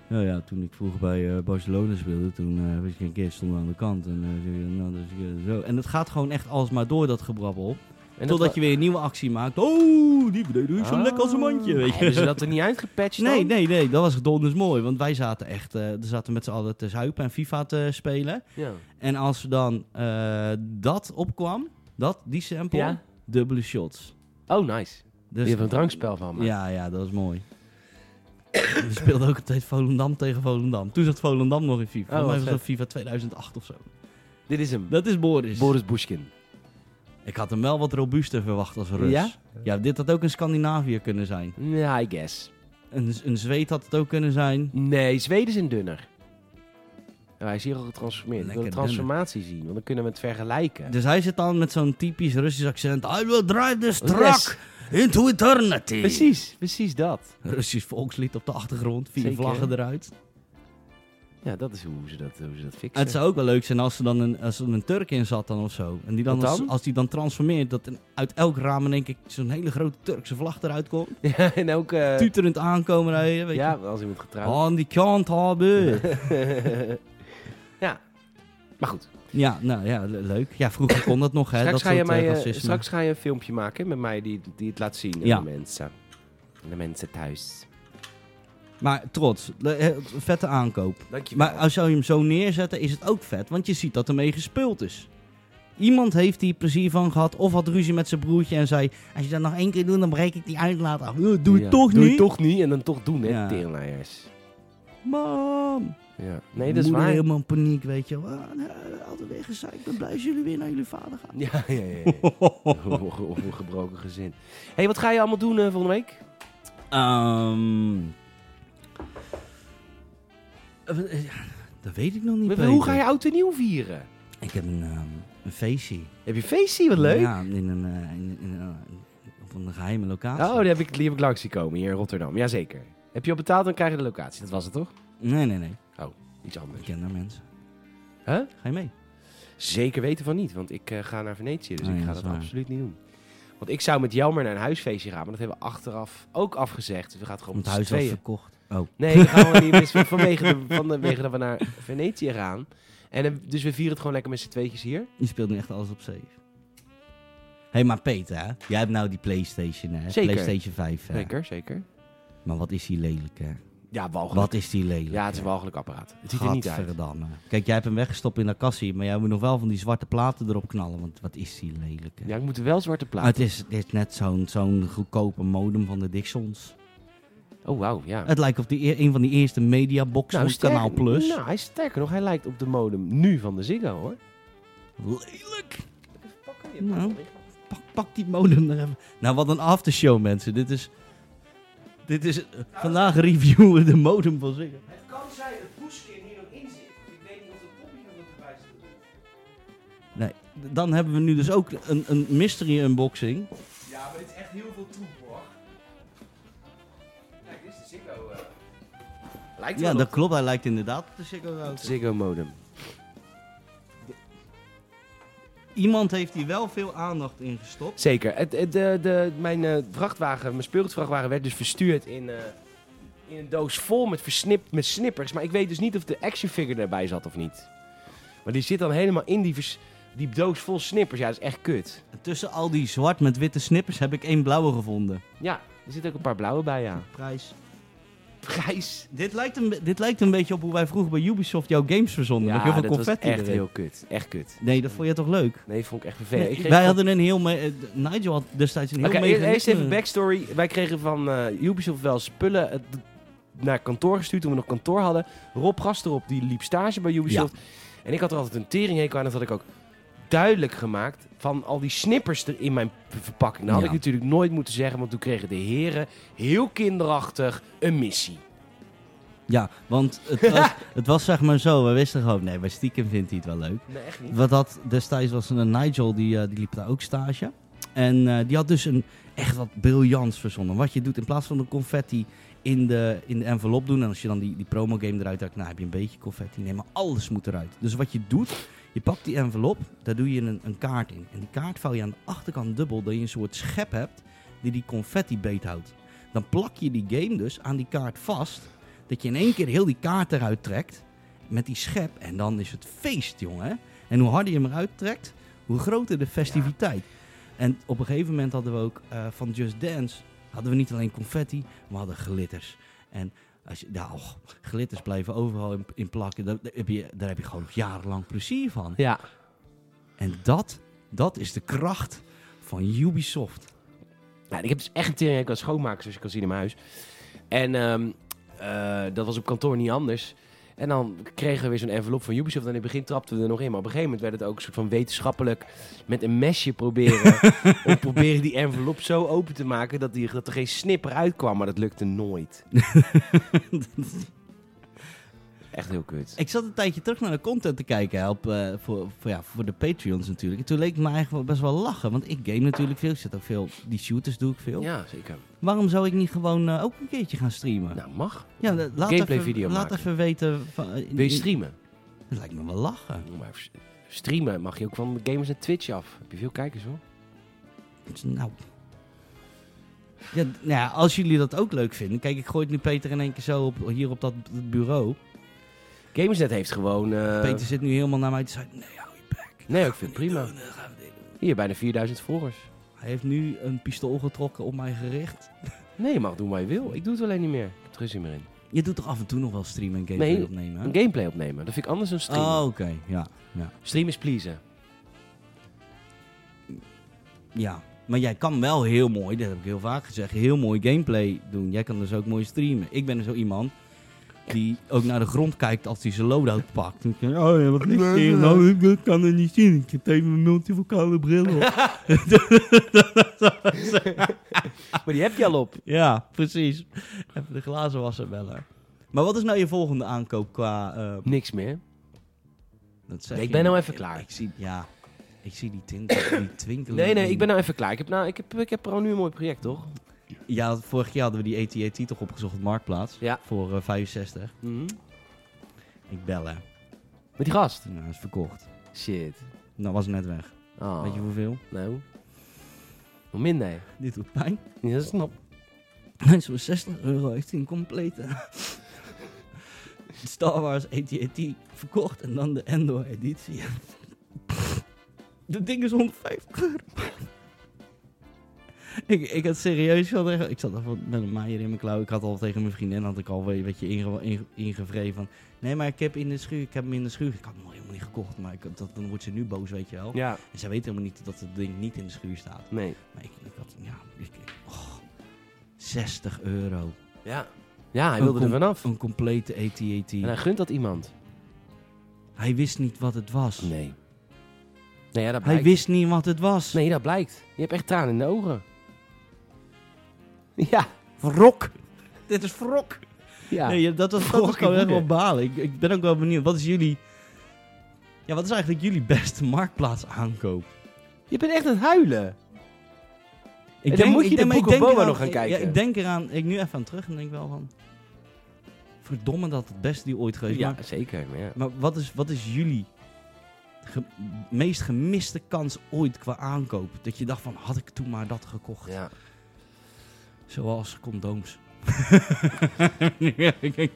Speaker 2: Nou ja, toen ik vroeger bij eh, Barcelona speelde, toen eh wist ik een keer stond aan de kant. En, eh, nou, dus, eh, zo. en het gaat gewoon echt alsmaar door, dat gebrabbel.
Speaker 1: En
Speaker 2: Totdat
Speaker 1: dat-
Speaker 2: je weer een nieuwe actie maakt. Oh, die deed zo
Speaker 1: Ah.
Speaker 2: lekker als een mandje. Weet je.
Speaker 1: Hebben ze dat er niet uitgepatcht
Speaker 2: Nee,
Speaker 1: dan?
Speaker 2: nee, nee, dat was donders mooi. Want wij zaten echt, eh er zaten met z'n allen te zuipen en FIFA te spelen.
Speaker 1: Ja.
Speaker 2: En als we dan eh, dat opkwam, dat, die sample,
Speaker 1: Ja.
Speaker 2: dubbele shots.
Speaker 1: Oh, nice. Je
Speaker 2: Dus,
Speaker 1: hebt een drankspel van me.
Speaker 2: ja, ja, dat was mooi. We speelden ook altijd Volendam tegen Volendam. Toen zat Volendam nog in
Speaker 1: Oh,
Speaker 2: FIFA. Volgens mij
Speaker 1: wat
Speaker 2: was dat FIFA 2008 of zo.
Speaker 1: Dit is hem.
Speaker 2: Dat is Boris.
Speaker 1: Boris Bushkin.
Speaker 2: Ik had hem wel wat robuuster verwacht als Rus.
Speaker 1: Ja?
Speaker 2: Ja, dit had ook een Scandinavië kunnen zijn.
Speaker 1: Ja, I guess.
Speaker 2: Een, een Zweed had het ook kunnen zijn.
Speaker 1: Nee, Zweden zijn dunner. Nou, hij is hier al getransformeerd. Ik wil de
Speaker 2: Lekker dunner.
Speaker 1: transformatie zien, want dan kunnen we het vergelijken.
Speaker 2: Dus hij zit dan met zo'n typisch Russisch accent. I will drive this
Speaker 1: Yes.
Speaker 2: truck into eternity.
Speaker 1: Precies, precies dat.
Speaker 2: Russisch volkslied op de achtergrond. Vier
Speaker 1: Zeker.
Speaker 2: vlaggen eruit.
Speaker 1: Ja, dat is hoe ze dat, hoe ze dat fixen.
Speaker 2: Het zou ook wel leuk zijn als er dan een, als er een Turk in zat dan of zo. En die dan,
Speaker 1: Wat dan?
Speaker 2: Als, als die dan transformeert, dat een- uit elk raam in één keer zo'n hele grote Turkse vlag eruit komt.
Speaker 1: Ja, en ook... eh,
Speaker 2: Tuterend aankomen rijden, weet
Speaker 1: ja,
Speaker 2: je.
Speaker 1: als iemand getrouwd
Speaker 2: Aan die kant ah, hebben.
Speaker 1: ja.
Speaker 2: Oh.
Speaker 1: Maar goed,
Speaker 2: ja, nou ja, le- leuk. Ja, vroeger kon dat nog, hè.
Speaker 1: straks,
Speaker 2: dat
Speaker 1: ga je
Speaker 2: soort, eh,
Speaker 1: mij, eh,
Speaker 2: racisme.
Speaker 1: straks ga je een filmpje maken met mij die, die het laat zien aan
Speaker 2: Ja.
Speaker 1: de mensen. Aan De mensen thuis.
Speaker 2: Maar trots. Le- eh, Vette aankoop.
Speaker 1: Dankjewel.
Speaker 2: Maar eh, als je hem zo neerzetten, is het ook vet, want je ziet dat ermee gespeeld is. Iemand heeft hier plezier van gehad, of had ruzie met zijn broertje en zei: Als je dat nog één keer doet, dan breek ik die uitlaat af. Eh, Doe het
Speaker 1: Ja.
Speaker 2: toch
Speaker 1: Doe
Speaker 2: niet?
Speaker 1: je toch niet en dan toch doen, hè,
Speaker 2: Ja.
Speaker 1: teringleiers.
Speaker 2: Mam.
Speaker 1: Ja. Nee, dat is
Speaker 2: Moeder
Speaker 1: waar.
Speaker 2: helemaal in paniek, weet je. wel. Ah, nee, altijd weer gezeik. Ik ben blij als jullie weer naar jullie vader gaan.
Speaker 1: Ja, ja, ja. ja. Of een gebroken gezin. Hé, hey, wat ga je allemaal doen eh, volgende week?
Speaker 2: Ehm. Eh, eh, ja, Dat weet ik nog niet.
Speaker 1: Maar hoe
Speaker 2: Peter.
Speaker 1: ga je oud en nieuw vieren?
Speaker 2: Ik heb een, ehm, een feestje.
Speaker 1: Heb je feestje? Wat leuk. Oh,
Speaker 2: Ja, in een, eh, in, in, eh, op een geheime locatie.
Speaker 1: Oh, die heb, ik, die heb ik langs zien komen hier in Rotterdam. Jazeker. Heb je al betaald, dan krijg je de locatie. Dat was het toch?
Speaker 2: Nee, nee, nee.
Speaker 1: Iets
Speaker 2: Ik
Speaker 1: anders.
Speaker 2: ken daar mensen.
Speaker 1: Huh?
Speaker 2: Ga je mee?
Speaker 1: Zeker weten van niet, want ik eh, ga naar Venetië. Dus
Speaker 2: Oh ja,
Speaker 1: ik ga
Speaker 2: dat
Speaker 1: dat
Speaker 2: is waar.
Speaker 1: absoluut niet doen. Want ik zou met Jelmer naar een huisfeestje gaan, maar dat hebben we achteraf ook afgezegd. Dus we gaan het gewoon
Speaker 2: Want
Speaker 1: met
Speaker 2: het
Speaker 1: z'n
Speaker 2: huis was
Speaker 1: tweeën.
Speaker 2: verkocht. Oh.
Speaker 1: Nee, dat gaan we niet. Dus vanwege, de, vanwege dat we naar Venetië gaan. En, eh, dus we vieren het gewoon lekker met z'n tweetjes hier.
Speaker 2: Je speelt nu echt alles op safe. Hé, hey, maar Peter, hè? jij hebt nou die PlayStation, hè?
Speaker 1: Zeker.
Speaker 2: PlayStation 5, hè?
Speaker 1: Zeker, zeker.
Speaker 2: Maar wat is die lelijk, hè?
Speaker 1: Ja, walgelijk.
Speaker 2: Wat is die lelijk?
Speaker 1: Ja, het is een
Speaker 2: hè?
Speaker 1: walgelijk apparaat. Het ziet er niet uit.
Speaker 2: Gadverdamme. Kijk, jij hebt hem weggestopt in de kassie, maar jij moet nog wel van die zwarte platen erop knallen. Want wat is die lelijk, hè?
Speaker 1: Ja, ik moet er wel zwarte
Speaker 2: Ah,
Speaker 1: platen.
Speaker 2: het, is, het is net zo'n zo'n goedkope modem van de Dixons.
Speaker 1: Oh, wauw, ja.
Speaker 2: Het lijkt op die, e- een van die eerste mediaboxen van
Speaker 1: sterker-
Speaker 2: Kanaal Plus.
Speaker 1: Nou, hij is sterker nog. Hij lijkt op de modem nu van de Ziggo, hoor.
Speaker 2: Lelijk! Nou, pak, pak die modem er even. Nou, wat een aftershow, mensen. Dit is... Dit is... eh, vandaag reviewen we de modem van Ziggo.
Speaker 1: Het kan zijn dat Poeskin hier nog in zit. Ik weet niet of de poppie van het erbij zit.
Speaker 2: Nee, d- dan hebben we nu dus ook een, een mystery unboxing.
Speaker 1: Ja, maar dit is echt heel veel troep, hoor. Kijk, dit is de Ziggo... eh. Lijkt
Speaker 2: Ja,
Speaker 1: wel
Speaker 2: dat
Speaker 1: op
Speaker 2: klopt. Hij lijkt inderdaad op de Ziggo
Speaker 1: de
Speaker 2: Road.
Speaker 1: Ziggo modem.
Speaker 2: Iemand heeft hier wel veel aandacht in gestopt.
Speaker 1: Zeker. Het, het- de, de, mijn eh, vrachtwagen, mijn speelgoedvrachtwagen werd dus verstuurd in, eh, in een doos vol met, versnip, met snippers. Maar ik weet dus niet of de action figure erbij zat of niet. Maar die zit dan helemaal in die, vers- die doos vol snippers. Ja, dat is echt kut.
Speaker 2: En Tussen al die zwart met witte snippers heb ik één blauwe gevonden.
Speaker 1: Ja, er zitten ook een paar blauwe bij, ja.
Speaker 2: Prijs.
Speaker 1: Prijs.
Speaker 2: Dit lijkt, een, be- dit lijkt een beetje op hoe wij vroeger bij Ubisoft jouw games verzonden. met
Speaker 1: Ja,
Speaker 2: heel
Speaker 1: dat
Speaker 2: veel
Speaker 1: was
Speaker 2: confetti
Speaker 1: echt
Speaker 2: erin.
Speaker 1: heel kut. Echt kut.
Speaker 2: Nee, dat vond je toch leuk?
Speaker 1: Nee, vond ik echt vervelend.
Speaker 2: Nee,
Speaker 1: Ik kreeg
Speaker 2: wij
Speaker 1: van-
Speaker 2: hadden een heel... me- eh, d- Nigel had destijds een heel
Speaker 1: Oké, eerst-
Speaker 2: mechanisme.
Speaker 1: eerst even backstory. Wij kregen van eh, Ubisoft wel spullen eh, d- naar kantoor gestuurd toen we nog kantoor hadden. Rob Gasterop, die liep stage bij Ubisoft. En ik had er altijd een teringhekel aan. Dat had ik ook duidelijk gemaakt van al die snippers er in mijn p- verpakking. Dat had
Speaker 2: Ja.
Speaker 1: ik natuurlijk nooit moeten zeggen, want toen kregen de heren heel kinderachtig een missie.
Speaker 2: Ja, want het was, het was zeg maar zo. We wisten gewoon, nee, bij stiekem vindt hij het wel leuk.
Speaker 1: Nee, echt niet.
Speaker 2: Wat dat destijds was een Nigel, die, eh, die liep daar ook stage. En eh, die had dus een, echt wat briljants verzonnen. Wat je doet, in plaats van de confetti in de, in de envelop doen... en als je dan die, die promo-game eruit trekt, nou heb je een beetje confetti. Nee, maar alles moet eruit. Dus wat je doet, je pakt die envelop, daar doe je een, een kaart in. En die kaart vouw je aan de achterkant dubbel... dat je een soort schep hebt die die confetti beethoudt. Dan plak je die game dus aan die kaart vast... dat je in één keer heel die kaart eruit trekt met die schep... en dan is het feest, jongen. En hoe harder je hem eruit trekt, hoe groter de festiviteit. En op een gegeven moment hadden we ook eh, van Just Dance... hadden we niet alleen confetti, we hadden glitters. En als je, nou, och, glitters blijven overal in, in plakken. Daar, daar heb je, daar heb je gewoon jarenlang plezier van.
Speaker 1: Ja.
Speaker 2: En dat, dat is de kracht van Ubisoft.
Speaker 1: Nou, ik heb dus echt een teringhekel aan schoonmakers, zoals je kan zien in mijn huis. En ehm, eh, dat was op kantoor niet anders. En dan kregen we weer zo'n envelop van Ubisoft. En in het begin trapten we er nog in. Maar op een gegeven moment werd het ook een soort van wetenschappelijk... met een mesje proberen... om proberen die envelop zo open te maken... Dat, die, dat er geen snipper uitkwam. Maar dat lukte nooit. Echt heel kut.
Speaker 2: Ik zat een tijdje terug naar de content te kijken hè, op, eh, voor, voor, ja, voor de Patreons natuurlijk. En toen leek het me eigenlijk wel best wel lachen. Want ik game natuurlijk veel. Ik zit ook veel. Die shooters doe ik veel.
Speaker 1: Ja, zeker.
Speaker 2: Waarom zou ik niet gewoon eh, ook een keertje gaan streamen?
Speaker 1: Nou, mag.
Speaker 2: ja, la- laat
Speaker 1: gameplay
Speaker 2: even,
Speaker 1: video
Speaker 2: Laat
Speaker 1: maken.
Speaker 2: even weten. Van, eh,
Speaker 1: Wil je streamen?
Speaker 2: Dat lijkt me wel lachen.
Speaker 1: Doe maar even streamen mag je ook van gamers en Twitch af. Heb je veel kijkers hoor.
Speaker 2: Nou. Ja, d- nou ja, als jullie dat ook leuk vinden. Kijk, ik gooi het nu Peter in één keer zo op, hier op dat b- bureau.
Speaker 1: Gamersnet heeft gewoon... eh,
Speaker 2: Peter zit nu helemaal naar mij te zeggen. Nee, hou je bek.
Speaker 1: Nee, ik vind het prima.
Speaker 2: Doen, dat gaan we niet doen.
Speaker 1: Hier, bijna 4000 volgers.
Speaker 2: Hij heeft nu een pistool getrokken op mij gericht.
Speaker 1: Nee, je mag doen wat je wil. Ik doe het alleen niet meer. Ik heb er geen zin meer in.
Speaker 2: Je doet toch af en toe nog wel stream en gameplay
Speaker 1: Nee,
Speaker 2: opnemen? hè?
Speaker 1: Een gameplay opnemen, dat vind ik anders dan stream.
Speaker 2: Oh, oké. Ja, ja.
Speaker 1: Stream is pleasen.
Speaker 2: ja. Maar jij kan wel heel mooi, dat heb ik heel vaak gezegd, heel mooi gameplay doen. Jij kan dus ook mooi streamen. Ik ben zo iemand die ook naar de grond kijkt als hij zijn loadout pakt. Dan denk ik, oh ja, wat ligt hier? Nou, ik- ik kan het niet zien. Ik heb even mijn multifocale bril op.
Speaker 1: Maar die heb je al op.
Speaker 2: ja, precies. Even de glazen wassen bellen. Maar wat is nou je volgende aankoop qua... eh,
Speaker 1: Niks meer.
Speaker 2: dat zeg
Speaker 1: Nee, ik
Speaker 2: je
Speaker 1: ben
Speaker 2: niet.
Speaker 1: nou even klaar.
Speaker 2: Ik zie, ja, ik zie die, tinten, die twinkelen.
Speaker 1: Nee, nee,
Speaker 2: in-
Speaker 1: ik ben nou even klaar. Ik heb, nou, ik heb, ik heb al nu een mooi project, toch?
Speaker 2: Ja, vorig jaar hadden we die E AT-AT toch opgezocht op Marktplaats.
Speaker 1: Ja.
Speaker 2: Voor eh, 65. Ik bellen.
Speaker 1: Met die gast.
Speaker 2: Nou, is verkocht.
Speaker 1: Shit.
Speaker 2: Nou, was het net weg.
Speaker 1: Oh,
Speaker 2: Weet je hoeveel?
Speaker 1: Nou. Nog minder.
Speaker 2: Dit doet pijn.
Speaker 1: Ja, dat snap ik.
Speaker 2: Zo'n 60 euro heeft hij een complete. Star Wars AT-AT verkocht en dan de Endor editie. Dat ding is 150 euro. Ik, ik had serieus wel tegen... Ik zat al van- met een maaier in mijn klauw. Ik had al tegen mijn vriendin had ik al een beetje inge, inge- ingevreven van... Nee, maar ik heb in de schuur... Ik heb hem in de schuur... Ik had hem al helemaal niet gekocht. Maar ik, dat, dan wordt ze nu boos, weet je wel.
Speaker 1: Ja.
Speaker 2: En zij weet helemaal niet dat het ding niet in de schuur staat.
Speaker 1: Nee.
Speaker 2: Maar ik, ik had, ja, ik, oh, 60 euro.
Speaker 1: Ja. Ja, hij wilde
Speaker 2: Een
Speaker 1: er
Speaker 2: com-
Speaker 1: vanaf.
Speaker 2: Een complete AT-AT.
Speaker 1: En hij gunt dat iemand.
Speaker 2: Hij wist niet wat het was.
Speaker 1: Nee. Nee, ja, dat
Speaker 2: Hij
Speaker 1: blijkt.
Speaker 2: wist niet wat het was.
Speaker 1: Nee, dat blijkt. Je hebt echt tranen in de ogen. Ja.
Speaker 2: Wrok. Dit is wrok.
Speaker 1: Ja.
Speaker 2: Nee, dat was, dat was
Speaker 1: Wrok in
Speaker 2: gewoon echt wel
Speaker 1: woede.
Speaker 2: balen. Ik, ik ben ook wel benieuwd. Wat is jullie... Ja, wat is eigenlijk jullie beste marktplaats aankoop?
Speaker 1: Je bent echt aan het huilen.
Speaker 2: Ik
Speaker 1: dan moet je de
Speaker 2: maar
Speaker 1: Book of
Speaker 2: denk
Speaker 1: Boba
Speaker 2: eraan-
Speaker 1: nog gaan kijken.
Speaker 2: Ja, ik denk eraan, ik nu even aan terug en denk wel van... Verdomme dat het beste die ooit geweest.
Speaker 1: Ja,
Speaker 2: Maar
Speaker 1: zeker. Maar ja.
Speaker 2: Maar wat is, wat is jullie ge- meest gemiste kans ooit qua aankoop? Dat je dacht van, had ik toen maar dat gekocht?
Speaker 1: Ja.
Speaker 2: Zoals condooms.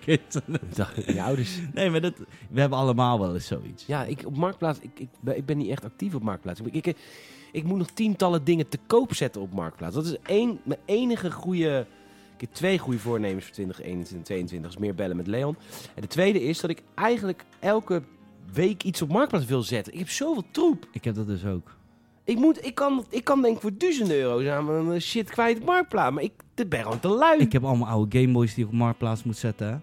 Speaker 1: Je ouders.
Speaker 2: nee, maar dat, we hebben allemaal wel eens zoiets.
Speaker 1: Ja, ik, op Marktplaats, ik, ik, ben, ik ben niet echt actief op Marktplaats. Ik, ik, ik moet nog tientallen dingen te koop zetten op Marktplaats. Dat is één, mijn enige goede... Ik heb twee goede voornemens voor 2021 en 2022. Is meer bellen met Leon. En de tweede is dat ik eigenlijk elke week iets op Marktplaats wil zetten. Ik heb zoveel troep.
Speaker 2: Ik heb dat dus ook.
Speaker 1: Ik, moet, ik, kan, ik kan denk ik voor duizenden euro's aan mijn shit kwijt op Marktplaats. Maar ik ik ben gewoon te lui.
Speaker 2: Ik heb allemaal oude Gameboys die ik op Marktplaats moet zetten. hè.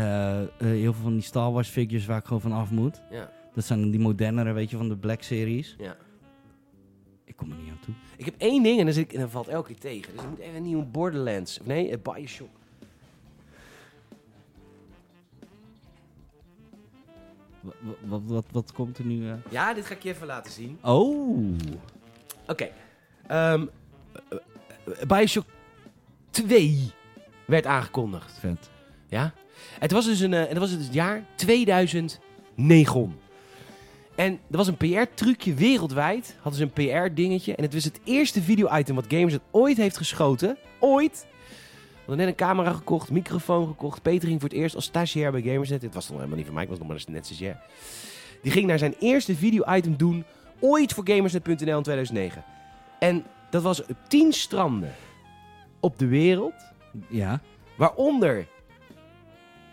Speaker 2: Eh, eh, heel veel van die Star Wars figures waar ik gewoon van af moet.
Speaker 1: Ja.
Speaker 2: Dat zijn die modernere, weet je, van de Black Series.
Speaker 1: Ja.
Speaker 2: Ik kom er niet aan toe.
Speaker 1: Ik heb één ding en dan, zit ik, en dan valt elke keer tegen. Dus ik moet even een nieuwe Borderlands. Of nee, een Bioshock.
Speaker 2: Wat, wat, wat, wat komt er nu? eh?
Speaker 1: Ja, dit ga ik je even laten zien.
Speaker 2: Oh!
Speaker 1: Oké. Ehm, eh, eh, Bioshock 2 werd aangekondigd.
Speaker 2: Vet.
Speaker 1: Ja? Het was dus, een, eh, het was dus het jaar 2009. En er was een PR-trucje wereldwijd. Hadden ze een PR-dingetje. En het was het eerste video-item wat Games het ooit heeft geschoten. Ooit! We hadden net een camera gekocht, microfoon gekocht. Peter ging voor het eerst als stagiair bij Gamersnet. Dit was nog helemaal niet van mij, ik was nog maar net stagiair. Die ging naar zijn eerste video-item doen. Ooit voor Gamersnet.nl in 2009. En dat was op 10 stranden op de wereld.
Speaker 2: Ja.
Speaker 1: Waaronder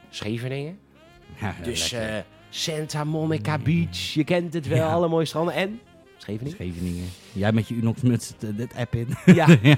Speaker 1: Scheveningen.
Speaker 2: ja
Speaker 1: Dus
Speaker 2: lekker. Mm.
Speaker 1: eh, Santa Monica Beach, je kent het wel,
Speaker 2: Ja.
Speaker 1: alle mooie stranden. En Scheveningen.
Speaker 2: Scheveningen. Jij met je Unox-muts, eh, dit app in.
Speaker 1: Ja.
Speaker 2: ja.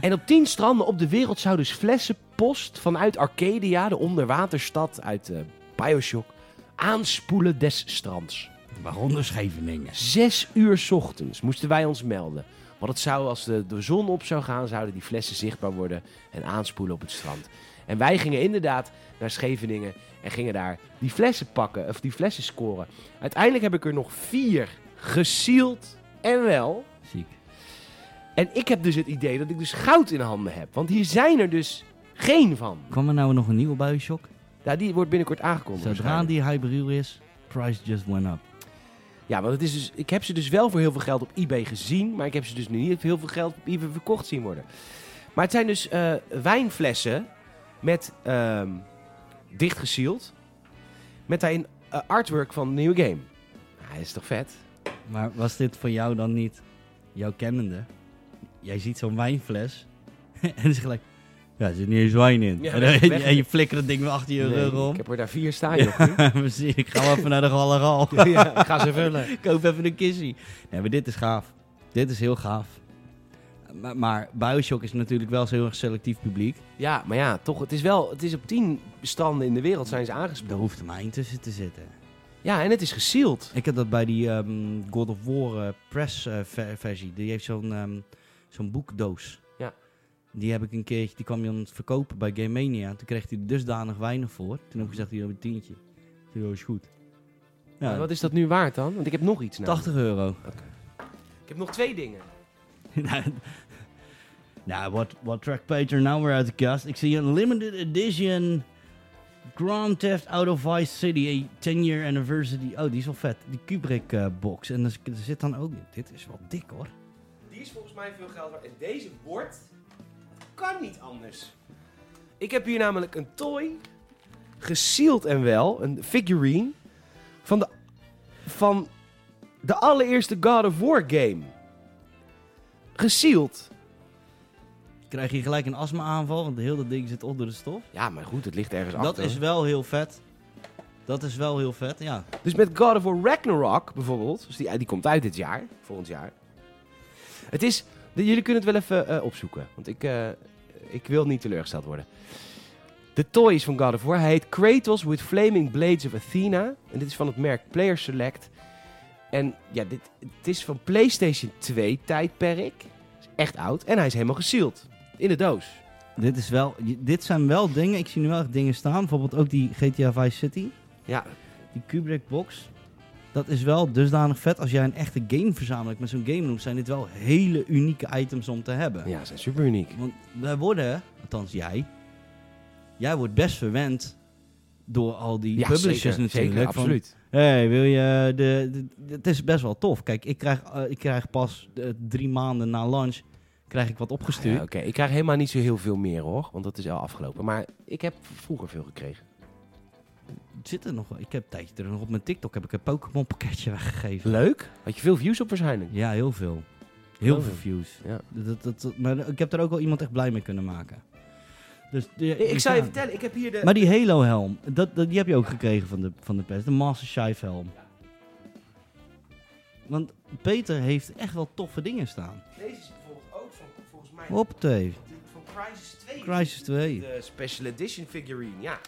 Speaker 1: En op tien stranden op de wereld zou dus flessenpost vanuit Arcadia, de onderwaterstad uit eh, Bioshock, aanspoelen des strands.
Speaker 2: Waaronder Scheveningen.
Speaker 1: Zes uur 's ochtends moesten wij ons melden. Want het zou, als de, de zon op zou gaan, zouden die flessen zichtbaar worden en aanspoelen op het strand. En wij gingen inderdaad naar Scheveningen en gingen daar die flessen pakken, of die flessen scoren. Uiteindelijk heb ik er nog vier gesield en wel.
Speaker 2: Ziek.
Speaker 1: En ik heb dus het idee dat ik dus goud in handen heb. Want hier zijn er dus geen van.
Speaker 2: Kwam er nou nog een nieuwe Bioshock?
Speaker 1: Nou, die wordt binnenkort aangekondigd.
Speaker 2: Zodra
Speaker 1: waarschijnlijk.
Speaker 2: die hybride is, price just went up.
Speaker 1: Ja, want het is dus, ik heb ze dus wel voor heel veel geld op eBay gezien. Maar ik heb ze dus nu niet voor heel veel geld op eBay verkocht zien worden. Maar het zijn dus eh, wijnflessen met ehm dichtgesield. Met daarin eh, artwork van een nieuwe game. Nou, dat is toch vet?
Speaker 2: Maar was dit voor jou dan niet, jouw kennende? Jij ziet zo'n wijnfles en het is gelijk, ja, er zit niet eens wijn in.
Speaker 1: Ja,
Speaker 2: en,
Speaker 1: weg-
Speaker 2: dan-
Speaker 1: weg-
Speaker 2: en je flikkert het ding weer achter je
Speaker 1: Nee,
Speaker 2: rug om.
Speaker 1: ik heb er daar vier staan, joh.
Speaker 2: Ja, precies. Ik ga wel even naar de Gallegal.
Speaker 1: ja, ik ga ze vullen.
Speaker 2: Ik Koop even een kissie. Nee, maar dit is gaaf. Dit is heel gaaf. Maar, maar Bioshock is natuurlijk wel zo heel erg selectief publiek.
Speaker 1: Ja, maar ja, toch. Het is wel, het is op tien standen in de wereld zijn ze aangespoeld.
Speaker 2: Er hoeft er maar één tussen te zitten.
Speaker 1: Ja, en het is gesield.
Speaker 2: Ik heb dat bij die ehm, God of War eh, press eh, ver- versie. Die heeft zo'n ehm, zo'n boekdoos.
Speaker 1: Ja.
Speaker 2: Die heb ik een keertje, die kwam je aan het verkopen bij Game Mania. Toen kreeg hij dusdanig weinig voor. Toen heb ik gezegd, hier heb je een tientje. Toen "Oh, is goed. Ja,
Speaker 1: En wat is nou? dat nu waard dan? Want ik heb nog iets. namelijk.
Speaker 2: 80 euro.
Speaker 1: Ik heb nog twee dingen.
Speaker 2: nou, nou, wat, wat trekt Peter nou weer uit de kast? Ik zie een limited edition Grand Theft Auto Vice City 10 year anniversary. Oh, die is wel vet. Die Kubrick eh, box. En er z- er zit dan ook... Dit is wel dik hoor.
Speaker 1: Die is volgens mij veel geld waard. En deze wordt. kan niet anders. Ik heb hier namelijk een toy. Gesield en wel. Een figurine. Van de. Van de allereerste God of War game. Gesield.
Speaker 2: Krijg je gelijk een astma-aanval, want de hele ding zit onder de stof.
Speaker 1: Ja, maar goed, het ligt ergens
Speaker 2: Dat is wel heel vet. Dat is wel heel vet, ja.
Speaker 1: Dus met God of War Ragnarok bijvoorbeeld. Dus die, die komt uit dit jaar, volgend jaar. Het is. de- jullie kunnen het wel even eh, opzoeken. Want ik, eh, ik wil niet teleurgesteld worden. De toy is van God of War. Hij heet Kratos with Flaming Blades of Athena. En dit is van het merk Player Select. En ja, dit, het is van PlayStation 2 tijdperk. Het is echt oud. En hij is helemaal gesield. In de doos.
Speaker 2: Dit, is wel, je- dit zijn wel dingen, ik zie nu wel echt dingen staan. Bijvoorbeeld ook die GTA Vice City.
Speaker 1: Ja,
Speaker 2: Die Kubrick box. Dat is wel dusdanig vet. Als jij een echte game verzamelt met zo'n game room, zijn dit wel hele unieke items om te hebben.
Speaker 1: ja ze zijn super uniek.
Speaker 2: Want wij worden, althans jij, jij wordt best verwend door al die
Speaker 1: Ja,
Speaker 2: publishers
Speaker 1: zeker,
Speaker 2: natuurlijk.
Speaker 1: zeker,
Speaker 2: van,
Speaker 1: absoluut.
Speaker 2: Hé, wil je de, de- Het is best wel tof. Kijk, ik krijg, eh, ik krijg pas eh, drie maanden na launch krijg ik wat opgestuurd.
Speaker 1: Ah, Ja, Oké, ik krijg helemaal niet zo heel veel meer hoor, want dat is al afgelopen. Maar ik heb vroeger veel gekregen.
Speaker 2: Zit er nog? wel- Ik heb een tijdje terug nog op mijn TikTok heb ik een Pokémon pakketje weggegeven.
Speaker 1: Leuk. Had je veel views op waarschijnlijk?
Speaker 2: Ja, heel veel. Heel
Speaker 1: Oh.
Speaker 2: veel views.
Speaker 1: Ja.
Speaker 2: Dat, dat, dat- maar ik heb er ook wel iemand echt blij mee kunnen maken. Dus die-
Speaker 1: Ik,
Speaker 2: die
Speaker 1: zou je
Speaker 2: staan.
Speaker 1: vertellen, ik heb hier de...
Speaker 2: Maar die Halo helm, dat, dat, die heb je ook gekregen van de, van de pers. De Master Chief helm. Want Peter heeft echt wel toffe dingen staan.
Speaker 1: Deze is bijvoorbeeld ook van, volgens mij,
Speaker 2: Op
Speaker 1: van Crisis 2.
Speaker 2: Crisis 2.
Speaker 1: De Special Edition figurine, ja.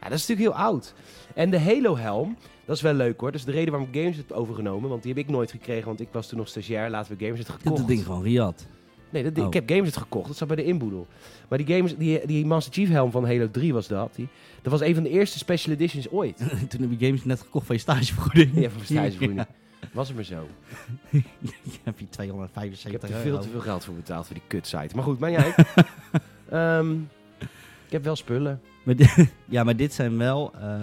Speaker 1: Ja, dat is natuurlijk heel oud. En de Halo helm, dat is wel leuk hoor. Dat is de reden waarom Games het overgenomen, want die heb ik nooit gekregen, want ik was toen nog stagiair. Laten we Games het
Speaker 2: Dit
Speaker 1: gekocht.
Speaker 2: is ding gewoon riad.
Speaker 1: Nee, dat,
Speaker 2: Oh.
Speaker 1: ik heb Games het gekocht. Dat zat bij de inboedel. Maar die, games, die, die Master Chief helm van Halo 3 was dat. Die, dat was een van de eerste special editions ooit.
Speaker 2: Toen heb je games net gekocht van je stagevergoeding.
Speaker 1: Ja, voor stagevergoeding. Was het maar zo.
Speaker 2: Ja, heb je
Speaker 1: Ik
Speaker 2: 275
Speaker 1: heb er
Speaker 2: euro.
Speaker 1: veel te veel geld voor betaald voor die kutsite. Maar goed, maar jij. Ehm ik heb wel spullen.
Speaker 2: Maar di- ja, maar dit zijn wel... ehm,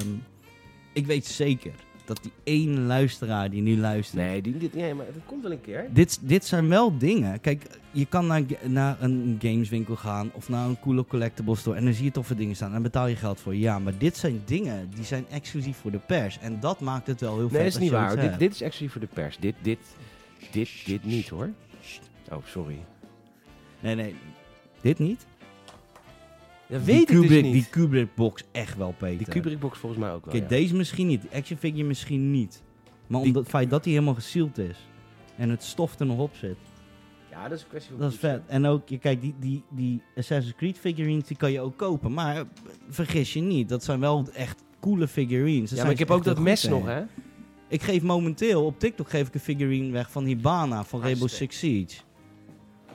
Speaker 2: ik weet zeker dat die ene luisteraar die nu luistert...
Speaker 1: Nee, die, dit, nee, maar dat komt wel een keer.
Speaker 2: Dit, dit zijn wel dingen. Kijk, je kan naar, ga- naar een gameswinkel gaan of naar een coole collectible store en dan zie je toffe dingen staan en daar betaal je geld voor. Ja, maar dit zijn dingen die zijn exclusief voor de pers en dat maakt het wel
Speaker 1: Nee,
Speaker 2: heel vet
Speaker 1: dat is
Speaker 2: als
Speaker 1: niet
Speaker 2: je
Speaker 1: waar.
Speaker 2: het
Speaker 1: Dit,
Speaker 2: hebt.
Speaker 1: dit is exclusief voor de pers. Dit, dit, dit, dit niet hoor. Oh, sorry.
Speaker 2: Nee, nee. Dit niet?
Speaker 1: Dat
Speaker 2: Die
Speaker 1: weet ik
Speaker 2: Kubrick,
Speaker 1: dus niet.
Speaker 2: Die
Speaker 1: Die,
Speaker 2: Kubrick box echt wel, Peter.
Speaker 1: Kubrick box volgens mij ook wel.
Speaker 2: Kijk,
Speaker 1: ja.
Speaker 2: deze misschien niet. Die action figure misschien niet. Maar
Speaker 1: Die-
Speaker 2: omdat het feit dat hij helemaal gesield is en het stof er nog op zit.
Speaker 1: ja, dat is een kwestie van
Speaker 2: Dat is vet. En ook, je- kijk, die, die, die Assassin's Creed figurines die kan je ook kopen. Maar eh, vergis je niet, dat zijn wel echt coole figurines. Daar
Speaker 1: Ja,
Speaker 2: zijn
Speaker 1: maar ik
Speaker 2: ze
Speaker 1: heb ook dat
Speaker 2: echt heel goed
Speaker 1: mes nog,
Speaker 2: in.
Speaker 1: hè?
Speaker 2: Ik geef momenteel op TikTok geef ik een figurine weg van Hibana van Rainbow Six Siege.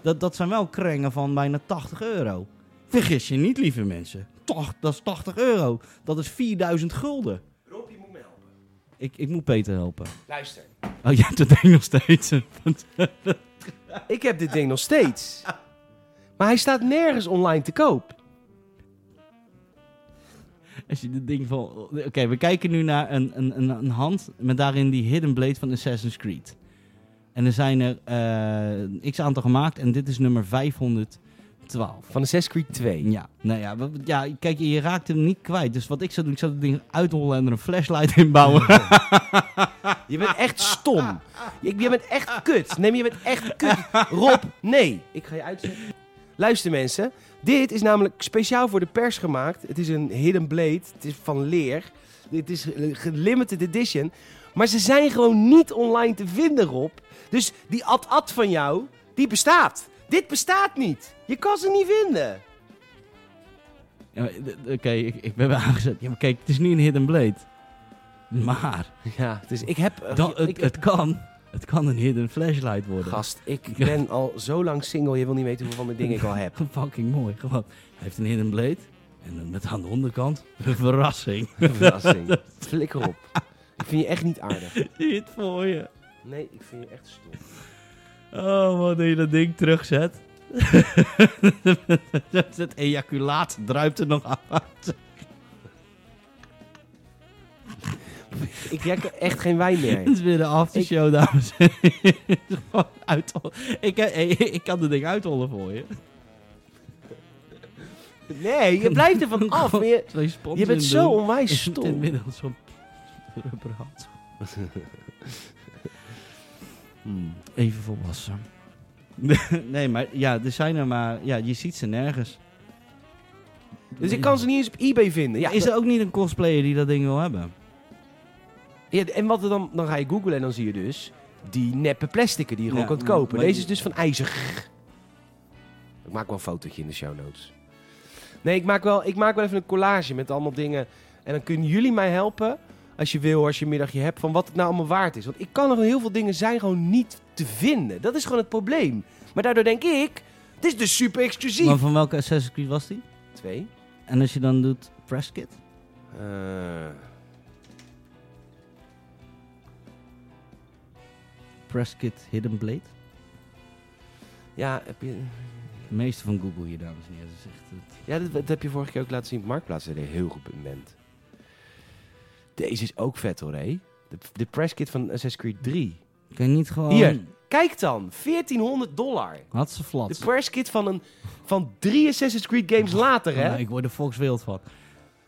Speaker 2: Dat, dat zijn wel krengen van bijna 80 euro. Vergis je niet, lieve mensen. Toch, dat is 80 euro. Dat is 4000 gulden.
Speaker 1: Rob, je moet me helpen.
Speaker 2: Ik, ik moet Peter helpen.
Speaker 1: Luister.
Speaker 2: Oh, je hebt het ding nog steeds.
Speaker 1: Ik heb dit ding nog steeds. Maar hij staat nergens online te koop.
Speaker 2: Als je dit ding van... Oké, we kijken nu naar een, een, een, een hand met daarin die Hidden Blade van Assassin's Creed. En er zijn er eh, x aantal gemaakt en dit is nummer 512.
Speaker 1: Van de Assassin's Creed 2.
Speaker 2: Ja, nou ja, we- ja, kijk, je raakt hem niet kwijt. Dus wat ik zou doen, ik zou het ding uithollen en er een flashlight in bouwen.
Speaker 1: Je bent echt stom. Je, je bent echt kut. Nee, maar je bent echt kut. Rob, nee. Ik ga je uitzetten. Luister mensen, dit is namelijk speciaal voor de pers gemaakt. Het is een hidden blade. Het is van leer. Het is limited edition. Maar ze zijn gewoon niet online te vinden, Rob. Dus die ad-ad van jou, die bestaat. Dit bestaat niet. Je kan ze niet vinden.
Speaker 2: Ja, maar d- d- Oké, ik, ik ben weer aangezet. Ja, maar kijk, het is niet een hidden blade. Maar,
Speaker 1: Ja, dus ik heb... eh,
Speaker 2: dan,
Speaker 1: ik-
Speaker 2: het, het, kan, het kan een hidden flashlight worden.
Speaker 1: Gast, ik ben al zo lang single. Je wil niet weten hoeveel van de dingen ik al heb.
Speaker 2: Fucking mooi, gewoon. Hij heeft een hidden blade. En dan met aan de onderkant een verrassing.
Speaker 1: Verrassing. Flikker op. Ik vind je echt niet aardig.
Speaker 2: Zie je het voor je?
Speaker 1: Nee, ik vind je echt stom.
Speaker 2: Oh man, dat je dat ding terugzet. Het ejaculaat druipt er nog uit.
Speaker 1: Ik drink echt geen wijn
Speaker 2: Het
Speaker 1: meer.
Speaker 2: is weer de aftershow, dames en heren. Gewoon uithollen. Ik, eh, eh, ik kan dit ding uithollen voor je.
Speaker 1: Nee, je blijft er van af. maar Je,
Speaker 2: Twee spons
Speaker 1: je bent
Speaker 2: in
Speaker 1: zo
Speaker 2: doen.
Speaker 1: onwijs
Speaker 2: Is het
Speaker 1: stom.
Speaker 2: inmiddels zo'n rubberhand. Even volwassen. Hmm. nee, maar ja, er zijn er maar... Ja, je ziet ze nergens.
Speaker 1: Dus ik kan ze niet eens op eBay vinden. Ja,
Speaker 2: Is er ook niet een cosplayer die dat ding wil hebben?
Speaker 1: ja, en wat er dan, dan ga je googlen en dan zie je dus die neppe plasticen die je gewoon
Speaker 2: Ja,
Speaker 1: kunt kopen.
Speaker 2: maar-
Speaker 1: Deze is dus van ijzer. Ik maak wel een fotootje in de show notes. Nee, ik maak, wel, ik maak wel even een collage met allemaal dingen. En dan kunnen jullie mij helpen, als je wil, als je een middagje hebt, van wat het nou allemaal waard is. Want ik kan er gewoon heel veel dingen zijn gewoon niet te vinden. Dat is gewoon het probleem. Maar daardoor denk ik, het is dus super exclusief.
Speaker 2: Maar van welke Assassin's Creed was die?
Speaker 1: Twee.
Speaker 2: En als je dan doet press kit?
Speaker 1: Eh,
Speaker 2: Press kit Hidden Blade?
Speaker 1: ja, heb je,
Speaker 2: De meeste van Google hier, dames en heren. eh, Dat is echt het.
Speaker 1: ja dat, dat heb je vorige keer ook laten zien op Marktplaats. Dat je heel goed in bent. Deze is ook vet hoor, hé. De, de presskit van Assassin's Creed 3.
Speaker 2: Kan je niet gewoon...
Speaker 1: Hier. Kijk dan, 1400 dollar.
Speaker 2: Had ze flat.
Speaker 1: De presskit van, een, van drie Assassin's Creed games later,
Speaker 2: Ja,
Speaker 1: hè.
Speaker 2: ik word er volkswild van.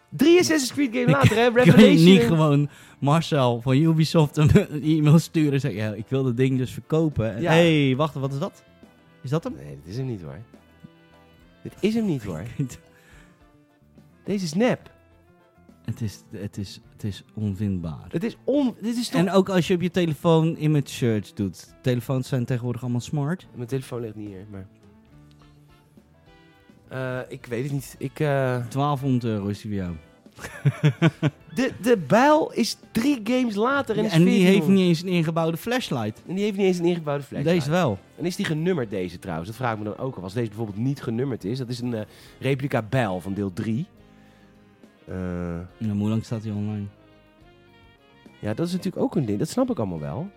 Speaker 1: Drie Assassin's Creed games later, hè.
Speaker 2: Kun je niet
Speaker 1: Revelation.
Speaker 2: gewoon Marcel van Ubisoft een een e-mail sturen en zeggen... Ja, ik wil dat ding dus verkopen. En,
Speaker 1: Ja.
Speaker 2: hey, wacht, wat is dat? Is dat hem?
Speaker 1: Nee, dit is hem niet hoor. Dit is hem niet hoor.
Speaker 2: niet.
Speaker 1: Deze is nep.
Speaker 2: Het is, het is, het is onvindbaar.
Speaker 1: Het is on... Dit is toch...
Speaker 2: En ook als je op je telefoon image search doet. Telefoons zijn tegenwoordig allemaal smart.
Speaker 1: Mijn telefoon ligt niet hier, maar... Eh, ik weet het niet. Ik... eh,
Speaker 2: 1200 euro is die voor jou.
Speaker 1: De, de bijl is drie games later en,
Speaker 2: Ja,
Speaker 1: is
Speaker 2: en die
Speaker 1: 1400.
Speaker 2: heeft niet eens een ingebouwde flashlight.
Speaker 1: en die heeft niet eens een ingebouwde flashlight.
Speaker 2: Deze wel.
Speaker 1: En is die genummerd deze trouwens? Dat vraag ik me dan ook af. Als deze bijvoorbeeld niet genummerd is, dat is een eh, replica bijl van deel 3.
Speaker 2: Nou, hoe lang staat die online?
Speaker 1: ja, dat is natuurlijk ook een ding. Dat snap ik allemaal wel.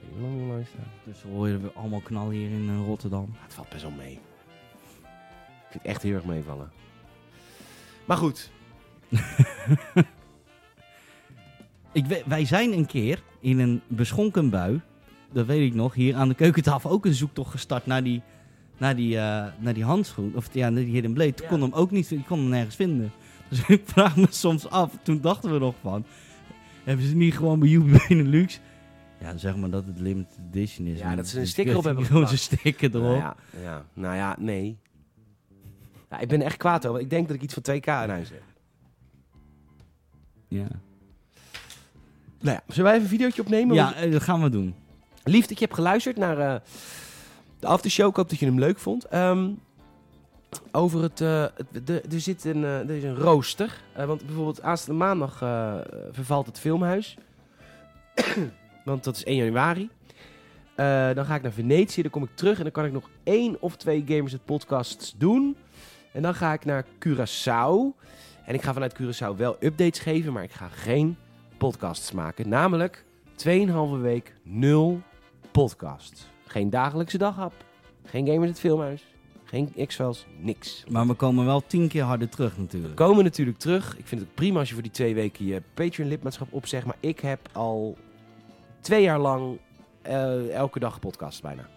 Speaker 1: Ik weet niet Hoe lang lang staat.
Speaker 2: Dus we horen weer allemaal knallen hier in eh, Rotterdam.
Speaker 1: Ah, Het valt best wel mee. Ik vind het echt heel erg meevallen. Maar goed.
Speaker 2: Ik we- wij zijn een keer in een beschonken bui, dat weet ik nog, hier aan de keukentafel ook een zoektocht gestart naar die, naar die, eh, naar die handschoen. Of ja, naar die Hidden Blade. Toen
Speaker 1: Ja.
Speaker 2: kon hem ook niet, ik kon hem nergens vinden. Dus ik vraag me soms af, toen dachten we nog van, hebben ze niet gewoon bij Ubi Benelux... Ja, zeg maar dat het limited edition is.
Speaker 1: Ja,
Speaker 2: maar
Speaker 1: dat ze een
Speaker 2: dus
Speaker 1: sticker
Speaker 2: ik
Speaker 1: op hebben
Speaker 2: Gewoon zo'n
Speaker 1: geplakt.
Speaker 2: sticker erop.
Speaker 1: Nou ja, ja, nou ja, nee. Ja, ik ben echt kwaad over. Ik denk dat ik iets van 2K in huis heb.
Speaker 2: ja.
Speaker 1: Nou ja, zullen wij even een videootje opnemen?
Speaker 2: Ja, eh, dat gaan we doen.
Speaker 1: Lief dat je hebt geluisterd naar eh, de aftershow. Ik hoop dat je hem leuk vond. Ehm, over het. eh, het- de- er zit een, eh, er is een rooster. Eh, want bijvoorbeeld aanstaande maandag eh, vervalt het filmhuis. want dat is 1 januari. Eh, dan ga ik naar Venetië, dan kom ik terug en dan kan ik nog één of twee Gamers het Podcasts doen. En dan ga ik naar Curaçao. En ik ga vanuit Curaçao wel updates geven, maar ik ga geen podcasts maken. Namelijk 2,5 week nul podcast. Geen dagelijkse daghap, geen Gamers het Filmhuis, geen X-Files, niks.
Speaker 2: Maar we komen wel tien keer harder terug natuurlijk.
Speaker 1: Komen natuurlijk terug. Ik vind het prima als je voor die twee weken je Patreon-lidmaatschap opzegt. Maar ik heb al twee jaar lang eh, elke dag podcast bijna.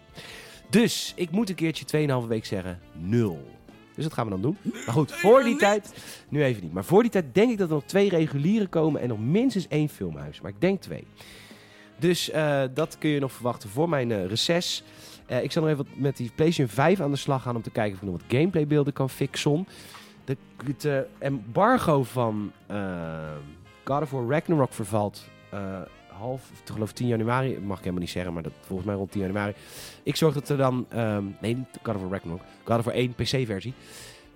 Speaker 1: Dus ik moet een keertje 2,5 week zeggen nul. Dus dat gaan we dan doen. Maar goed, voor die tijd, nu even niet. Maar voor die tijd denk ik dat er nog twee regulieren komen en nog minstens één filmhuis. Maar ik denk twee. Dus eh, dat kun je nog verwachten voor mijn eh reces. Eh, ik zal nog even wat met die PlayStation 5 aan de slag gaan om te kijken of ik nog wat gameplaybeelden kan fixen. De, het eh, embargo van eh, God of War Ragnarok vervalt eh, half, ik geloof 10 januari. Dat mag ik helemaal niet zeggen, maar dat volgens mij rond 10 januari. Ik zorg dat er dan, ehm, nee niet God of War Ragnarok, God of War 1 PC-versie.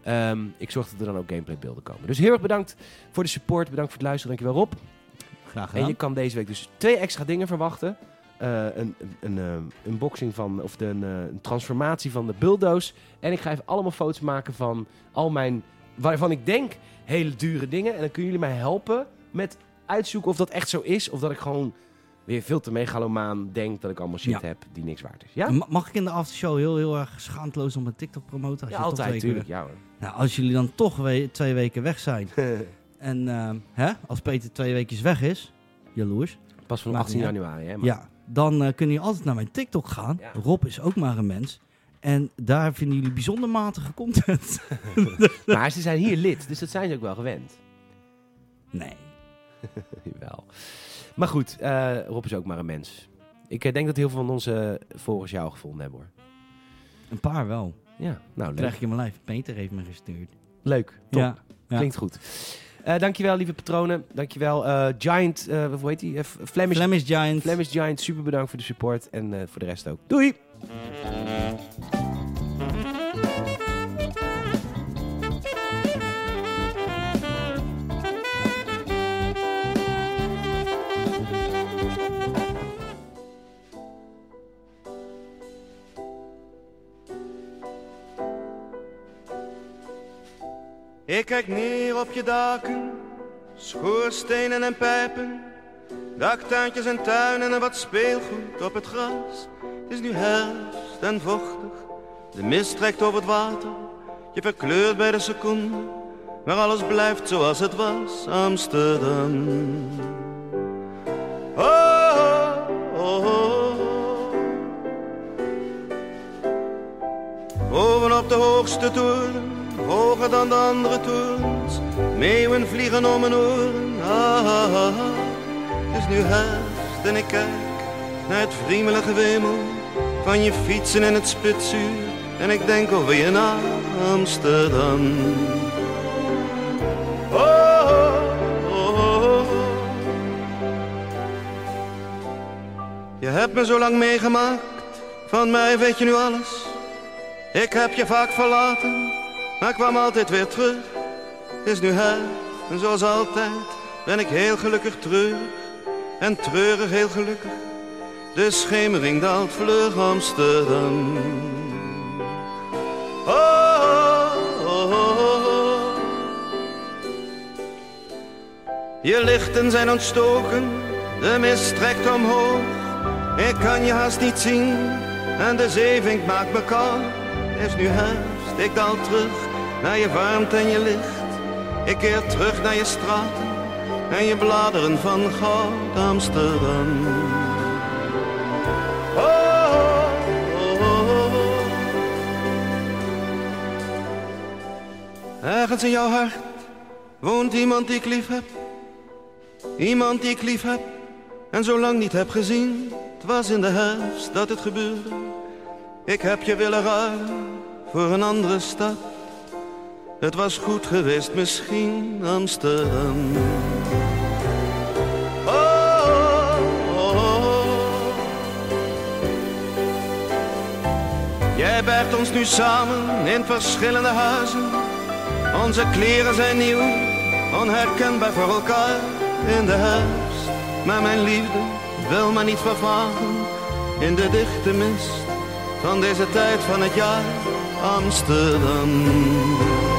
Speaker 1: Ehm, ik zorg dat er dan ook gameplaybeelden komen. Dus heel erg bedankt voor de support, bedankt voor het luisteren, dankjewel Rob.
Speaker 2: Graag
Speaker 1: En je
Speaker 2: gedaan.
Speaker 1: kan deze week dus twee extra dingen verwachten. Eh, een, een, een eh, unboxing van, of de, een, eh, een transformatie van de bulldoze. En ik ga even allemaal foto's maken van al mijn, waarvan ik denk, hele dure dingen. En dan kunnen jullie mij helpen met uitzoeken of dat echt zo is. Of dat ik gewoon weer veel te megalomaan denk dat ik allemaal shit
Speaker 2: Ja.
Speaker 1: heb die niks waard is. Ja,
Speaker 2: Ma- Mag ik in de aftershow heel, heel erg schaamteloos op mijn TikTok promoten? Als
Speaker 1: ja
Speaker 2: je toch
Speaker 1: altijd,
Speaker 2: twee keer-
Speaker 1: natuurlijk. Ja, hoor.
Speaker 2: Nou, als jullie dan toch we- twee weken weg zijn. en ehm, hè, als Peter twee weekjes weg is, jaloers.
Speaker 1: Pas van
Speaker 2: Maakt
Speaker 1: 18
Speaker 2: niet uit.
Speaker 1: januari, hè? maar-
Speaker 2: Ja, dan eh, kunnen jullie altijd naar mijn TikTok gaan.
Speaker 1: Ja.
Speaker 2: Rob is ook maar een mens. En daar vinden jullie bijzonder matige content.
Speaker 1: Maar ze zijn hier lid, dus dat zijn ze ook wel gewend.
Speaker 2: nee.
Speaker 1: Jawel. Maar goed, eh, Rob is ook maar een mens. Ik eh, denk dat heel veel van onze volgers jou gevonden hebben hoor.
Speaker 2: Een paar wel.
Speaker 1: Ja, nou leuk.
Speaker 2: Krijg ik in mijn lijf. Peter heeft me gestuurd.
Speaker 1: Leuk, top.
Speaker 2: Ja. ja.
Speaker 1: Klinkt goed. Eh, dankjewel lieve patronen. Dankjewel eh, Giant, eh hoe heet die? Eh, F- Flemish,
Speaker 2: Flemish Giant.
Speaker 1: Flemish Giant, super bedankt voor de support en eh, voor de rest ook. Doei!
Speaker 4: Ik kijk neer op je daken, schoorstenen en pijpen, daktuintjes en tuinen en wat speelgoed op het gras. Het is nu herfst en vochtig, de mist trekt over het water, je verkleurt bij de seconde, maar alles blijft zoals het was, Amsterdam. Oh, oh, oh. Bovenop de hoogste toren, hoger dan de andere torens, meeuwen vliegen om mijn oren. Ah, ah, ah. Het is nu herfst en ik kijk naar het vriemelige wemel van je fietsen in het spitsuur. En ik denk over je na, Amsterdam. Oh, oh, oh, oh. Je hebt me zo lang meegemaakt, van mij weet je nu alles. Ik heb je vaak verlaten, maar kwam altijd weer terug. Het is nu her en zoals altijd ben ik heel gelukkig treurig en treurig heel gelukkig. De schemering daalt vlug Amsterdam. Oh, oh, oh, oh, oh. Je lichten zijn ontstoken, de mist trekt omhoog. Ik kan je haast niet zien en de zeevink maakt me koud. Het is nu herfst, ik daal terug naar je warmte en je licht. Ik keer terug naar je straten en je bladeren van goud Amsterdam. Oh, oh, oh, oh. Ergens in jouw hart woont iemand die ik lief heb. Iemand die ik lief heb en zo lang niet heb gezien. Het was in de herfst dat het gebeurde. Ik heb je willen ruilen voor een andere stad. Het was goed geweest misschien Amsterdam. Oh, oh, oh, oh. Jij bergt om ons nu samen in verschillende huizen. Onze kleren zijn nieuw, onherkenbaar voor elkaar in de herfst. Maar mijn liefde wil me niet vervagen in de dichte mist van deze tijd van het jaar Amsterdam. Oh, oh. Oh.